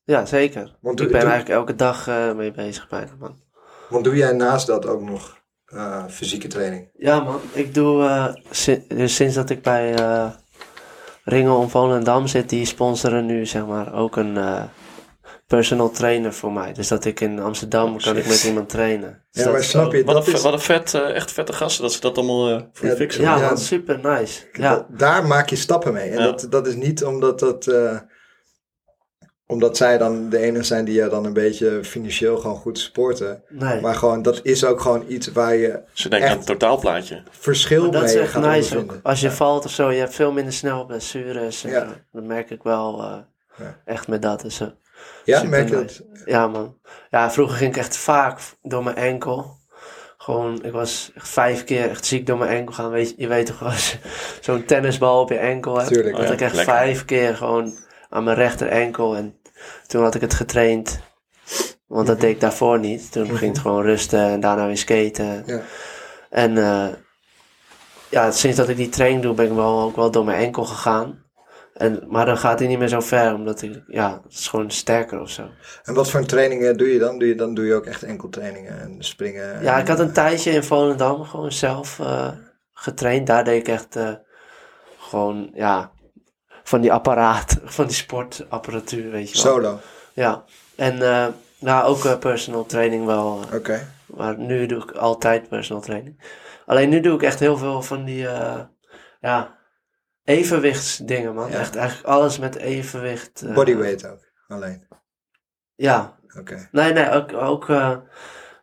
ja, zeker.
Want
ik
doe-
ben
doe-
eigenlijk elke dag eh, mee bezig bijna, man.
Want doe jij naast dat ook nog eh, fysieke training?
Ja, man. Ik doe eh, si- dus sinds dat ik bij eh Ringen om Volendam zit, die sponsoren nu zeg maar ook een eh, personal trainer voor mij. Dus dat ik in Amsterdam kan ik met iemand trainen.
Ja,
Dus dat
maar
is
snap
ook-
je,
Wat
dat
een,
is,
vet- wat een vet, eh, echt vette gasten dat ze dat allemaal eh, voor je
Ja,
fixen.
Ja,
Ja.
man, super nice. Ja,
Dat- daar maak je stappen mee. En
Ja.
dat, dat is niet omdat dat. eh, omdat zij dan de enigen zijn die je dan een beetje financieel gewoon goed supporten.
nee.
Maar gewoon, dat is ook gewoon iets waar je
Ze denken aan
Echt.
het totaalplaatje.
verschil
Maar dat is
mee
echt
gaat
nice ook.
ondervinden.
Als je valt of zo, je hebt veel minder snel blessures. En
Ja.
eh, Dat merk ik wel eh,
Ja.
echt met dat. Dus, eh,
Ja,
super
merk je dat?
nice. Ja, man. Ja, vroeger ging ik echt vaak v- door mijn enkel. Gewoon, ik was echt vijf keer echt ziek door mijn enkel gaan. Weet, je- je weet toch wel, als je zo'n tennisbal op je enkel hebt.
Tuurlijk,
had
ja.
ik echt
Lekker.
vijf keer gewoon aan mijn rechter enkel. En toen had ik het getraind. Want dat deed ik daarvoor niet. Toen ging het gewoon rusten en daarna weer skaten.
Ja.
En eh, ja, sinds dat ik die training doe, ben ik wel, ook wel door mijn enkel gegaan. En, maar dan gaat hij niet meer zo ver, omdat ik, ja, het is gewoon sterker of zo.
En wat voor trainingen doe je dan? Doe je, dan doe je ook echt enkel trainingen en springen.
Ja,
en-
ik had een tijdje in Volendam gewoon zelf eh, getraind. Daar deed ik echt eh, gewoon, ja, van die apparaat, van die sportapparatuur, weet je wel.
Solo, oké.
Ja, en eh nou, ook eh, personal training wel. eh, maar nu doe ik altijd personal training. Alleen nu doe ik echt heel veel van die, eh, ja, evenwichtsdingen, man.
Ja.
Echt eigenlijk alles met evenwicht. eh,
Bodyweight ook, alleen.
Ja,
Oké.
Nee, nee, ook, ook eh,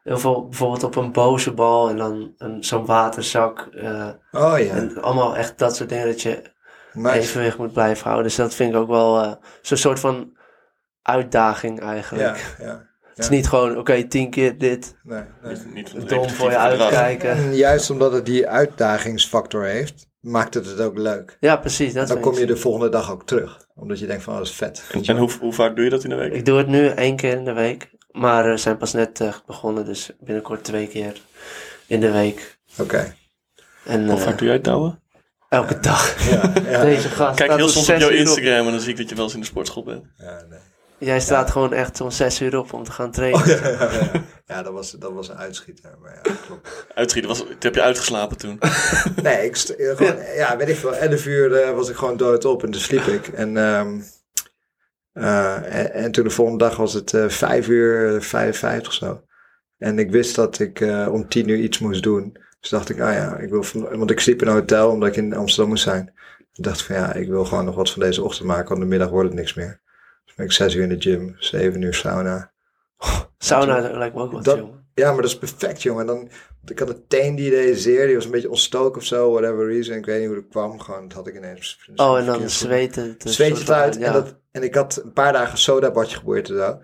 heel veel, bijvoorbeeld op een boze bal en dan een- zo'n waterzak. eh,
Oh ja,
En allemaal echt dat soort dingen dat je
nice.
evenwicht moet blijven houden. Dus dat vind ik ook wel eh, zo'n soort van uitdaging
Ja,
eigenlijk.
ja.
Het is niet gewoon, oké, tien keer dit,
Nee, nee.
Dus
Niet, niet van het
dom voor je
repetitieve gedrag.
uitkijken.
En juist omdat het die uitdagingsfactor heeft, maakt het het ook leuk.
Ja, precies. Dat
Dan
vind
kom
ik.
je de volgende dag ook terug. Omdat je denkt van, oh, dat is vet. Weet je
En
wel.
hoe, hoe vaak doe je dat in de week?
Ik doe het nu één keer in de week, maar we zijn pas net eh, begonnen, dus binnenkort twee keer in de week.
Oké.
En
Hoe
eh,
vaak doe jij het touwen?
elke dag.
Ja, ja.
Deze gast
Kijk
staat
heel
om
soms op
zes
jouw
uur
Instagram en dan zie ik dat je wel eens in de sportschool bent.
Ja, Oh, nee.
Jij staat gewoon echt om zes uur op om te gaan trainen.
ja dat, was, dat was een uitschieter. Maar ja, klopt.
Uitschieten, was, dat heb je uitgeslapen toen.
Nee, ik st- eh, gewoon, ja, weet ik veel. 11 uur eh, was ik gewoon dood op en dus sliep ik. En, ehm, eh, en, en toen de volgende dag was het eh 5 uur eh, 55 of zo. En ik wist dat ik eh, om 10 uur iets moest doen. Dus dacht ik, ah ja, ik wil van- want ik sliep in een hotel omdat ik in Amsterdam moest zijn. Ik dacht van ja, ik wil gewoon nog wat van deze ochtend maken, want de middag wordt het niks meer. Dus ben ik 6 uur in de gym, 7 uur sauna.
Sauna lijkt me ook wat
Dat-
chill.
Ja, maar dat is perfect, jongen. Dan, ik had een teen die deed zeer. Die was een beetje ontstoken of zo, whatever reason. Ik weet niet hoe dat kwam. Gewoon, dat had ik ineens.
Oh, en dan
verkeerd.
zweten. het een
Zweet je
soort
het uit.
van,
En,
ja.
dat, en ik had een paar dagen sodabadje geboord en zo.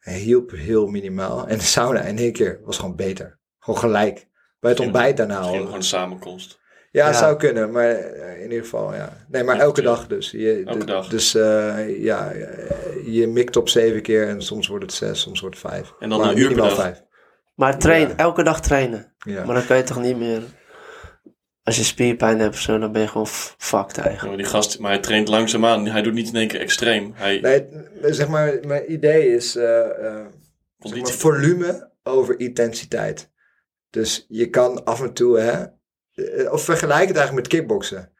En hielp heel minimaal. En de sauna in één keer was gewoon beter. Gewoon gelijk. Bij het
Misschien-
ontbijt daarna
Misschien
al.
gewoon een samenkomst.
Ja,
Ja.
zou kunnen, maar eh, in ieder geval, ja. Nee, maar
Ja,
elke
natuurlijk.
dag dus. Je,
Elke
d-
dag.
Dus eh, ja, eh, je mikt op zeven keer en soms wordt het zes, soms wordt het vijf.
En dan
Maar
een uur per
minimaal
dag.
vijf.
Maar train, elke dag trainen.
Ja.
Maar dan kan je toch niet meer... Als je spierpijn hebt of zo, dan ben je gewoon f- fucked
Ja,
eigenlijk.
maar die gast, maar hij traint langzaamaan. Hij doet niet in één keer extreem. Hij
Nee, zeg maar, mijn idee is eh, eh, zeg maar,
conditie-
volume over intensiteit. Dus je kan af en toe, hè, eh, of vergelijk het eigenlijk met kickboksen.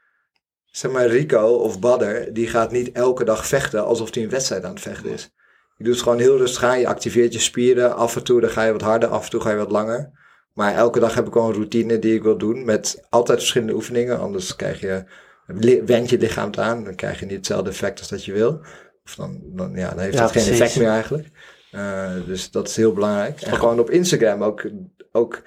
Zeg maar, Rico of Badder, die gaat niet elke dag vechten alsof hij een wedstrijd aan het vechten is. Je doet het gewoon heel rustig aan. Je activeert je spieren. Af en toe dan ga je wat harder, af en toe ga je wat langer. Maar elke dag heb ik wel een routine die ik wil doen. Met altijd verschillende oefeningen. Anders krijg je, li- wend je lichaam het aan. Dan krijg je niet hetzelfde effect als dat je wil. Of dan, dan, ja, dan heeft
Ja,
dat geen
precies.
effect meer eigenlijk. Eh, dus dat is heel belangrijk. En gewoon op Instagram ook, ook.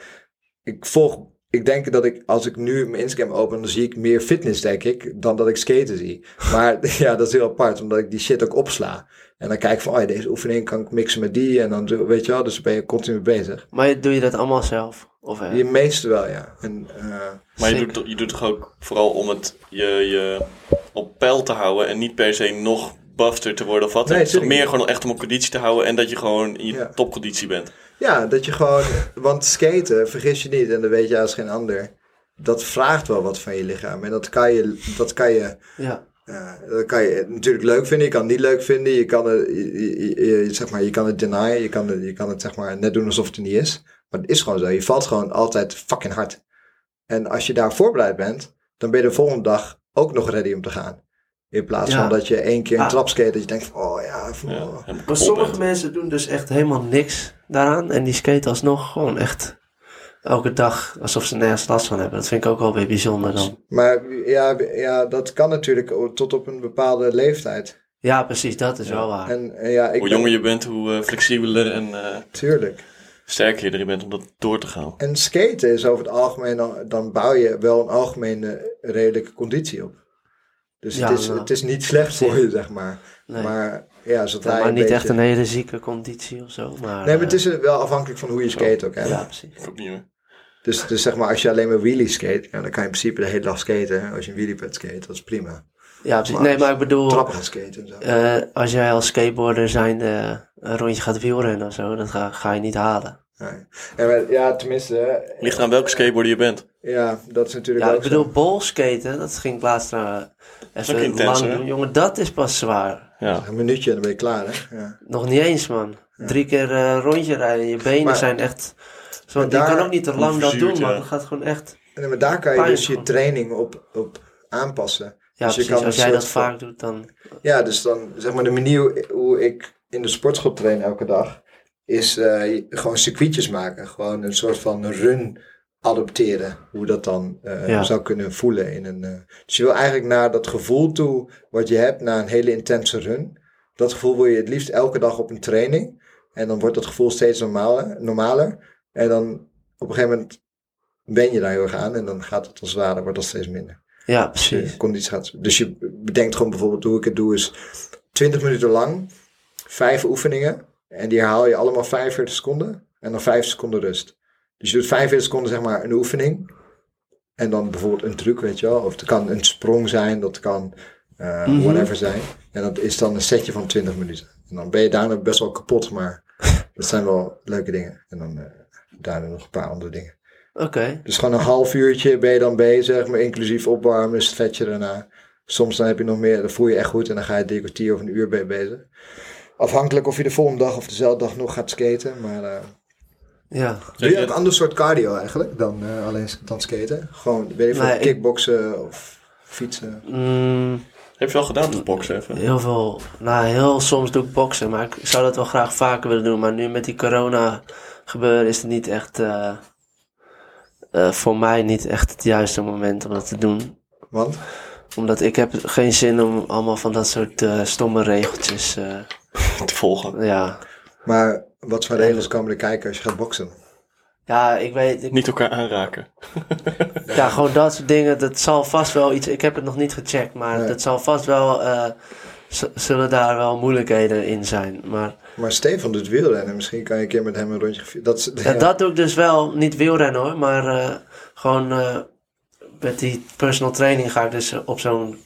Ik volg. Ik denk dat ik, als ik nu mijn Instagram open, dan zie ik meer fitness, denk ik, dan dat ik skaten zie. Maar ja, dat is heel apart, omdat ik die shit ook opsla. En dan kijk ik van, oh ja, deze oefening kan ik mixen met die. En dan, doe- weet je wel, dus dan ben je continu bezig.
Maar doe je dat allemaal zelf? Of, eh,
Je meeste wel, ja. En, eh,
Maar je
Zeker.
doet, je doet toch ook vooral om het je, je op peil te houden en niet per se nog bufter te worden of wat.
Nee,
het is toch
zeker
meer gewoon echt om een conditie te houden en dat je gewoon in je
Ja.
topconditie bent.
Ja, dat je gewoon. Want skaten, vergis je niet, en dat weet je als geen ander. Dat vraagt wel wat van je lichaam. En dat kan je, dat kan je,
ja.
eh, dat kan je natuurlijk leuk vinden. Je kan het niet leuk vinden. Je kan het, je, je- je- zeg maar, je kan het denyen. Je kan het, je kan het zeg maar, net doen alsof het er niet is. Maar het is gewoon zo. Je valt gewoon altijd fucking hard. En als je daar voorbereid bent, dan ben je de volgende dag ook nog ready om te gaan. In plaats
Ja.
van dat je één keer een
Ah.
trap skate dat je denkt van, oh ja, van-
Ja,
oh.
helemaal
Maar
kapot
sommige
bent.
mensen doen dus echt helemaal niks daaraan. En die skaten alsnog gewoon echt elke dag alsof ze nergens last van hebben. Dat vind ik ook wel weer bijzonder dan.
Maar ja, ja, dat kan natuurlijk o- tot op een bepaalde leeftijd.
Ja, precies, dat is wel waar.
En eh, ja, ik
Hoe jonger je bent, hoe eh, flexibeler en eh,
Tuurlijk.
sterker je erin bent om dat door te gaan.
En skaten is over het algemeen, al- dan bouw je wel een algemene redelijke conditie op. Dus
Ja,
het, is,
nou.
het is niet slecht voor je, zeg maar.
Nee.
Maar ja, zodra
Ja,
je
maar
een
niet
beetje-
echt een hele zieke conditie of zo. Maar,
Nee, maar het
eh,
is wel afhankelijk van hoe je skate ook. Hè?
Ja, precies.
Ik ook niet meer.
Dus, dus zeg maar, als je alleen maar wheelie skate, ja, dan kan je in principe de hele dag skaten. hè. Als je een wheeliepad skate, dat is prima.
Ja, precies.
Maar
Nee,
als-
maar ik bedoel,
Trappen gaan skaten en zo.
eh, als jij als skateboarder zijn een rondje gaat wielrennen of zo, dat ga, ga je niet halen.
Nee. En maar- ja, tenminste, hè,
Ligt aan welke skateboarder je bent.
ja, dat is natuurlijk
Ja,
ook
ik bedoel,
zo.
bolskaten, dat ging ik laatst eh,
ook
even
intens,
lang
hè?
doen. Jongen, dat is pas zwaar.
Ja.
Een minuutje en dan ben je klaar, hè? Ja.
Nog niet eens, man. Drie keer eh, rondje rijden. Je benen
Maar-
zijn echt... Zo,
maar
je
daar-
kan ook niet te lang dat
Verzuurd,
doen, man.
ja.
Dat gaat gewoon echt...
En, maar daar kan je
Pijn
dus je
gewoon.
training op, op aanpassen.
Ja,
Dus je kan
precies.
een
Als jij
soort
dat
van-
vaak doet, dan...
Ja, dus dan zeg maar de manier hoe ik in de sportschool train elke dag, is eh, gewoon circuitjes maken. Gewoon een soort van run adopteren. Hoe dat dan eh,
Ja.
zou kunnen voelen. In een, eh, dus je wil eigenlijk naar dat gevoel toe wat je hebt na een hele intense run. Dat gevoel wil je het liefst elke dag op een training. En dan wordt dat gevoel steeds normaler. normaler. En dan op een gegeven moment ben je daar heel erg aan. En dan gaat het als het ware, wordt dat steeds minder.
Ja, precies.
Je conditie gaat. Dus je bedenkt gewoon bijvoorbeeld hoe ik het doe is 20 minuten lang, vijf oefeningen en die herhaal je allemaal 45 seconden en dan 5 seconden rust. Dus je doet 45 seconden zeg maar een oefening en dan bijvoorbeeld een truc, weet je wel. Of het kan een sprong zijn, dat kan eh,
Mhm.
whatever zijn. En dat is dan een setje van 20 minuten. En dan ben je daarna best wel kapot, maar dat zijn wel leuke dingen. En dan eh, daarna nog een paar andere dingen.
Oké.
Dus gewoon een half uurtje ben je dan bezig, maar inclusief opwarmen, stretchen daarna. Soms dan heb je nog meer, dan voel je je echt goed en dan ga je drie kwartier of een uur ben je bezig. Afhankelijk of je de volgende dag of dezelfde dag nog gaat skaten. Maar eh
Ja.
doe je ook
het-
ander soort cardio eigenlijk dan eh, alleen sk- dan skaten? Gewoon, weet je veel,
Nee, ik-
kickboksen of fietsen?
Mm,
Heb je wel gedaan tot boksen even?
Heel veel, nou heel soms doe ik boksen, maar ik zou dat wel graag vaker willen doen. Maar nu met die corona gebeuren is het niet echt, eh, eh, voor mij niet echt het juiste moment om dat te doen.
Want?
Omdat ik heb geen zin om allemaal van dat soort eh, stomme regeltjes, eh,
Te volgen.
ja.
Maar wat voor regels komen er kijken als je gaat boksen?
Ja, ik weet, ik-
Niet elkaar aanraken.
ja, gewoon dat soort dingen, dat zal vast wel iets, ik heb het nog niet gecheckt, maar
Nee.
dat zal vast wel, eh, z- zullen daar wel moeilijkheden in zijn. Maar
Maar Stefan doet wielrennen, misschien kan je een keer met hem een rondje... gevi- Dat, is-
Ja, dat doe ik dus wel. Niet wielrennen hoor, maar eh, gewoon eh, met die personal training ga ik dus op zo'n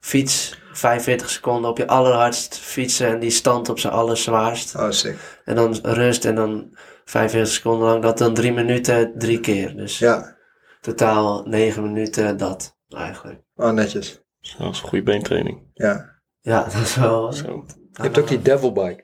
fiets 45 seconden op je allerhardst fietsen en die stand op zijn allerzwaarst.
Oh, sick.
En dan rust en dan 45 seconden lang dat dan drie minuten drie keer. Dus
Ja.
totaal 9 minuten dat eigenlijk.
Oh, netjes.
Zo, Dat is een goede beentraining.
Ah,
Ja.
Ja, dat is wel...
Zo.
Je hebt
nou.
ook die devil bike.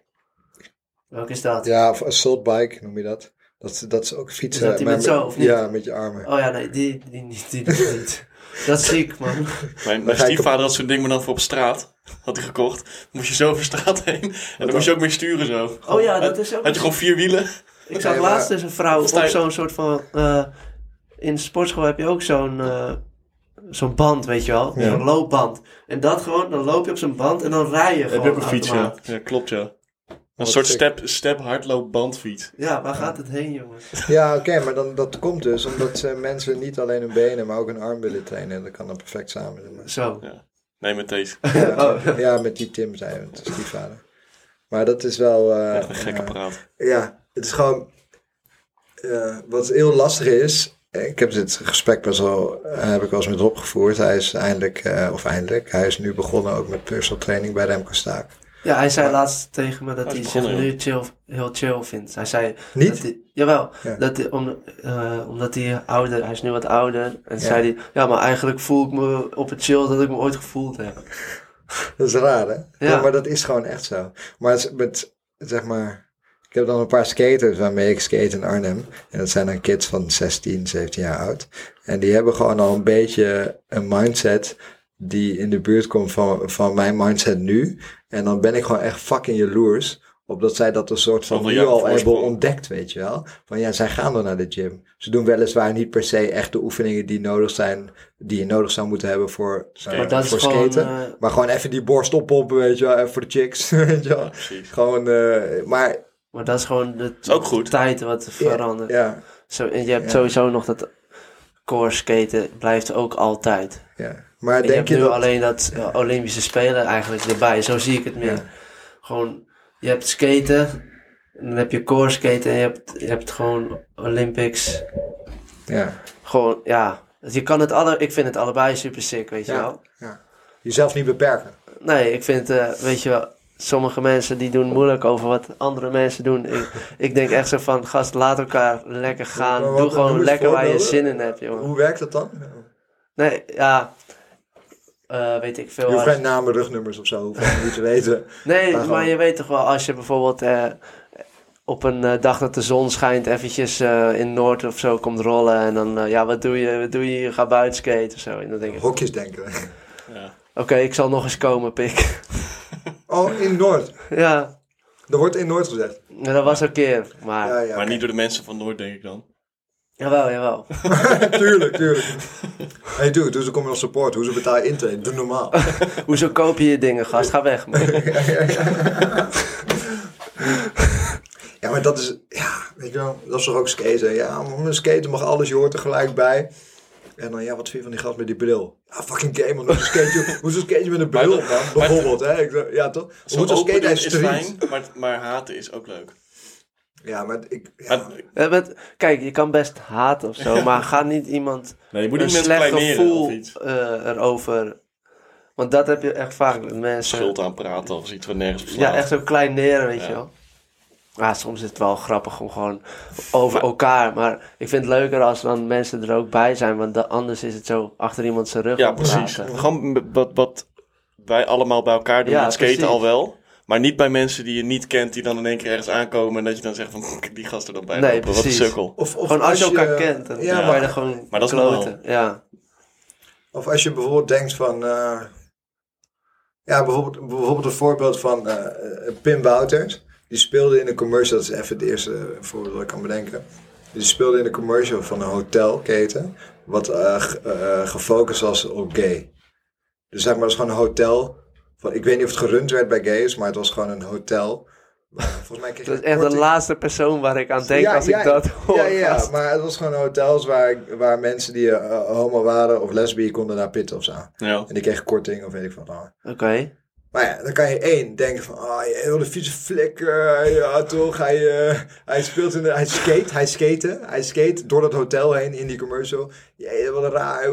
Welke is dat?
Ja, of assault bike noem je dat. Dat, dat is ook fietsen.
Is dat die
maar
met zo, of niet?
Ja, met je armen.
Oh ja, nee, die, die, die, die, die niet. Dat is ziek, man.
Mijn, mijn
ga ik op-
stiefvader had zo'n ding maar dan voor op straat. Had hij gekocht. Dan moest je zo over straat heen. En dan moest je ook mee sturen zo.
Oh ja, dat is ook...
Had je gewoon vier wielen.
Ik zag
Nee, maar-
laatst dus een vrouw op
Sta je-
zo'n soort van... eh, in de sportschool heb je ook zo'n... eh, Zo'n band, weet je wel?
Ja.
Zo'n loopband. En dat gewoon, dan loop je op zo'n band en dan rij je gewoon.
Heb je ook een fiets, ja.
automaat.
Ja, klopt, ja. Een
Wat
soort
sick.
step, step hardloop bandfiets.
Ja, waar gaat het heen, jongens?
Ja, oké, maar dan, dat komt dus omdat eh, mensen niet alleen hun benen, maar ook hun arm willen trainen. En dat kan dan perfect samen doen.
Zo.
Nee, met deze.
Ja,
Oh.
ja, met die Tim zijn we, het is die vader. Maar dat is wel... eh,
Echt een gekke
eh,
praat.
ja, het is gewoon... eh, wat heel lastig is... eh, Ik heb dit gesprek best wel, eh, heb ik wel eens met Rob gevoerd. Hij is eindelijk, eh, of eindelijk, hij is nu begonnen ook met personal training bij Remco Staak.
Ja, hij zei laatst tegen me dat
Hij
hij
is
zich
begonnen,
nu chill, heel chill vindt. Hij zei...
Niet?
Dat hij, jawel.
Ja.
Dat hij, om, eh, omdat hij ouder... Hij is nu wat ouder. En
Ja.
zei hij... Ja, maar eigenlijk voel ik me op het chill dat ik me ooit gevoeld heb.
Dat is raar, hè?
Ja.
maar dat is gewoon echt zo. Maar het is met, zeg maar... Ik heb dan een paar skaters waarmee ik skate in Arnhem. En dat zijn dan kids van 16, 17 jaar oud. En die hebben gewoon al een beetje een mindset... die in de buurt komt van, van mijn mindset nu. En dan ben ik gewoon echt fucking jaloers... opdat zij dat een soort van
Zoveel
nu
jaar
al hebben
voorsprong.
ontdekt, weet je wel. Van ja, zij gaan dan naar de gym. Ze doen weliswaar niet per se echt de oefeningen die nodig zijn... die je nodig zou moeten hebben voor,
Skaten.
eh,
Maar dat is
voor
gewoon...
skaten.
eh,
Maar gewoon even die borst oppompen, weet je wel. Even voor de chicks, weet je
Ja,
wel.
precies.
Gewoon, eh, maar
Maar dat is gewoon de
Is ook goed.
tijd wat verandert.
ja,
Zo, en je hebt
Ja.
sowieso nog dat core skaten blijft ook altijd. En
ja. Maar
je hebt
denk je
nu
dat...
alleen dat eh, Olympische Spelen eigenlijk erbij. Zo zie ik het meer.
Ja.
Gewoon, je hebt skaten, en dan heb je core skaten en je hebt, je hebt gewoon Olympics.
Ja,
Gewoon, ja. Je kan het alle, ik vind het allebei super sick, weet je
Ja.
wel.
jezelf niet beperken.
Nee, ik vind, eh, weet je wel, sommige mensen die doen moeilijk over wat andere mensen doen. Ik, ik denk echt zo van, gast, laat elkaar lekker gaan.
Maar wat-
Doe
noem
gewoon
eens
lekker waar je
voorbeelden.
zin in hebt, jongen.
Hoe werkt dat dan?
Nee, ja. Eh, weet ik
Je
veel.
hoeft
Als-
geen namen, rugnummers of zo. Hoef je niet te weten.
Nee,
maar gewoon-
maar je weet toch wel, als je bijvoorbeeld eh, op een eh, dag dat de zon schijnt, eventjes eh, in Noord of zo komt rollen. En dan, eh, ja, wat doe je? Wat doe je? Je gaat buiten skaten of zo. En dan denk ik, oké,
Hokjes denken.
Ja.
ik zal nog eens komen, pik.
Oh, in Noord.
ja,
Er wordt in Noord gezegd.
en dat was een keer. Maar,
Ja, ja.
Maar niet door de mensen van Noord, denk ik dan.
jawel, jawel.
tuurlijk, tuurlijk. Hey, dude, dus dan kom je als support. Hoezo betaal je intrede? Doe normaal.
Hoezo koop je je dingen, gast? Ga weg, man.
Ja, maar dat is, ja, weet je wel, dat is toch ook skaten. Ja, maar met skaten mag alles, je hoort er gelijk bij. En dan, ja, wat vind je van die gast met die bril? Ja, fucking game, man. Hoezo skate je, hoezo skate je met een bril op, man? Bijvoorbeeld, hè? Ik, zeg, ja, toch?
Zo
Hoezo
open
skate
doen
hij
is
street?
fijn, maar, maar haten is ook leuk.
Ja, maar ik, ja,
Maar,
Eh, met- kijk, je kan best haat of zo, maar ga niet iemand
nee, je moet
een
niet mensen
slecht
kleineren of
gevoel
iets.
eh, erover. Want dat heb je echt vaak met mensen.
Schuld aan praten of iets wat nergens op slaat.
Ja, echt zo klein neren, weet
Ja.
je wel. Ah, soms is het wel grappig om gewoon over elkaar. Maar ik vind het leuker als dan mensen er ook bij zijn. Want da- anders is het zo achter iemand zijn rug
Ja,
om
precies.
praten.
Gewoon m- wat, wat wij allemaal bij elkaar doen.
Ja,
met skaten
precies.
al wel. Maar niet bij mensen die je niet kent, die dan in één keer ergens aankomen. En dat je dan zegt van, die gast er dan bij
Nee,
lopen. Wat een
precies.
sukkel.
of, of
Gewoon als je elkaar kent, dan
ja,
kan je
maar-
er gewoon
maar dat is
kloten. Ja.
Of als je bijvoorbeeld denkt van. eh, ja, bijvoorbeeld, bijvoorbeeld een voorbeeld van eh, eh, Pim Wouters. Die speelde in een commercial, dat is even het eerste voorbeeld dat ik kan bedenken. Die speelde in een commercial van een hotelketen. Wat eh, ge- eh, gefocust was op gay. Dus zeg maar, dat is gewoon een hotel. Van, ik weet niet of het gerund werd bij gays, maar het was gewoon een hotel. Maar Volgens mij kreeg je
Dat is echt de
korting.
laatste persoon waar ik aan denk als ik dat hoor.
Ja, ja,
gast.
maar het was gewoon hotels waar, waar mensen die eh, homo waren of lesbisch konden naar pitten of zo.
Ja.
En die kregen korting of weet ik wat. dan.
Oké.
Maar ja, dan kan je één denken van, ah, je hele vieze flik, eh, ja toch, hij, eh, hij speelt in de, hij skate, hij skate, hij skate door dat hotel heen in die commercial. Jee, wat een raar. eh,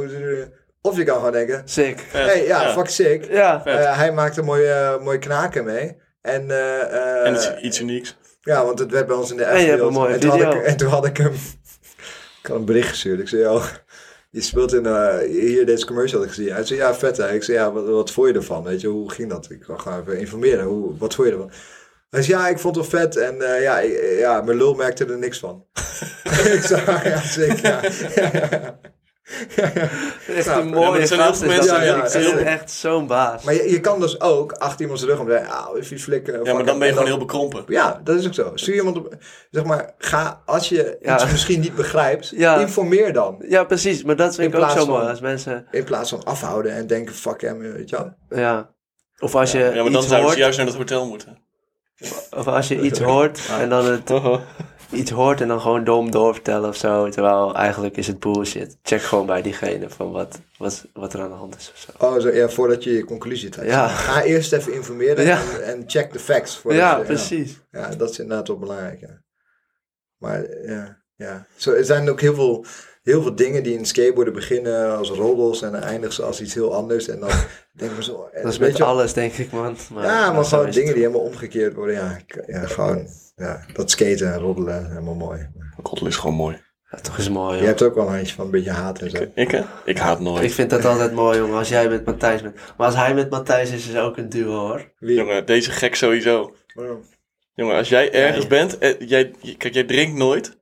Of je kan gewoon denken,
Sick.
Vet.
hey, ja,
Ja.
fuck sick.
Ja.
Vet.
Eh, hij maakt een mooie, eh, mooie knaken mee. En, eh, eh,
En het is iets unieks.
ja, want het werd bij ons in de app
En je hebt
gedeeld.
een mooie
en toen Had
video.
ik, en toen had ik hem... Ik had een bericht gestuurd. Ik zei, joh, je speelt in... eh, hier deze commercial had ik gezien. Hij zei, ja, vet hè. Ik zei, ja, wat, wat vond je ervan? Weet je, hoe ging dat? Ik wil gewoon even informeren. Hoe, wat vond je ervan? Hij zei, ja, ik vond het wel vet. En eh, ja, eh, ja, mijn lul merkte er niks van. ik zei, ja, zeker, ja.
Echt
Nou,
een
maar
mooie
er zijn heel
gast
veel
is dat.
mensen die-
Het
Ja, ja,
is
ja.
echt zo'n baas.
Maar je, je kan dus ook achter iemand zijn rug om zeggen, ah, even flikken.
Ja, maar dan ben je gewoon heel bekrompen.
eh,
Ja, dat is ook zo. Stuur iemand op... Zeg maar, ga... Als je
Ja.
iets misschien niet begrijpt,
Ja.
informeer dan.
Ja, precies. Maar dat vind
In
ik ook
plaats
zo mooi.
van-
Als mensen...
In plaats van afhouden en denken, fuck hem, weet je wel.
Ja. Of als je
Ja, maar dan
iets
zouden
hoort...
ze juist naar dat hotel moeten.
Of als je iets hoort en dan het... Iets hoort en dan gewoon dom doorvertellen of zo. Terwijl eigenlijk is het bullshit. Check gewoon bij diegene van wat, wat, wat er aan de hand is of zo.
Oh, zo, ja, voordat je je conclusie trekt.
Ja.
Ga eerst even informeren
Ja.
en, en check de facts. voordat
Ja,
je-
precies.
Ja, dat is inderdaad wel belangrijk, ja. Maar eh, ja, ja. Zo, er zijn ook heel veel, heel veel dingen die in skateboarden beginnen als roddels en dan eindigen ze als iets heel anders. En dan denken we zo... eh,
Dat is
weet
met
je wel,
alles, denk ik, man. Maar, nou,
Ja, maar
zo
gewoon
is het.
dingen die helemaal omgekeerd worden. Ja, ik- ja gewoon ja, dat skaten en roddelen, helemaal mooi.
Roddel is gewoon mooi.
Ja, toch is mooi,
Je
hoor.
hebt ook wel een handje van een beetje haat en zo.
Ik, hè? Ik haat nooit.
Ik vind dat altijd mooi, jongen, als jij met Matthijs bent. Maar als hij met Matthijs is, is ook een duo, hoor.
Wie?
Jongen, deze gek sowieso.
Waarom?
Jongen, als jij ergens
ja.
bent... eh, jij, je- kijk, jij drinkt nooit.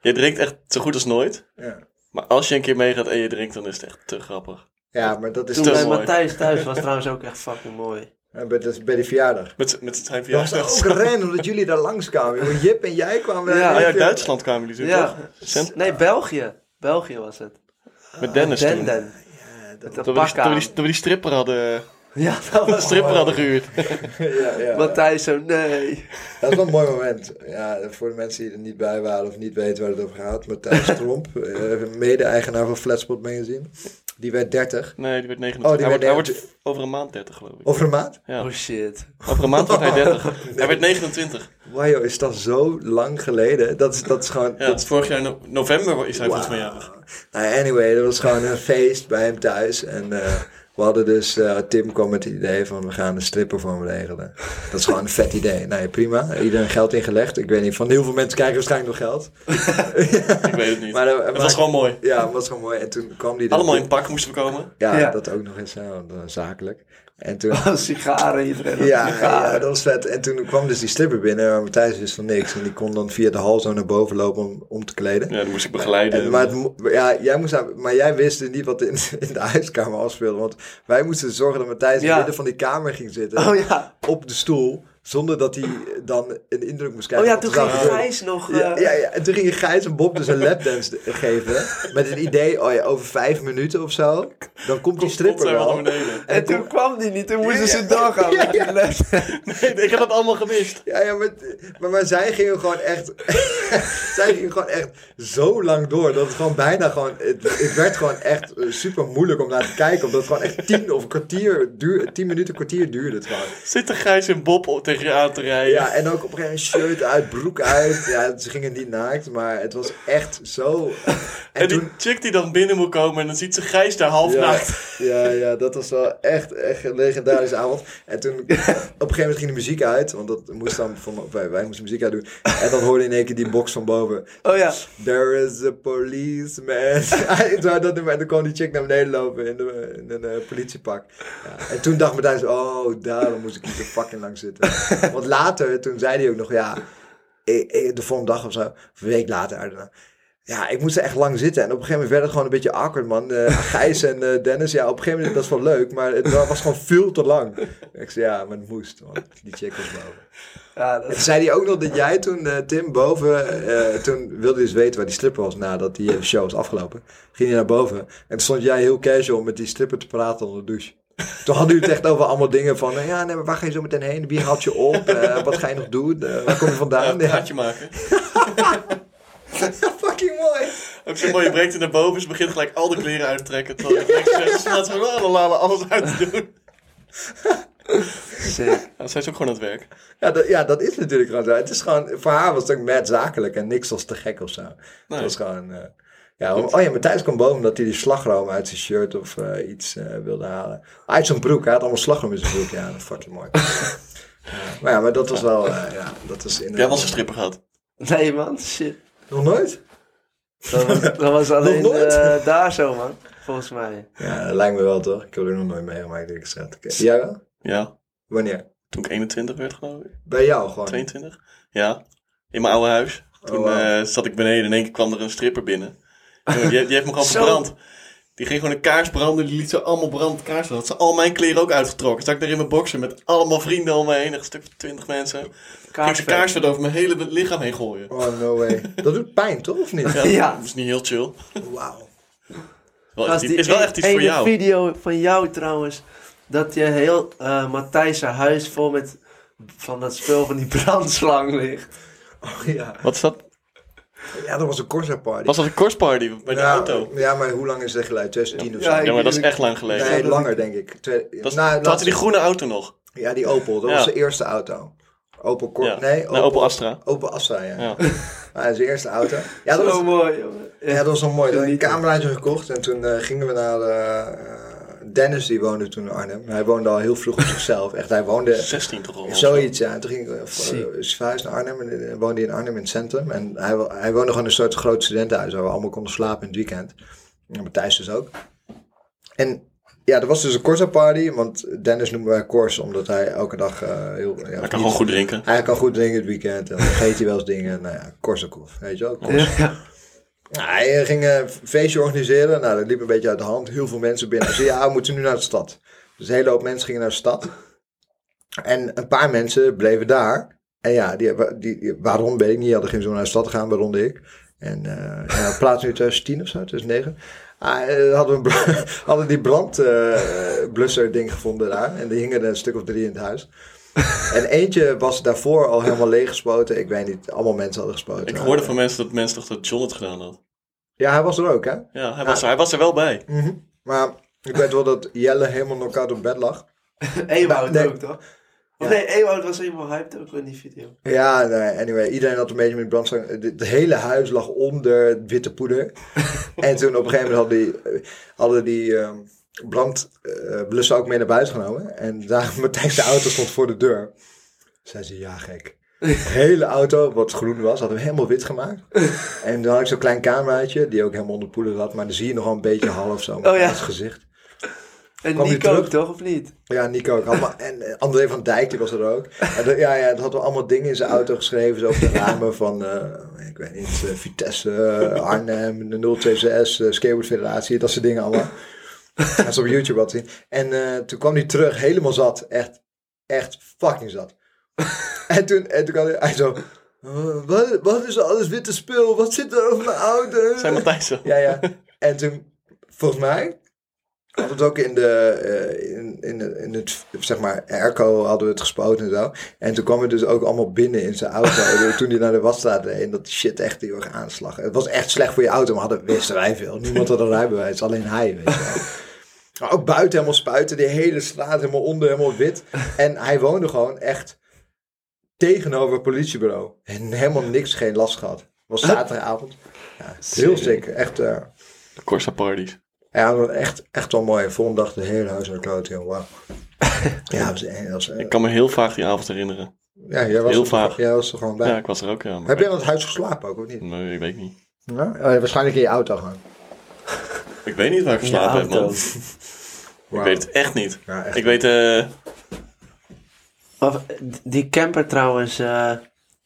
jij drinkt echt zo goed als nooit.
Ja.
Maar als je een keer meegaat en je drinkt, dan is het echt te grappig.
ja, maar dat is
Toen
te
toch...
bij
mooi.
Matthijs thuis was trouwens ook echt fucking mooi.
eh, Bij, de- bij de verjaardag.
Met, z'n- met zijn
Dat
verjaardag. Oh,
was ook random dat jullie daar langskwamen. jongen. Jip en jij kwamen.
Ja.
Ah ja,
daar.
Duitsland kwamen die toen,
Ja.
toch? Cent-
Nee, België. België was het.
Met Dennis
Den
toen. Dat
Den.
Ja, dat-
Met dat
we, die,
pak
dat, we
aan.
die, dat we die stripper hadden,
Ja, dat
Oh,
was...
stripper hadden gehuurd.
ja, ja.
Matthijs zo, nee.
Dat is wel een mooi moment. Ja, voor de mensen die er niet bij waren of niet weten waar het over gaat. Matthijs Tromp, eh, mede-eigenaar van Flatspot Magazine. Die werd 30.
Nee, die werd 29.
Oh, die
hij,
werd
wordt, hij wordt over een maand 30, geloof ik.
Over een maand?
Ja.
Oh shit.
Over een maand wordt hij 30. Hij werd 29.
Wauw, is dat zo lang geleden? Dat is, dat is gewoon...
Ja,
dat
dat is vorig jaar in november is hij
Wauw.
volgens mij jarig.
Nou, anyway, dat was gewoon een feest bij hem thuis. En eh, we hadden dus, eh, Tim kwam met het idee van we gaan een stripper voor hem regelen. Dat is gewoon een vet idee. Nee, prima. Iedereen geld ingelegd. Ik weet niet, van heel veel mensen krijgen waarschijnlijk nog geld.
Ik weet het niet.
Maar, eh,
het
maar-
was gewoon mooi.
Ja, dat was gewoon mooi. En toen kwam die...
Allemaal in pak moesten we komen.
Ja,
Ja.
dat ook nog eens, ja, want, eh, zakelijk. En toen...
Oh, sigaren, iedereen had
Ja,
sigaren.
ja, dat was vet. En toen kwam dus die stripper binnen, maar Matthijs wist van niks. En die kon dan via de hal zo naar boven lopen om, om te kleden.
Ja, dat moest ik begeleiden.
En, Eh, maar, het mo- ja, jij moest, daar- maar jij wist dus niet wat in, in de huiskamer afspeelde. Want wij moesten zorgen dat Matthijs in
Ja.
het midden van die kamer ging zitten.
Oh ja.
Op de stoel. Zonder dat hij dan een indruk moest
Oh
krijgen.
ja,
van wat
toen
er
ging
zou gebeuren.
Gijs nog...
Ja,
eh,
ja, ja, en toen ging Gijs en Bob dus een lapdance de- geven. Met het idee, oh ja, over vijf minuten of zo. Dan komt die
Komt- komt
stripper
hij wel
wel.
naar beneden.
En toen kwam die niet, toen moesten ze doorgaan
Ja,
met die
ja.
les.
ik heb dat allemaal gemist.
Ja, ja maar, maar, maar zij gingen gewoon echt. zij gingen gewoon echt zo lang door. Dat het gewoon bijna gewoon. Het, het werd gewoon echt eh, super moeilijk om naar te kijken. Omdat het gewoon echt tien of een kwartier duur, tien minuten kwartier duurde het gewoon.
Zitten Gijs en Bob op- tegen je aan te rijden.
Ja, en ook op een gegeven moment shirt uit, broek uit. Ja, ze gingen niet naakt, maar het was echt zo.
en die chick die dan binnen moet komen en dan ziet ze Gijs daar half
Ja,
naakt.
ja, ja, dat was wel echt, echt een legendarische avond. En toen, op een gegeven moment ging de muziek uit, want dat moest dan van, wij, wij moesten muziek uit doen. En dan hoorde je in één keer die box van boven.
Oh ja.
There is a policeman. Zo, dat nummer. En toen kwam die chick naar beneden lopen in, de, in een eh, politiepak. Ja. En toen dacht Matthijs, oh, daarom moest ik hier zo fucking lang zitten. Want later, toen zei hij ook nog, ja, ik- ik- de volgende dag of zo, of een week later, I don't know. Ja, ik moest er echt lang zitten. En op een gegeven moment werd het gewoon een beetje awkward, man. Eh, Gijs en eh, Dennis, ja, op een gegeven moment dat is wel leuk, maar het wa- was gewoon veel te lang. Ik zei, ja, maar het moest, want die chick was boven.
Ja, dat
En toen zei hij ook nog dat jij toen, eh, Tim, boven... eh, toen wilde hij dus weten waar die stripper was nadat die eh, show was afgelopen. Ging hij naar boven. En toen stond jij heel casual met die stripper te praten onder de douche. Toen hadden jullie het echt over allemaal dingen van... eh, ja, nee, maar waar ga je zo meteen heen? Wie haalt je op? Eh, wat ga je nog doen? Eh, waar kom je
Ja,
vandaan?
een
Ja,
praatje maken.
fucking mooi.
Ook zo mooi, je breekt er naar boven, ze begint gelijk al de kleren uit te trekken. Terwijl je gelijk zegt, ze laat ze van alles uit te doen.
is sick.
Ja, zij is ook gewoon aan het werk.
Ja dat, ja, dat is natuurlijk gewoon zo. Het is gewoon... Voor haar was het ook mad zakelijk. En niks was te gek of zo.
Nee.
Het was gewoon... eh, ja, om- oh ja, Matthijs kwam boven omdat hij die slagroom uit zijn shirt of eh, iets eh, wilde halen. Uit zijn broek, hij had allemaal slagroom in zijn broek. Ja, dat fucking mooi. Ja, maar ja, maar dat was wel, eh, ja, dat was inderdaad...
Jij was een stripper gehad.
Nee man, shit.
Nog nooit?
Dat was, dat was alleen
Nog nooit?
eh, daar zo man, volgens mij.
Ja, dat lijkt me wel toch? Ik heb er nog nooit meegemaakt, ik gezegd. Oké. Jij wel?
Ja,
Wanneer?
toen ik 21 werd geloof ik.
Bij jou gewoon?
22. Ja, in mijn oude huis. Toen
Oh, wauw.
eh, zat ik beneden en in één keer kwam er een stripper binnen. Jongen, Die, die heeft me gewoon
Zo.
verbrand. Die ging gewoon een kaars branden. Die liet ze allemaal brand kaarsen. Had ze al mijn kleren ook uitgetrokken. Zat ik daar in mijn boxen met allemaal vrienden om me heen. Een stuk van twintig mensen. Ging ze kaars verder over mijn hele lichaam heen gooien.
Oh, no way. Dat doet pijn, toch? Of niet?
Ja,
Ja.
Dat is niet heel chill.
Wauw.
Wel,
Was
echt- is wel
e-
echt iets voor
ene
jou.
video van jou trouwens. Dat je heel eh Matthijs' huis vol met van dat spul van die brandslang ligt.
Oh, ja.
Wat is dat?
ja, dat was een Corsa party.
Was dat een korsparty bij de
ja,
auto?
Ja, maar hoe lang is dat geleden? 2010 of zo?
Ja, ik-
Ja, maar dat is echt lang geleden.
nee,
dat-
langer denk ik. Twee-
Dat,
nou,
toen had
laatste-
hij die groene auto nog.
Ja, die Opel. Dat
Ja.
was de eerste auto. Opel Cor...
Ja.
Nee,
Opel, Opel Astra.
Opel Astra, ja.
Ja.
Maar dat is de eerste auto. Ja, dat was,
mooi, jongen.
ja, dat was nog mooi. Toen had ik een
Genieten.
cameraatje gekocht en toen eh, gingen we naar de, eh, Dennis, die woonde toen in Arnhem. Hij woonde al heel vroeg op zichzelf. Echt, hij woonde
16 toch al.
Zoiets, ja. En toen ging ik eh,
Zie.
voor- is verhuisd naar Arnhem. En eh, woonde hij in Arnhem in het centrum. En hij, wo- hij woonde gewoon in een soort groot studentenhuis... waar we allemaal konden slapen in het weekend. En Matthijs dus ook. En ja, er was dus een Corsa party. Want Dennis noemen wij Corsa... omdat hij elke dag eh, heel... Ja,
Hij kan gewoon goed drinken.
Hij kan goed dingen het weekend. En dan vergeet hij wel eens dingen. Nou ja, Korsakoff, weet je wel. Korsakoff. Nou, hij eh, ging eh, een feestje organiseren. Nou, dat liep een beetje uit de hand. Heel veel mensen binnen. Ze zei, ja, we moeten nu naar de stad. Dus een hele hoop mensen gingen naar de stad. En een paar mensen bleven daar. En ja, die, die, die- waarom weet ik niet. Die hadden geen zin om naar de stad te gaan, waaronder ik. En eh ja, plaats nu 2010 of zo, 2009. Ah, eh, hadden, we een bra- hadden die brandblusser ding gevonden daar. En die hingen er een stuk of drie in het huis. En eentje was daarvoor al helemaal leeggespoten. Ik weet niet, allemaal mensen hadden gespoten.
Ik hoorde van mensen dat mensen dachten dat John het gedaan had.
Ja, hij was er ook, hè?
Ja, hij was, er- hij was er wel bij.
Mhm. Maar ik weet wel dat Jelle helemaal knock-out op bed lag.
Ewoud
Nee.
ook, toch? Of
Ja.
nee, Ewoud was helemaal hyped ook in die video.
Ja, nee, anyway, iedereen had een beetje met brandstang. Het hele huis lag onder het witte poeder. en toen op een gegeven moment hadden die, eh, hadden die ehm, brandblussen ook mee naar buiten genomen. En daar meteen de auto stond voor de deur. Zei ze, ja gek. De hele auto, wat groen was, hadden we helemaal wit gemaakt. En dan had ik zo'n klein cameraatje, die ook helemaal onder poeder zat. Maar dan zie je nog wel een beetje half zo met
Oh ja.
het gezicht.
En
Kwam je
Nico ook,
terug?
toch? Of niet?
Ja, Nico ook. Allemaal, en eh, André van Dijk, die was er ook. En dat- ja, ja, dat hadden we allemaal dingen in zijn auto geschreven. Zo op de ramen van, eh, ik weet niet, eh, Vitesse, eh, Arnhem, de 026, eh, Skateboard Federatie. Dat soort dingen allemaal. Dat is op YouTube wat te zien. En eh, toen kwam hij terug, helemaal zat. Echt, echt fucking zat. en toen, en toen kwam hij, hij zo... "Eh, Wat, wat is er alles witte spul? Wat zit er over mijn auto?
Zijn Matthijs er?
Ja, ja. En toen, volgens mij, hadden we het ook in de, eh, in, in, de- in het, zeg maar, airco hadden we het gespoten en zo. En toen kwam het dus ook allemaal binnen in zijn auto. toen hij naar de wasstraat reed en dat shit echt heel erg aanslag. Het was echt slecht voor je auto, maar hadden, wisten wij veel. Niemand had een rijbewijs, alleen hij, weet je wel. Maar ook buiten helemaal spuiten, die hele straat helemaal onder, helemaal wit. En hij woonde gewoon echt tegenover het politiebureau. En helemaal niks, geen last gehad. Het was zaterdagavond. Ja, heel sick, echt... eh,
De Corsa parties.
ja, dat was echt, echt wel mooi. Volgende dag de hele huis naar kloot, joh. Wauw. ja, dat was, dat was, eh,
Ik kan me heel vaag die avond herinneren.
ja, jij was
heel
er, toch-
vaag.
Jij was er gewoon bij.
Ja, ik was er ook. Ja, maar
Heb jij in het huis geslapen ook, of niet?
Nee, ik weet niet.
Ja? Oh, ja, waarschijnlijk in je auto gewoon.
Ik weet niet waar ik geslapen heb, man.
auto.
Wauw.
Ik weet het echt niet.
Ja, echt.
Ik weet, eh,
Maar eh, die camper trouwens, eh,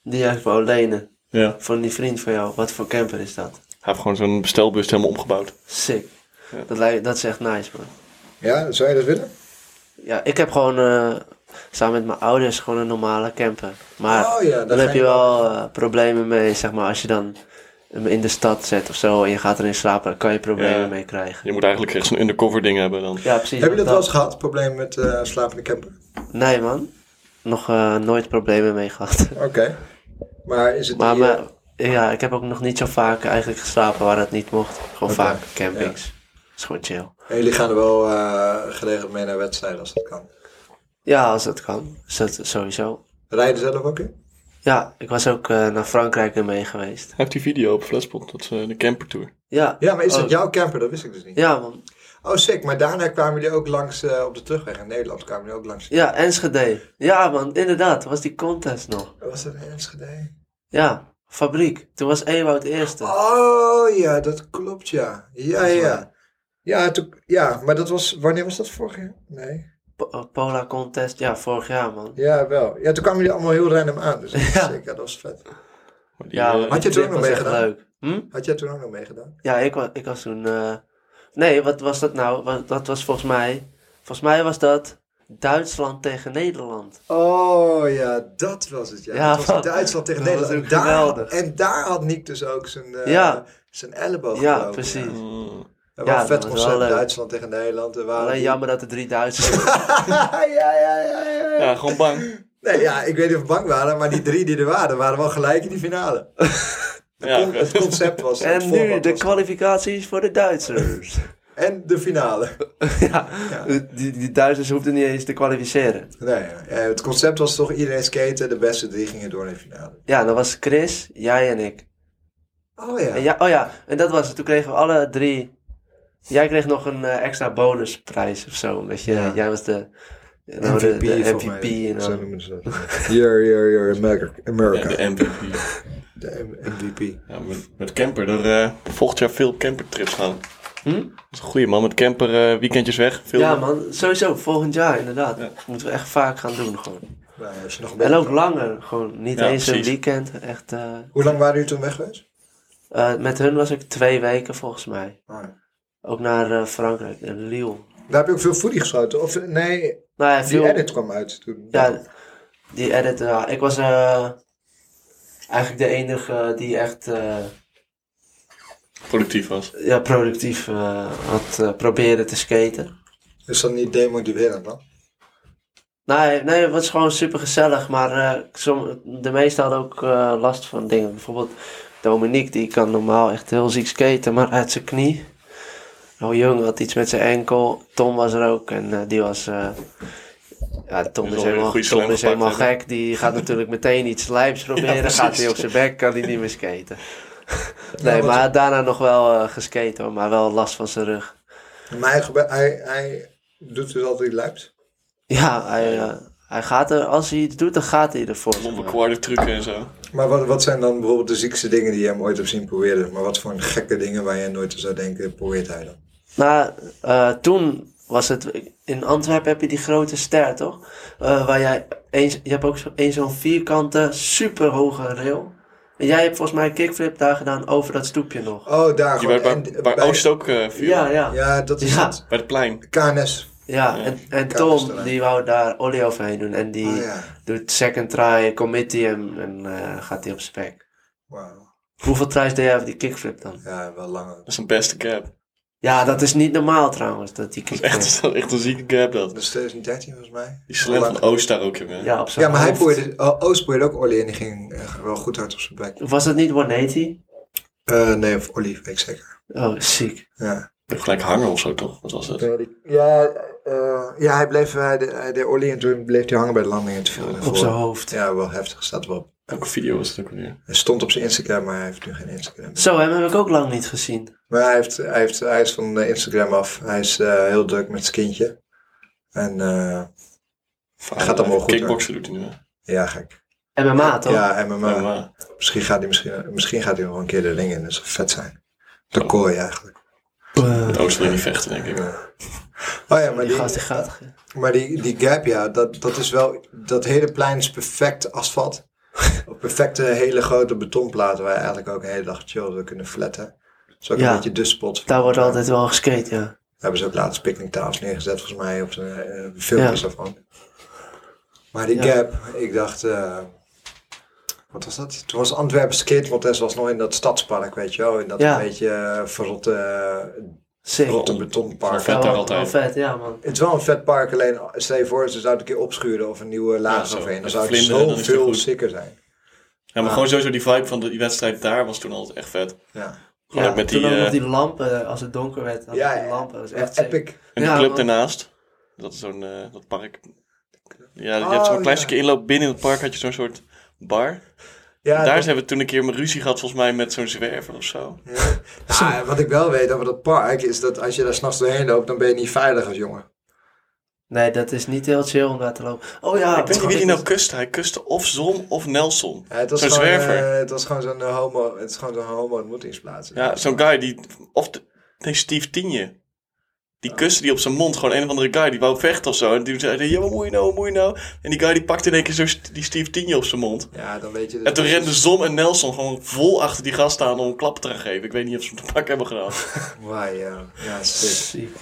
die jij wou lenen.
ja, hij
Van die vriend van jou. Wat voor camper is dat?
heeft gewoon zo'n bestelbus helemaal omgebouwd.
Sick.
Ja.
Dat, lijkt, dat is echt nice, man.
Ja, zou je dat willen?
Ja, ik heb gewoon eh, samen met mijn ouders gewoon een normale camper. Maar
Oh ja, dat
dan heb
zijn
je wel eh, problemen mee, zeg maar, als je dan hem in de stad zet of zo en je gaat erin slapen, dan kan je problemen
Ja.
mee krijgen.
Je moet eigenlijk echt zo'n undercover ding hebben dan.
Ja, precies.
Heb je dat
want
wel eens gehad, probleem met eh slapende camper?
Nee, man. Nog eh, nooit problemen mee gehad.
Oké. Maar is het eh,
Maar
hier-
me- ja, ik heb ook nog niet zo vaak eigenlijk geslapen waar dat niet mocht. Gewoon
Oké,
vaak campings. is gewoon chill.
En jullie gaan er wel eh, geregeld mee naar wedstrijden als dat kan.
Ja, als dat kan. Is dat sowieso.
Rijden zelf ook in?
Ja, ik was ook eh, naar Frankrijk ermee geweest.
Hij heeft die video op Flespot, dat is eh, de campertour.
Ja.
Ja, maar is dat
Oh.
jouw camper? Dat wist ik dus niet.
Ja, man.
Oh, sick. Maar daarna kwamen jullie ook langs eh, op de terugweg. In Nederland kwamen jullie ook langs.
Ja, Enschede. Ja, man, inderdaad. Was die contest nog.
Was dat in Enschede?
Ja, fabriek. Toen was Ewout eerste.
Oh ja, dat klopt ja. Ja,
is
ja.
waar.
Ja, toen- ja, maar dat was, wanneer was dat vorig jaar? Nee.
Po- eh, Pola contest. Ja, vorig jaar, man.
Ja, wel. Ja, toen kwamen jullie allemaal heel random aan. Dus dat, was
Ja.
sick. Ja, dat was vet.
Maar die,
Ja,
eh,
Had je het
dit
ook nog
was echt
meegedaan?
leuk. Hm?
Had jij toen ook nog meegedaan?
Ja, ik, wa- ik was toen. eh, Nee, wat was dat nou? Wa- Dat was volgens mij. Volgens mij was dat Duitsland tegen Nederland.
Oh ja, dat was het. Ja,
Ja,
dat was
wat-
Duitsland tegen
dat was
Nederland. En
ook
daar,
geweldig.
en daar had Nick dus ook zijn, eh,
Ja.
zijn elleboog
Ja,
gebroken,
precies.
mm,
Ja,
Ja,
ja, vet
dat was
concept.
wel leuk.
Duitsland tegen Nederland. Er waren
Alleen
Ah, die-
jammer dat er drie Duitsers.
ja, ja, ja, ja, ja.
ja, gewoon bang.
Nee, ja, ik weet niet of we bang waren, maar die drie die er waren, waren wel gelijk in die finale. De
Ja,
con-
oké.
het concept was. het
en nu
format
de
was-
kwalificaties voor de Duitsers.
en de finale.
ja,
Ja.
Die, die Duitsers hoefden niet eens te kwalificeren.
Nee, ja, eh, het concept was toch iedereen skaten, de beste drie gingen door naar de finale.
Ja, dat was Chris, jij en ik.
Oh ja.
En ja, oh ja, en dat was het. Toen kregen we alle drie. Jij kreeg nog een eh, extra bonusprijs of zo. Omdat je,
Ja.
jij was de nou, de-
MVP,
de,
volgens mij.
MVP. en
Zo
dan-
noemen ze dat. You're, you're, you're America.
Ja,
America.
de MVP.
De M- MVP.
Ja, met, met camper. Er eh, volgend jaar veel campertrips gaan.
Hm?
Dat is een goeie man. Met camper eh, weekendjes weg. Veel
Ja, man, sowieso, volgend jaar inderdaad.
Ja.
Moeten we echt vaak gaan doen gewoon.
Nou, als je nog een
En
beetje-
ook langer, gewoon niet
Ja,
eens een
precies.
weekend. Echt, eh,
Hoe lang waren jullie toen weg geweest?
eh, met hun was ik twee weken volgens mij.
Ah, ja.
Ook naar eh, Frankrijk, naar Lille.
Daar heb je ook veel foodie geschoten. Of nee,
Nou ja,
die
veel,
edit kwam uit toen.
Ja, die edit, ja. Ik was eh, eigenlijk de enige die echt eh,
productief was.
ja, productief eh, had eh, proberen te skaten.
Is dat niet demotiverend dan?
Nee, nee, het was gewoon super gezellig, maar eh, som- de meesten hadden ook eh, last van dingen. Bijvoorbeeld Dominique, die kan normaal echt heel ziek skaten, maar uit zijn knie. Oh jong, had iets met zijn enkel. Tom was er ook en eh, die was. eh, ja, Tom
alweer
is
een
helemaal,
goede
Tom
slam
is helemaal
gepakt hebben.
gek. Die gaat natuurlijk meteen iets lijps proberen.
precies.
gaat hij op zijn bek, kan hij niet meer skaten. Nee,
wat-
maar daarna nog wel eh geskaten hoor, maar wel last van zijn rug.
Maar hij, gebe- hij, hij doet dus altijd lijpt.
Ja, hij, eh, hij gaat er, als hij iets doet, dan gaat hij ervoor. zeg maar.
Onbekwaarde trucken en zo.
Maar wat, wat zijn dan bijvoorbeeld de ziekste dingen die je hem ooit hebt zien proberen? Maar wat voor gekke dingen waar je nooit aan zou denken, probeert hij dan?
Nou, eh, toen was het. In Antwerpen heb je die grote ster, toch? Eh, waar jij. Eens, je hebt ook zo- één zo'n vierkante, superhoge rail. En jij hebt volgens mij een kickflip daar gedaan over dat stoepje nog.
Oh, daar
Die
gewoon.
waar,
en
waar, waar
bij-
Oost ook eh, viel.
Ja, ja. Ja,
Ja, dat is
Ja.
het.
Bij het plein.
KNS.
Ja.
en, en
Kan best
Tom
wel, hè.
die wou daar olie overheen doen. En die
Oh ja,
doet second try, committee en, en eh, gaat die op spec.
wauw.
Hoeveel tries deed jij over die kickflip dan?
Ja, wel langer.
Dat is een beste cap.
Ja, dat is niet normaal trouwens, dat die kickflip.
Echt, dat is echt een zieke cap dat.
Dat is 2013 volgens mij.
Die slam van
Lang.
Oost daar ook, jongen.
Ja, op zo'n
Ja, maar hij
hoofd.
probeerde, O- Oost probeerde ook Ollie en die ging eh, wel goed hard op zijn bek.
Was dat niet 180?
Eh, nee, of Ollie, weet ik zeker.
Oh, ziek.
Ja,
Heb gelijk hangen of zo, toch? Wat was dat?
ja, eh, ja hij bleef, hij, de, Ollie en toen bleef hij hangen bij de landing en het viel
Op zijn hoofd.
Ja, wel heftig, staat wel op.
Welke video was het ook alweer?
Hij stond op zijn Instagram, maar hij heeft nu geen Instagram.
Zo, hem heb ik ook lang niet gezien.
Maar hij, heeft, hij, heeft, hij is van eh, Instagram af. Hij is eh, heel druk met zijn kindje. En eh,
Vader,
Gaat allemaal goed,
Kickboksen doet hij nu, hè?
ja, gek.
MMA toch?
Ja, MMA.
Ja, maar.
Misschien, gaat hij, misschien, misschien gaat hij nog wel een keer de ring in. Dat zou vet zijn. De kooi eigenlijk.
Met Oost wil je niet vechten, denk ik.
Oh ja, maar
Eh, die
die,
gast die gaat.
maar die, die gap, ja, dat, dat is wel... Dat hele plein is perfect asfalt. Een Perfecte hele grote betonplaten waar je eigenlijk ook een hele dag chillen kunnen flatten. Dat is ook
Ja.
een beetje de spot.
Daar wordt altijd wel geskate, ja.
Daar hebben ze ook laatst picknicktafels neergezet, volgens mij, op de eh, filmpjes
Ja.
daarvan. Maar die
Ja.
gap, ik dacht, eh, wat was dat? Toen was Antwerpen skateprotest was nog in dat stadspark, weet je wel. In dat
Ja.
een beetje eh, verrotte, eh,
Sick.
Rot. Rotte betonpark.
Vet daar
Wel-
altijd.
wel vet, ja man.
Het is wel een vet park, alleen stel je voor, ze zouden een keer opschuren of een nieuwe
Ja,
laag
zo.
overheen. Dan
Met
zou het
vlinderen, dan is het
zoveel
goed.
sicker zijn.
Ja, maar
Ah.
gewoon sowieso die vibe van de, die wedstrijd daar was toen altijd echt vet.
Ja,
Gewoon
Ja,
ook met
toen
die,
ook
eh,
nog die lampen, als het donker werd, had
ja
ik die lampen. Dat is
eh,
echt sick.
epic.
En die
Ja,
club
man.
daarnaast. Dat is zo'n, eh, dat park. Ja, je
Oh,
hebt zo'n klein
ja.
stukje inloop binnen in het park, had je zo'n soort bar.
Ja,
daar
dat-
hebben we toen een keer een ruzie gehad, volgens mij, met zo'n zwerver of zo.
ja. Ja, wat ik wel weet over dat park, is dat als je daar s'nachts doorheen loopt, dan ben je niet veilig als jongen.
Nee, dat is niet heel chill om daar te lopen. Oh ja,
ik weet niet
wat
wie die
ik-
nou kuste. Hij kuste of Zon of Nelson.
Ja, het was
Zo'n
gewoon,
zwerver.
eh, het was gewoon zo'n eh, homo, het is gewoon zo'n homo ontmoetingsplaats.
Ja, zo'n guy die... Of de, nee, Steve Tienje. Die kussen die op zijn mond, gewoon een of andere guy die wou vechten of zo. En die zei, yo, moet je nou, wat moet je nou? En die guy die pakte in één keer zo st- die Steve Tienje op zijn mond.
Ja, dan weet je... dat-
En toen renden Zom en Nelson gewoon vol achter die gast aan om een klap te gaan geven. Ik weet niet of ze hem te pak hebben gedaan.
Wauw, ja. Ja, sick.
dus Ziek.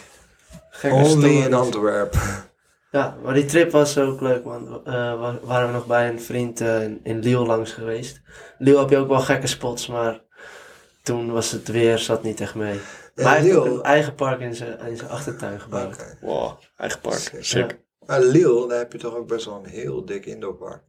Gekke
Only
stories.
in Antwerpen.
Ja, maar die trip was ook leuk, man. Eh, wa- waren we nog bij een vriend eh, in Liel langs geweest. Liel heb je ook wel gekke spots, maar toen was het weer, zat niet echt mee.
Ja,
maar hij heeft ook
Liel-
een eigen park in zijn, in zijn achtertuin
Oké.
gebouwd.
Wow, eigen park.
Sick.
Sick.
Ja.
Maar Lille, daar heb je toch ook best wel een heel dik indoorpark.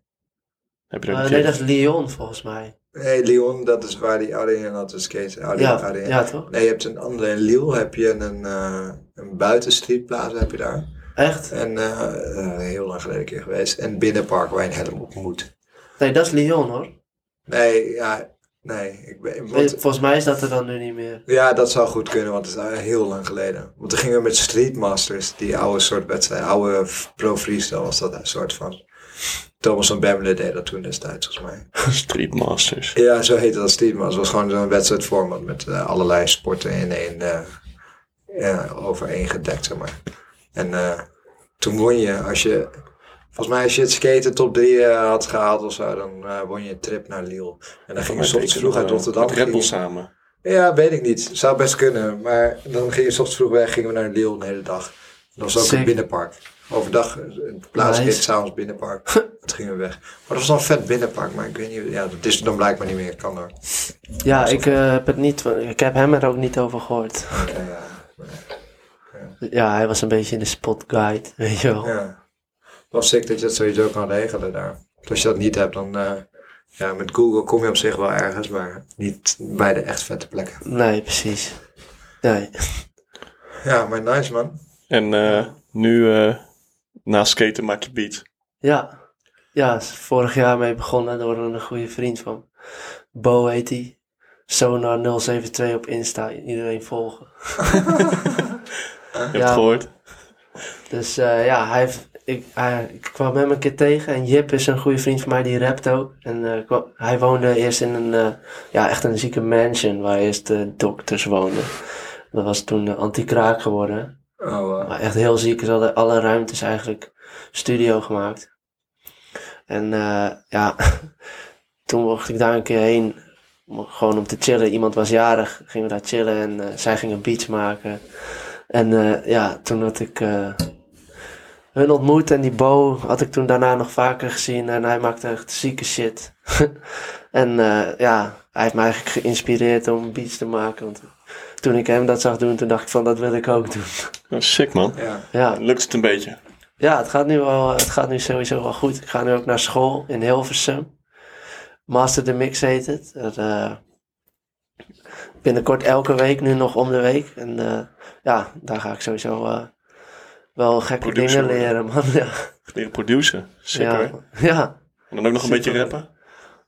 Heb je
Eh,
dat
nee,
gecheckt?
dat is Lyon volgens mij.
Hé, hey, Lyon, dat is waar die Arjen had te skaten. Arjen,
Ja,
Arjen.
ja, toch?
Nee, je hebt een andere. In Lille heb je een, eh een buitenstreetplaats heb je daar.
Echt?
En eh, eh, heel lang geleden een keer geweest. En binnenpark waar je een helm op moet.
Nee, dat is Lyon hoor.
Nee, ja, nee. Ik ben,
Nee,
want-
Volgens mij is dat er dan nu niet meer.
ja, dat zou goed kunnen, want het is eh, heel lang geleden. Want toen gingen we met Streetmasters, die oude soort wedstrijd, oude pro freestyle was dat een soort van. Thomas van Bemmelen deed dat toen destijds, volgens mij.
Street Masters.
Ja, zo heette dat Steve, maar het was gewoon zo'n wedstrijdformat met eh, allerlei sporten in één eh, ja, overeen gedekt, zeg maar. En eh, toen won je, als je, volgens mij als je het skaten top 3 had gehaald of zo, dan eh, won je een trip naar Lille. En dan ging je soms vroeg uit Rotterdam.
eh, Met Red Bull
ging je-
samen.
Ja, weet ik niet. Zou best kunnen. Maar dan ging je soms vroeg weg, gingen we naar Lille een hele dag. Dat was ook een
Sick.
binnenpark. Overdag eh, een plaats
Nice.
nice. s'avonds binnenpark. Dat gingen we weg. Maar dat was wel een vet binnenpark, maar ik weet niet. Ja, dat is dan blijkbaar niet meer. Kan hoor.
Ja, ik eh, heb het niet, ik heb hem er ook niet over gehoord.
Ja, ja.
Ja, hij was een beetje de spotguide, weet je wel.
ja. Het was sick dat je dat sowieso kan regelen daar. Want Als je dat niet hebt, dan. eh, ja, met Google kom je op zich wel ergens, maar niet bij de echt vette plekken.
Nee, precies. Nee.
Ja, maar nice man.
En eh, nu, eh, na skaten maak je beat.
Ja. Ja, is vorig jaar mee begonnen door een goede vriend van Bo heet hij. Sonar072 op Insta, iedereen volgen.
Je hebt
Ja.
het gehoord.
Dus eh, ja, hij heeft, ik, hij- ik kwam hem een keer tegen. En Jip is een goede vriend van mij, die rapt ook. En eh, kwam- hij woonde eerst in een, eh, ja, echt een zieke mansion waar eerst de dokters woonden. Dat was toen eh, anti-kraak geworden.
Oh, wow.
Maar echt heel ziek. Ze hadden alle ruimtes eigenlijk studio gemaakt. En eh, ja, toen mocht ik daar een keer heen. mo- Gewoon om te chillen. Iemand was jarig, gingen we daar chillen en eh, zij gingen een beats maken. En eh, ja, toen had ik eh, hun ontmoet en die Bo had ik toen daarna nog vaker gezien. En hij maakte echt zieke shit. en eh, ja, hij heeft me eigenlijk geïnspireerd om beats te maken. Want toen ik hem dat zag doen, toen dacht ik van dat wil ik ook doen.
Nou, sick man.
Ja.
Ja,
Lukt het een beetje?
ja het, gaat nu wel, het gaat nu sowieso wel goed. Ik ga nu ook naar school in Hilversum. Master the Mix heet het. Dat, eh, binnenkort elke week, nu nog om de week. En eh, ja, daar ga ik sowieso eh, wel gekke
Producer
dingen
worden.
leren, man. Ja,
Leren produceren. Sick
ja,
hoor.
ja.
En dan ook nog een
Sick,
beetje
hoor.
rappen.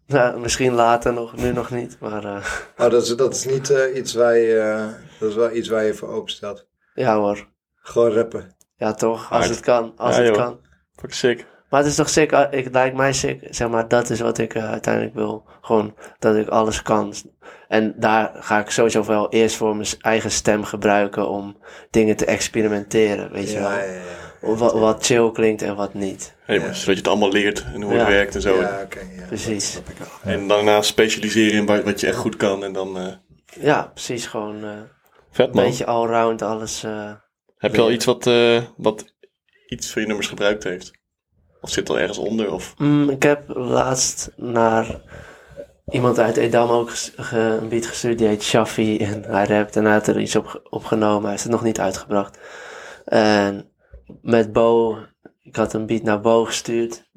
Nou, misschien later nog, nu nog niet. Maar eh,
Oh, dat is, dat is niet eh, iets waar je. eh, dat is wel iets waar je voor open staat.
ja hoor.
Gewoon rappen.
Ja toch, als
Hard.
het kan. Als
Ja,
het
joh.
kan.
Fuck sick.
Maar het is toch sick, eh, ik, lijkt mij sick, zeg maar, dat is wat ik eh, uiteindelijk wil. Gewoon, dat ik alles kan. En daar ga ik sowieso wel eerst voor mijn s- eigen stem gebruiken om dingen te experimenteren, weet je wel.
ja.
Wa- Wat, chill klinkt en wat niet.
Hey,
Ja.
maar, zodat je het allemaal leert en hoe het
Ja.
werkt en zo.
Ja, oké. ja.
Precies.
En daarna specialiseren in wat wat je echt goed kan. En dan eh,
Ja, precies, gewoon eh,
vet
een
man.
beetje allround alles. eh.
Heb je al
leren.
iets wat, eh, wat iets van je nummers gebruikt heeft? Of zit het al ergens onder? Of
Mm, ik heb laatst naar iemand uit Edam ook ges- ge- een beat gestuurd. Die heet Shafi. En hij rapt en hij had er iets op, opgenomen. Hij heeft het nog niet uitgebracht. En met Bo, ik had een beat naar Bo gestuurd.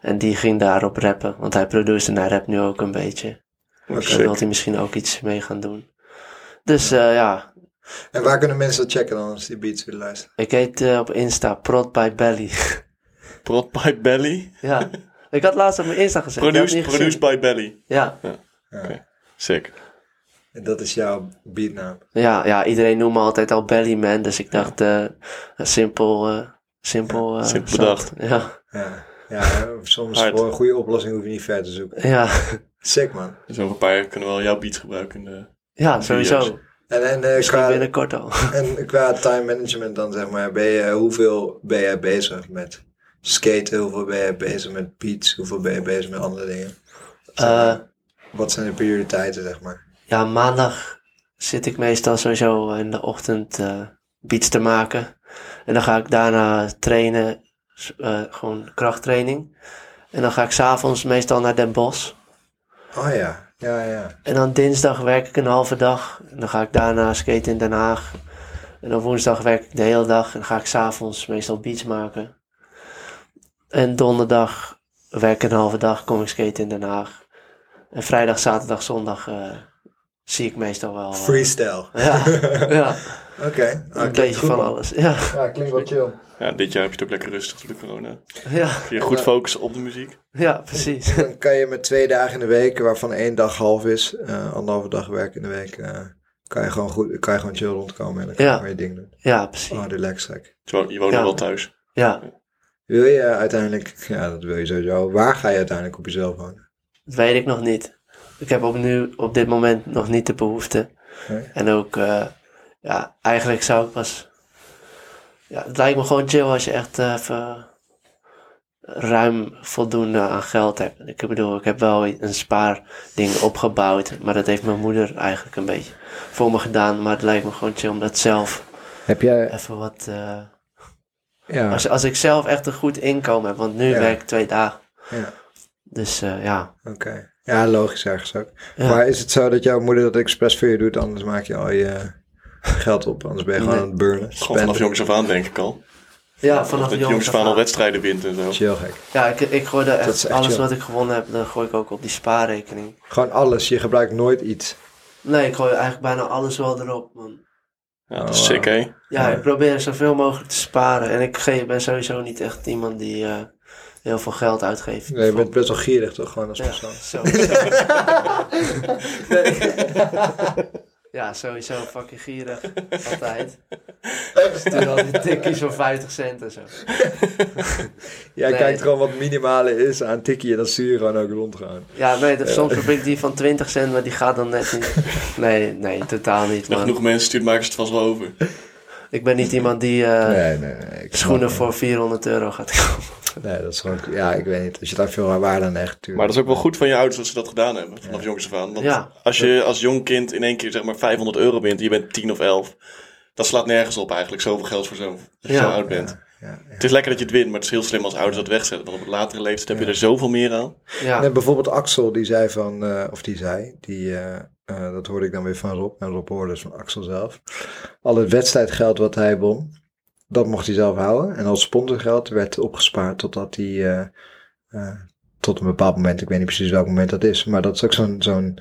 En die ging daarop rappen. Want hij produceert en hij rapt nu ook een beetje. Daar wil
Sick.
hij misschien ook iets mee gaan doen. Dus eh, ja,
En waar kunnen mensen dat checken dan als die beats willen luisteren?
ik heet eh, op Insta Prod by Belly.
Prod by Belly?
ja, ik had laatst op mijn Insta gezet. je had
Produced,
niet gezien.
produced by Belly.
Ja.
Sick.
En dat is jouw beatnaam.
Ja, ja, iedereen noemt me altijd al Bellyman, dus ik dacht, eh, simpel, eh, simpel. eh,
Simpel
zat.
bedacht.
Ja,
Ja. Ja, soms
Hard.
voor een goede oplossing hoef je niet ver te zoeken.
ja,
Sick man.
Dus over een paar jaar kunnen we al jouw beats gebruiken. in de-
ja, sowieso.
En, en, eh,
Misschien
qua,
binnenkort al.
en qua time management dan zeg maar, ben je, hoeveel ben jij bezig met skaten? Hoeveel ben jij bezig met beats? Hoeveel ben je bezig met andere dingen? Zeg maar,
Eh,
wat zijn de prioriteiten, zeg maar?
ja, maandag zit ik meestal sowieso in de ochtend eh, beats te maken. En dan ga ik daarna trainen, s- eh, gewoon krachttraining. En dan ga ik s'avonds meestal naar Den Bosch.
Oh ja, ja, ja.
En dan dinsdag werk ik een halve dag. En dan ga ik daarna skaten in Den Haag. En dan woensdag werk ik de hele dag. En dan ga ik s'avonds meestal beats maken. En donderdag werk ik een halve dag. Kom ik skaten in Den Haag. En vrijdag, zaterdag, zondag eh, zie ik meestal wel.
Oh.
eh,
Freestyle.
Ja, ja
Oké. Ah,
een
klinkt
beetje
goed,
van
man.
alles. Ja,
Ja, klinkt wel chill.
Ja, dit jaar heb je het ook lekker rustig door de corona.
ja,
Kun je goed focussen op de muziek.
ja, precies.
Dan kan je met twee dagen in de week, waarvan één dag half is, eh, anderhalve dag werk in de week, eh, kan, je gewoon goed, kan je gewoon chill rondkomen en dan kan je
Ja.
gewoon je ding doen.
Ja, precies.
Oh, relax gek.
Je wo- je woont
Ja.
nog wel thuis.
Ja,
Wil je uiteindelijk, ja dat wil je sowieso, waar ga je uiteindelijk op jezelf wonen?
Dat weet ik nog niet. Ik heb op, nu, op dit moment nog niet de behoefte.
Nee.
En ook, eh, ja, eigenlijk zou ik pas... Ja, het lijkt me gewoon chill als je echt eh, even ruim voldoende aan geld hebt. Ik bedoel, ik heb wel een spaarding opgebouwd. Maar dat heeft mijn moeder eigenlijk een beetje voor me gedaan. Maar het lijkt me gewoon chill om dat zelf
Heb jij,
even wat... eh,
ja,
als, als ik zelf echt een goed inkomen heb. Want nu
Ja.
werk ik twee dagen.
ja
Dus eh, ja.
oké. Ja, logisch ergens ook.
Ja.
Maar is het zo dat jouw moeder dat expres voor je doet, anders maak je al je geld op, anders ben je gewoon
Nee.
aan het burnen.
Gewoon vanaf
Spenden.
jongs af aan, denk ik al.
ja, vanaf
dat
de
je jongs
jongens
af aan
af
al
aan.
wedstrijden wint en zo.
Chill gek.
Ja, ik, ik gooi er
Dat is
echt,
echt
alles
chill.
wat ik gewonnen heb, dan gooi ik ook op die spaarrekening.
Gewoon alles, je gebruikt nooit iets.
Nee, ik gooi eigenlijk bijna alles wel erop, man.
Ja, dat
Oh,
is sick, hè?
Ja,
Ja.
ik probeer zoveel mogelijk te sparen. En ik ge- ben sowieso niet echt iemand die eh, heel veel geld uitgeeft.
Nee, je bent best wel gierig toch, gewoon als
ja,
persoon.
zo. ja, sowieso fucking gierig. Altijd. Dus doe al die tikkies van 50 cent en zo.
Jij
Nee.
kijkt gewoon wat minimale is aan tikkie en dan zie je gewoon ook rondgaan.
Ja, nee, dat- soms heb ik die van 20 cent, maar die gaat dan net niet. Nee, nee, totaal niet,
Nog
man.
genoeg mensen stuurt, maken ze het vast wel over.
Ik ben niet iemand die eh,
nee, nee, nee. ik
schoenen
snap
voor 400 euro gaat kopen.
het. Nee, dat is gewoon... Ja, ik weet niet. Als je daar veel aan waarde aan hecht, tuurlijk.
Maar dat is ook wel goed van je ouders dat ze dat gedaan hebben, vanaf jongs af aan. Want
Ja.
als je als jong kind in één keer zeg maar 500 euro bent en je bent 10 of 11, dat slaat nergens op eigenlijk, zoveel geld voor zo, als je
Ja.
zo oud bent.
Ja, ja.
Het is lekker dat je het wint, maar het is heel slim als ouders dat wegzetten. Want op een latere leeftijd heb je er zoveel meer aan.
Ja,
Net bijvoorbeeld Axel, die zei van... eh, of die zei, die... eh, eh, dat hoorde ik dan weer van Rob. En Rob hoorde dus van Axel zelf. Al het wedstrijdgeld wat hij won, dat mocht hij zelf houden. En al het sponsorgeld werd opgespaard totdat hij... eh, eh, tot een bepaald moment, ik weet niet precies welk moment dat is. Maar dat is ook zo'n zo'n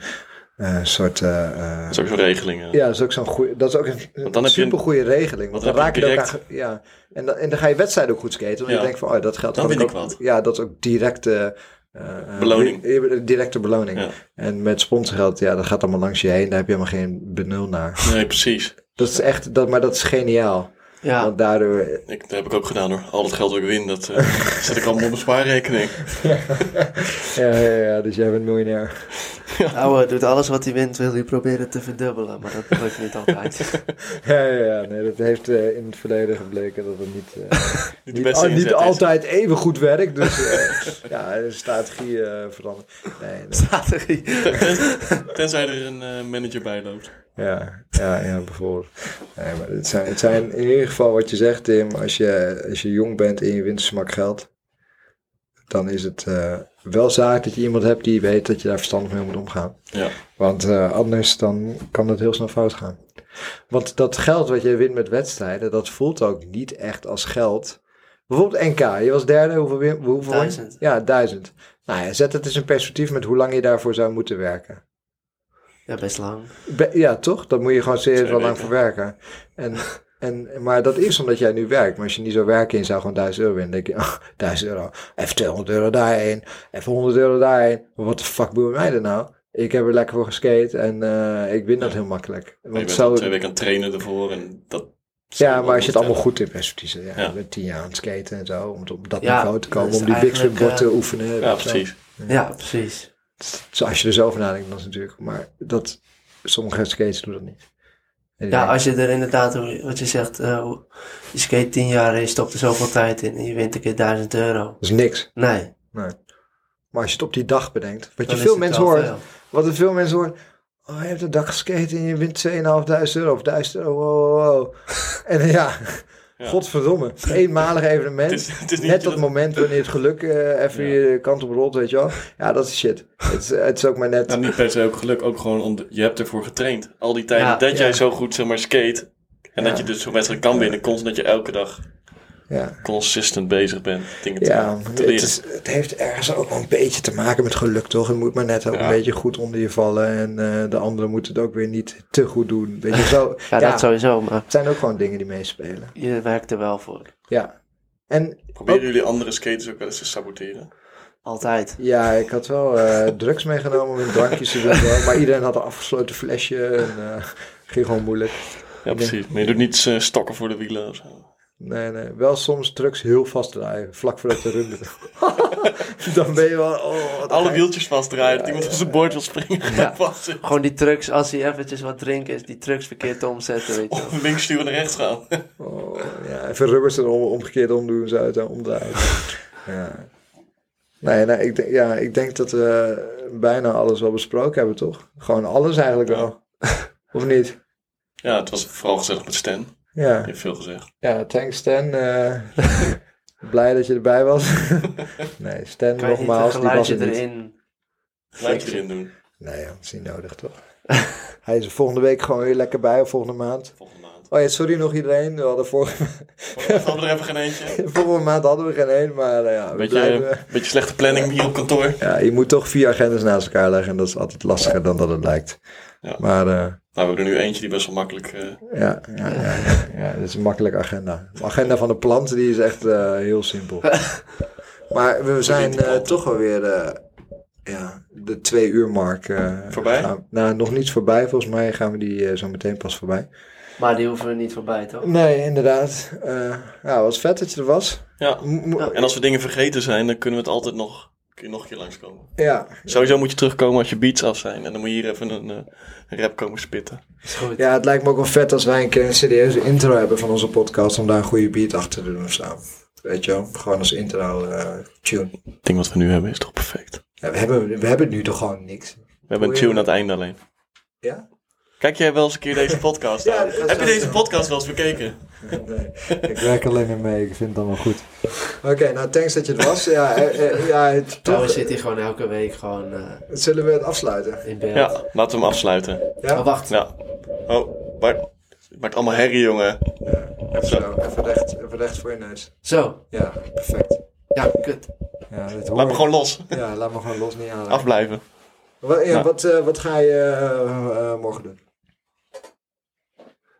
eh, soort... eh, eh,
Dat is ook zo'n regeling. eh.
Ja, dat is ook zo'n goeie, dat is ook een,
dan heb je een-
super goede regeling. Want
dan
dan, raak
heb je
je
direct-
elkaar. Ja, en, dan, en dan ga je wedstrijd ook goed skaten. Want
Ja.
je denkt van, oh, dat geld
Dan
kan
win ik
ook,
wat.
Ja, dat is ook directe eh, eh,
Beloning.
di- Directe beloning.
Ja.
En met sponsorgeld, ja, dat gaat allemaal langs je heen. Daar heb je helemaal geen benul naar.
Nee, precies.
Dat is echt, dat, maar dat is geniaal.
ja.
Want daardoor,
Ik, dat heb ik ook gedaan hoor. Al dat geld wat ik win, dat eh, zet ik allemaal op mijn spaarrekening.
ja, ja, ja, dus jij bent miljonair.
ouwe doet alles wat hij wint, wil hij proberen te verdubbelen. Maar dat lukt niet altijd.
Ja, ja, ja, nee, dat heeft eh, in het verleden gebleken dat het niet... eh,
Niet de
Niet,
beste
al- niet
inzet is.
altijd even goed werkt, dus eh, ja, de strategie eh verandert. Nee, nee.
Strategie.
Ten- ten- tenzij er een eh, manager bij loopt.
Ja, ja, ja, bijvoorbeeld. Nee, maar het zijn, het zijn in ieder geval wat je zegt, Tim. Als je, als je jong bent en je wint een smak geld, dan is het eh, wel zaak dat je iemand hebt die weet dat je daar verstandig mee moet omgaan.
Ja.
Want eh, anders dan kan dat heel snel fout gaan. Want dat geld wat je wint met wedstrijden, dat voelt ook niet echt als geld. Bijvoorbeeld NK, je was derde, hoeveel win? Hoeveel won je?
Duizend.
Ja, duizend. Nou ja, zet het eens in perspectief met hoe lang je daarvoor zou moeten werken.
Ja, best lang.
Be- ja, toch? Daar moet je gewoon serieus
Twee
wel lang
weken.
voor werken. En, en, maar dat is omdat jij nu werkt. Maar als je niet zou werken en je zou gewoon 1000 euro winnen, denk je, oh, 1000 euro. Even 200 euro daarheen, even 100 euro daarheen. Wat de fuck boeit mij dat nou? Ik heb er lekker voor geskate en eh, ik win dat heel makkelijk.
Maar je
Want
bent
zo,
twee weken aan het trainen ervoor en dat...
ja, maar als je het allemaal goed in perspectief zet. Ja,
Ja.
Je bent tien jaar aan het skaten en zo, om het op dat
Ja,
niveau te
dat
komen.
is
Om die
eigenlijk,
biksumbord te
eh,
oefenen. weet je
Ja,
wel. Dus
precies.
Ja, precies.
Zo, als je er zo over nadenkt, dan is het natuurlijk. Maar dat, sommige skaters doen dat niet. En ik
Ja,
denk,
als je er inderdaad, hoe- wat je zegt, eh, hoe- je skate 10 jaar en je stopt er zoveel tijd in en je wint een keer 1000 euro.
dat is niks.
Nee.
Maar als je het op die dag bedenkt, wat
dan
je
is
veel
het
mensen
wel
hoort,
veel.
wat er veel mensen horen. Oh, je hebt een dag geskate en je wint 2.500 euro of 1000 euro. Wow, wow, wow. en eh, ja,
Ja.
godverdomme. Eenmalig evenement.
Het is, het is niet
Net dat
je-
moment wanneer het geluk eh, even
Ja.
je kant op rolt, weet je wel. Ja, dat is shit. het, is, het is ook maar net.
Nou, niet per se ook geluk, ook gewoon om de- je hebt ervoor getraind. Al die tijden
Ja,
dat
ja.
jij zo goed zeg maar, skate. En
Ja.
dat je dus zo'n wedstrijd kan winnen. Constant dat je elke dag
Ja,
consistent bezig bent. Dingen te,
ja
te
het,
leren.
is, het heeft ergens ook wel een beetje te maken met geluk, toch? Het moet maar net ook
Ja.
een beetje goed onder je vallen. En eh, de anderen moeten het ook weer niet te goed doen. Weet je, zo.
Ja, dat sowieso, maar
Het zijn ook gewoon dingen die meespelen.
je werkt er wel voor.
Ja. En
Proberen jullie andere skaters ook wel eens te saboteren?
Altijd.
ja, ik had wel eh, drugs meegenomen om in drankjes te doen. Maar iedereen had een afgesloten flesje. En eh, ging gewoon moeilijk.
Ja, precies. Maar je doet niet eh, stokken voor de wielen of zo.
Nee, nee. Wel soms drugs heel vast draaien. Vlak voordat de rum Dan ben je wel... Oh, wat
Alle
geil.
wieltjes vastdraaien. dat iemand op zijn boord wil springen.
Ja.
Ja. Vast zit.
Gewoon die trucks, als hij eventjes wat drinkt, is die trucks verkeerd te omzetten, weet je wel.
Of links sturen naar rechts gaan.
Oh, ja, even rubbers er om, omgekeerd omdoen, zo uit en omdraaien. ja. Nee, nee ik, denk- ja, ik denk dat we bijna alles wel besproken hebben, toch? Gewoon alles eigenlijk
Ja.
wel. of niet?
Ja, het was vooral gezellig met Stan. Die
Ja,
heeft veel gezegd.
ja thanks Stan. eh, blij dat je erbij was. nee, Stan
Kan je niet een
nogmaals, die was
geluidje
er niet.
erin.
Lijntje erin doen.
Nee, joh, dat is niet nodig, toch? Hij is er volgende week gewoon weer lekker bij, of volgende maand.
Volgende maand.
Oh ja, sorry nog iedereen. We hadden vorige,
We hadden er even geen eentje.
vorige maand hadden we geen één, maar eh, ja, we blijven...
Beetje, beetje slechte planning hier op kantoor. Nou,
Ja, je moet toch vier agendas naast elkaar leggen. En dat is altijd lastiger dan dat het lijkt.
Ja.
Maar eh,
Nou, we hebben er nu eentje die best wel makkelijk... eh,
ja, ja, ja, ja, ja, dit is een makkelijke agenda. De agenda van de plant die is echt eh, heel simpel. maar we zijn eh, toch wel weer eh, ja, de twee uur mark. eh,
Voorbij?
gaan- nou, nog niet voorbij. Volgens mij gaan we die eh, zo meteen pas voorbij.
Maar die hoeven we niet voorbij, toch?
Nee, inderdaad. Eh ja, was vet dat je er was.
ja.
M- m-
En als we dingen vergeten zijn, dan kunnen we het altijd nog, kun je nog een keer langskomen.
ja.
Sowieso moet je terugkomen als je beats af zijn. En dan moet je hier even een, eh, een rap komen spitten.
Is goed.
ja, het lijkt me ook wel vet als wij een keer een serieuze intro hebben van onze podcast. Om daar een goede beat achter te doen of zo. Weet je wel? Gewoon als intro eh, tune.
Het ding wat we nu hebben is toch perfect.
Ja, we, hebben, we hebben nu toch gewoon niks.
We hebben een
Hoe je-
tune aan het einde alleen.
Ja?
Kijk jij wel eens een keer deze podcast
Ja,
aan?
dat is
Heb je
wel
deze
zo.
podcast wel eens bekeken?
Nee, ik werk alleen maar mee. Ik vind het allemaal goed. Oké, nou thanks dat je het was. Ja, eh, eh, ja het,
Trouwens
toch,
zit hij gewoon elke week gewoon eh,
zullen we het afsluiten?
in beeld.
Ja, laten we hem afsluiten.
Ja?
Oh, wacht.
Ja. Oh, Bart. Het maakt allemaal herrie, jongen.
Even zo, even recht, even recht voor je neus.
Zo.
Ja, perfect.
Ja, kut.
Ja, dit
Laat
hoor
me
ik.
gewoon los.
Ja, laat me gewoon los niet aan.
Afblijven.
Wat, ja,
Nou.
wat, eh, wat ga je eh, eh, morgen doen?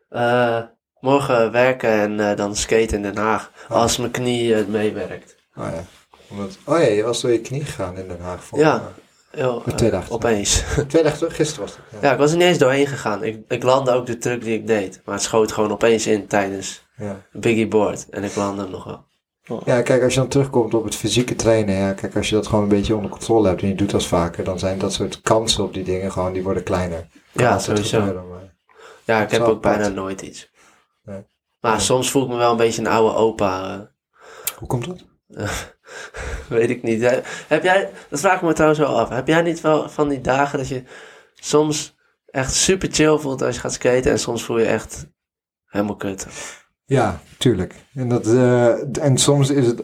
Eh, morgen werken en eh, dan skaten in Den Haag. Als mijn knie eh, meewerkt.
Oh ja. Omdat, oh ja, je was door je knie gegaan in Den Haag. volgens
Ja.
mij.
Heel, eh,
Met twee dagen.
opeens.
Twee dagen terug, gisteren was het. Ja.
Ja, ik was er niet eens doorheen gegaan. Ik, ik landde ook de truck die ik deed. Maar het schoot gewoon opeens in tijdens
Ja.
Biggie Board. En ik landde hem nog wel.
Ja, kijk, als je dan terugkomt op het fysieke trainen, ja, kijk, als je dat gewoon een beetje onder controle hebt en je doet dat vaker, dan zijn dat soort kansen op die dingen gewoon, die worden kleiner.
Ja,
Als dat
sowieso.
gebeuren, maar-
Ja, ik heb
Zo
ook bijna
apart.
nooit iets.
Nee.
Maar
Nee.
soms voel ik me wel een beetje een oude opa. eh.
Hoe komt dat?
Weet ik niet. Hè. Heb jij, dat vraag ik me trouwens wel af. Heb jij niet wel van die dagen dat je soms echt super chill voelt als je gaat skaten en soms voel je echt helemaal kut?
Ja, tuurlijk. En, dat, eh, en soms is het,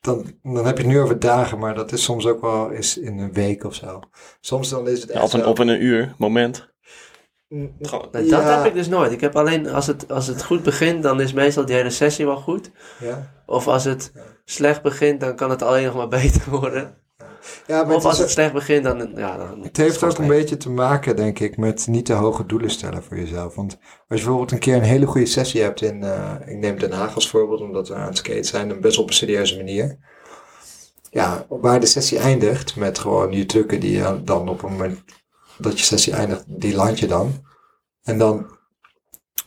dan, dan heb je het nu over dagen, maar dat is soms ook wel eens in een week of zo. Soms dan is het
Ja,
echt
op, een,
zo-
op een uur, moment.
Mm,
Gewoon.
Nee,
Ja.
Dat heb ik dus nooit. Ik heb alleen als het, als het goed begint, dan is meestal die hele sessie wel goed.
Ja,
Of als het slecht begint, dan kan het alleen nog maar beter worden.
ja maar
Of
het,
als
is,
het slecht begint, dan. Ja, dan
het heeft
gewoon
ook een
mee.
beetje te maken, denk ik, met niet te hoge doelen stellen voor jezelf. Want als je bijvoorbeeld een keer een hele goede sessie hebt in, eh, ik neem Den Haag als voorbeeld, omdat we aan het skate zijn, en best op een serieuze manier. Ja, waar de sessie eindigt met gewoon je trucken die je dan op het moment dat je sessie eindigt, die land je dan. En dan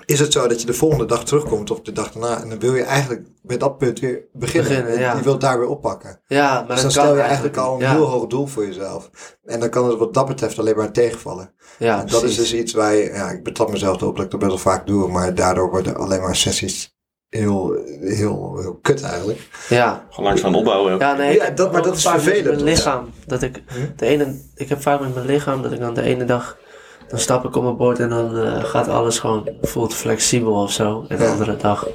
is het zo dat je de volgende dag terugkomt of de dag daarna. En dan wil je eigenlijk bij dat punt weer beginnen.
Beginnen,
en
ja.
je wilt daar weer oppakken.
Ja, maar
dus dan
dat
stel
kan
je eigenlijk al een
niet. ja.
heel hoog doel voor jezelf. En dan kan het wat dat betreft alleen maar tegenvallen.
Ja,
en dat is
precies.
dus iets waar je, ja, ik betrap mezelf erop dat ik dat best wel vaak doe. Maar daardoor worden alleen maar sessies heel, heel, heel kut eigenlijk.
Ja.
Gewoon langzaam opbouwen.
Ja, nee, ik
Ja,
heb
dat- maar
ook
dat is
vaak met
vervelend,
Mijn
ja.
lichaam. Dat ik, de ene, ik heb vaak met mijn lichaam dat ik dan de ene dag. Dan stap ik op mijn bord en dan eh, gaat alles gewoon. voelt flexibel of zo. En de
Ja.
andere dag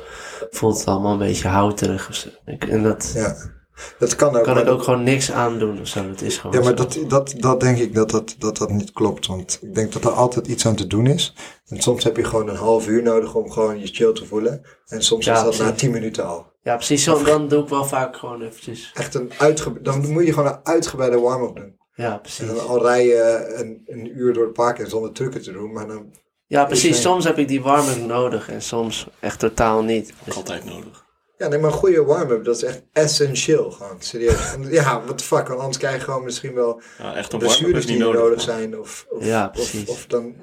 voelt het allemaal een beetje houterig. Of zo. Ik- en dat
Ja. Dat kan ook.
kan
maar
ik ook gewoon niks aan doen of zo. Dat is gewoon.
Ja, maar
zo.
dat, dat, dat denk ik dat dat, dat dat niet klopt. Want ik denk dat er altijd iets aan te doen is. En soms heb je gewoon een half uur nodig om gewoon je chill te voelen. En soms
Ja,
is dat
precies.
na tien minuten al.
ja, precies. Zo, dan doe ik wel vaak gewoon eventjes.
Echt een uitge dan moet je gewoon een uitgebreide warm-up doen.
Ja,
En
precies.
dan al rij je een, een uur door het park en zonder trucken te doen. Maar dan,
Ja, precies.
Precies.
Soms heb ik die warming nodig en soms echt totaal niet. Dus-
Altijd nodig.
ja, nee, maar een goede warm-up, dat is echt essentieel. Gewoon, serieus. En ja, what the fuck. Want anders krijg je gewoon misschien wel
Ja, echt een warm-up
blessures
is
die
niet
nodig,
nodig.
nodig
maar-
zijn. Of, of,
Ja,
of,
precies.
of dan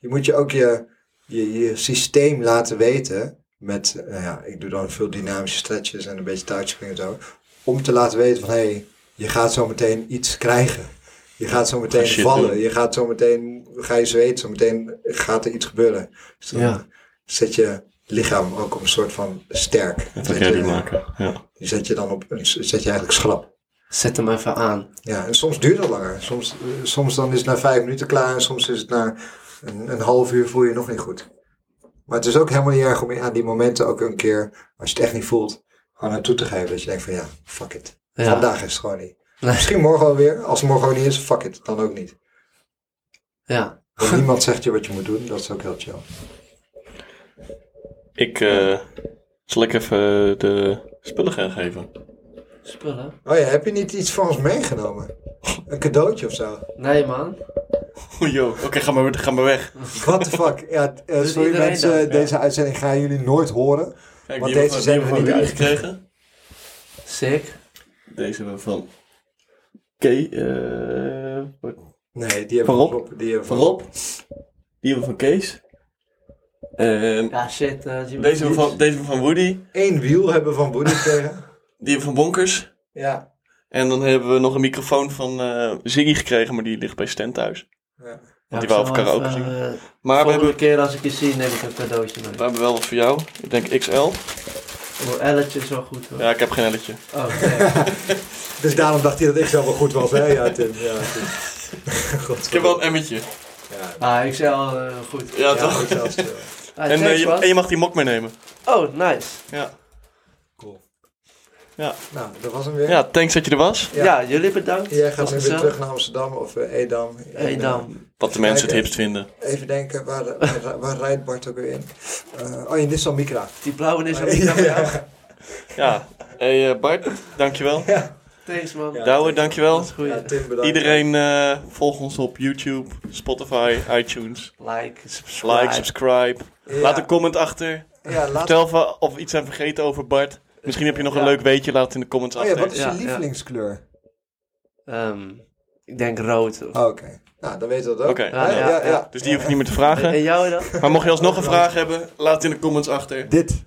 je moet je ook je, je, je systeem laten weten. Met, nou ja, ik doe dan veel dynamische stretches en een beetje touchspringen en zo. Om te laten weten van, hé, hey, je gaat zo meteen iets krijgen. Je gaat zo meteen
Ga shit
vallen.
doen.
Je gaat zo meteen, ga je zweten. Zo meteen gaat er iets gebeuren. Dus dan
Ja.
zet je lichaam ook op een soort van sterk.
Dat
Zet je-
ready maken. Ja.
Die zet je dan op, een- zet je eigenlijk schrap.
Zet hem even aan.
Ja, en soms duurt het langer. Soms, eh, soms dan is het na vijf minuten klaar en soms is het na een, een half uur voel je je nog niet goed. Maar het is ook helemaal niet erg om aan die momenten ook een keer, als je het echt niet voelt, gewoon naartoe te geven. Dat je denkt van ja, fuck it.
Ja.
Vandaag is het gewoon niet.
Nee.
Misschien morgen alweer. Als het morgen ook niet is, fuck it. Dan ook niet.
Ja.
Want niemand zegt je wat je moet doen. Dat is ook heel chill.
Ik, eh, zal ik even eh, de spullen gaan geven?
Spullen.
Oh ja, heb je niet iets voor ons meegenomen? Een cadeautje of zo?
Nee, man.
Oeh, joh. Oké, ga, maar, ga maar weg.
What the fuck? Ja, eh,
Doet
sorry
iedereen
mensen,
dat? Ja.
deze uitzending gaan jullie nooit horen.
Kijk,
Want
die
deze
hebben we-
zijn
die
er
hebben we
niet
gekregen.
Sick.
Deze hebben we van... Oké, eh
Nee, die hebben we
Voorop?
op. Die hebben we
van Rob. Die hebben we van Kees. Ehm,
Ja, shit. eh, Jimmy.
deze, hebben we van, deze hebben we van Woody.
Eén wiel hebben we van Boeddha gekregen.
Die hebben we van Bonkers.
Ja.
En dan hebben we nog een microfoon van eh, Ziggy gekregen, maar die ligt bij Stan thuis.
ja.
Ja,
die
ik
wou
zal
even karaoke
even,
zingen.
eh,
Maar we
volgende
hebben,
keer als ik je zie, neem ik een cadeautje mee.
we hebben wel wat voor jou. Ik denk XL.
Mijn elletje is wel goed hoor.
Ja, ik heb geen elletje.
Oh, nee.
Dus daarom dacht hij dat ik zelf wel goed was, hè? Ja, Tim. Ja, Tim. God,
Ik heb wel een emmetje.
Ja,
Ah, ik zei al eh, goed.
Ja,
ja,
toch?
ik zelfs, eh,
Ah,
En, eh,
thanks,
je,
man.
en je mag die mok meenemen.
Oh, nice.
Ja.
Cool.
Ja.
Nou, dat was hem weer.
ja, thanks dat je er was.
Ja.
Ja, jullie bedankt.
Jij gaat
Was
nu weer
gezellig.
terug naar Amsterdam of eh, Edam. En,
Hey, dan.
Wat de mensen het
kijken.
hipst vinden.
eh, even denken, waar, waar, waar rijdt Bart ook weer in? Eh, oh, in dit is al Micra.
Die blauwe is al niet
Ja,
aan jou.
ja.
Ja. Hey eh, Bart, dankjewel.
Thanks man.
Ja.
Douwe, dankjewel.
Dat is goed.
Ja, Tim, bedankt.
Iedereen eh volg ons op YouTube, Spotify, iTunes.
Like, subscribe.
Like, subscribe.
Ja.
Laat een comment achter.
Ja, laat...
Vertel even of we iets zijn vergeten over Bart. Misschien heb je nog een
Ja.
leuk weetje. Laat het in de comments
Oh ja,
achter.
wat is
Ja,
je
ja.
lievelingskleur?
Ehm, ik denk rood. Of...
Oh, Oké. Nou, dan weten we dat ook.
Oké.
Hè?
Ja, ja,
Dus die hoef je niet meer te vragen.
En jou dan?
Maar mocht je alsnog een vraag hebben, laat het in de comments achter.
Dit.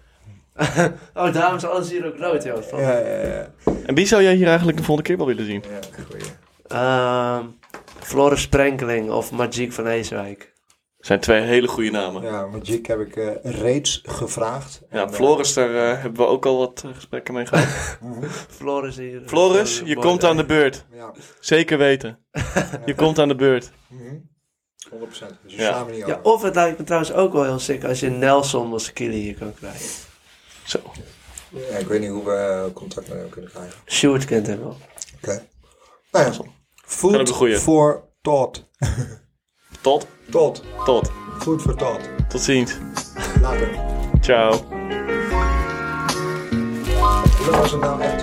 Oh, daarom is alles hier ook rood, joh. Van-
Ja, ja, ja.
En wie zou jij hier eigenlijk de volgende keer wel willen zien?
Ja, goeie.
Ehm, Floris Sprenkeling of Magiek van Eeswijk.
Dat zijn twee hele goede namen. Ja,
Ja, Magic heb ik eh, reeds gevraagd. En, eh,
Floris, daar eh, hebben we ook al wat eh, gesprekken mee gehad.
Floris hier. eh,
Floris, je komt aan de beurt.
Mhm. Ja,
Zeker weten. Je komt aan de beurt.
mhm. 100%. Dus je
Ja.
slaan we niet over.
Ja, of het lijkt me trouwens ook wel heel sick als je Nelson Moskili hier kan krijgen.
Zo.
Ja, ik weet niet hoe we eh, contact met hem kunnen krijgen.
Sjoerd kent hem wel.
Oké. Nou ja,
Kan ook
food
een goeie.
for thought.
Tot,
Tot.
tot.
Food for thought.
Tot ziens.
Later.
Ciao.
Dat was het nou echt.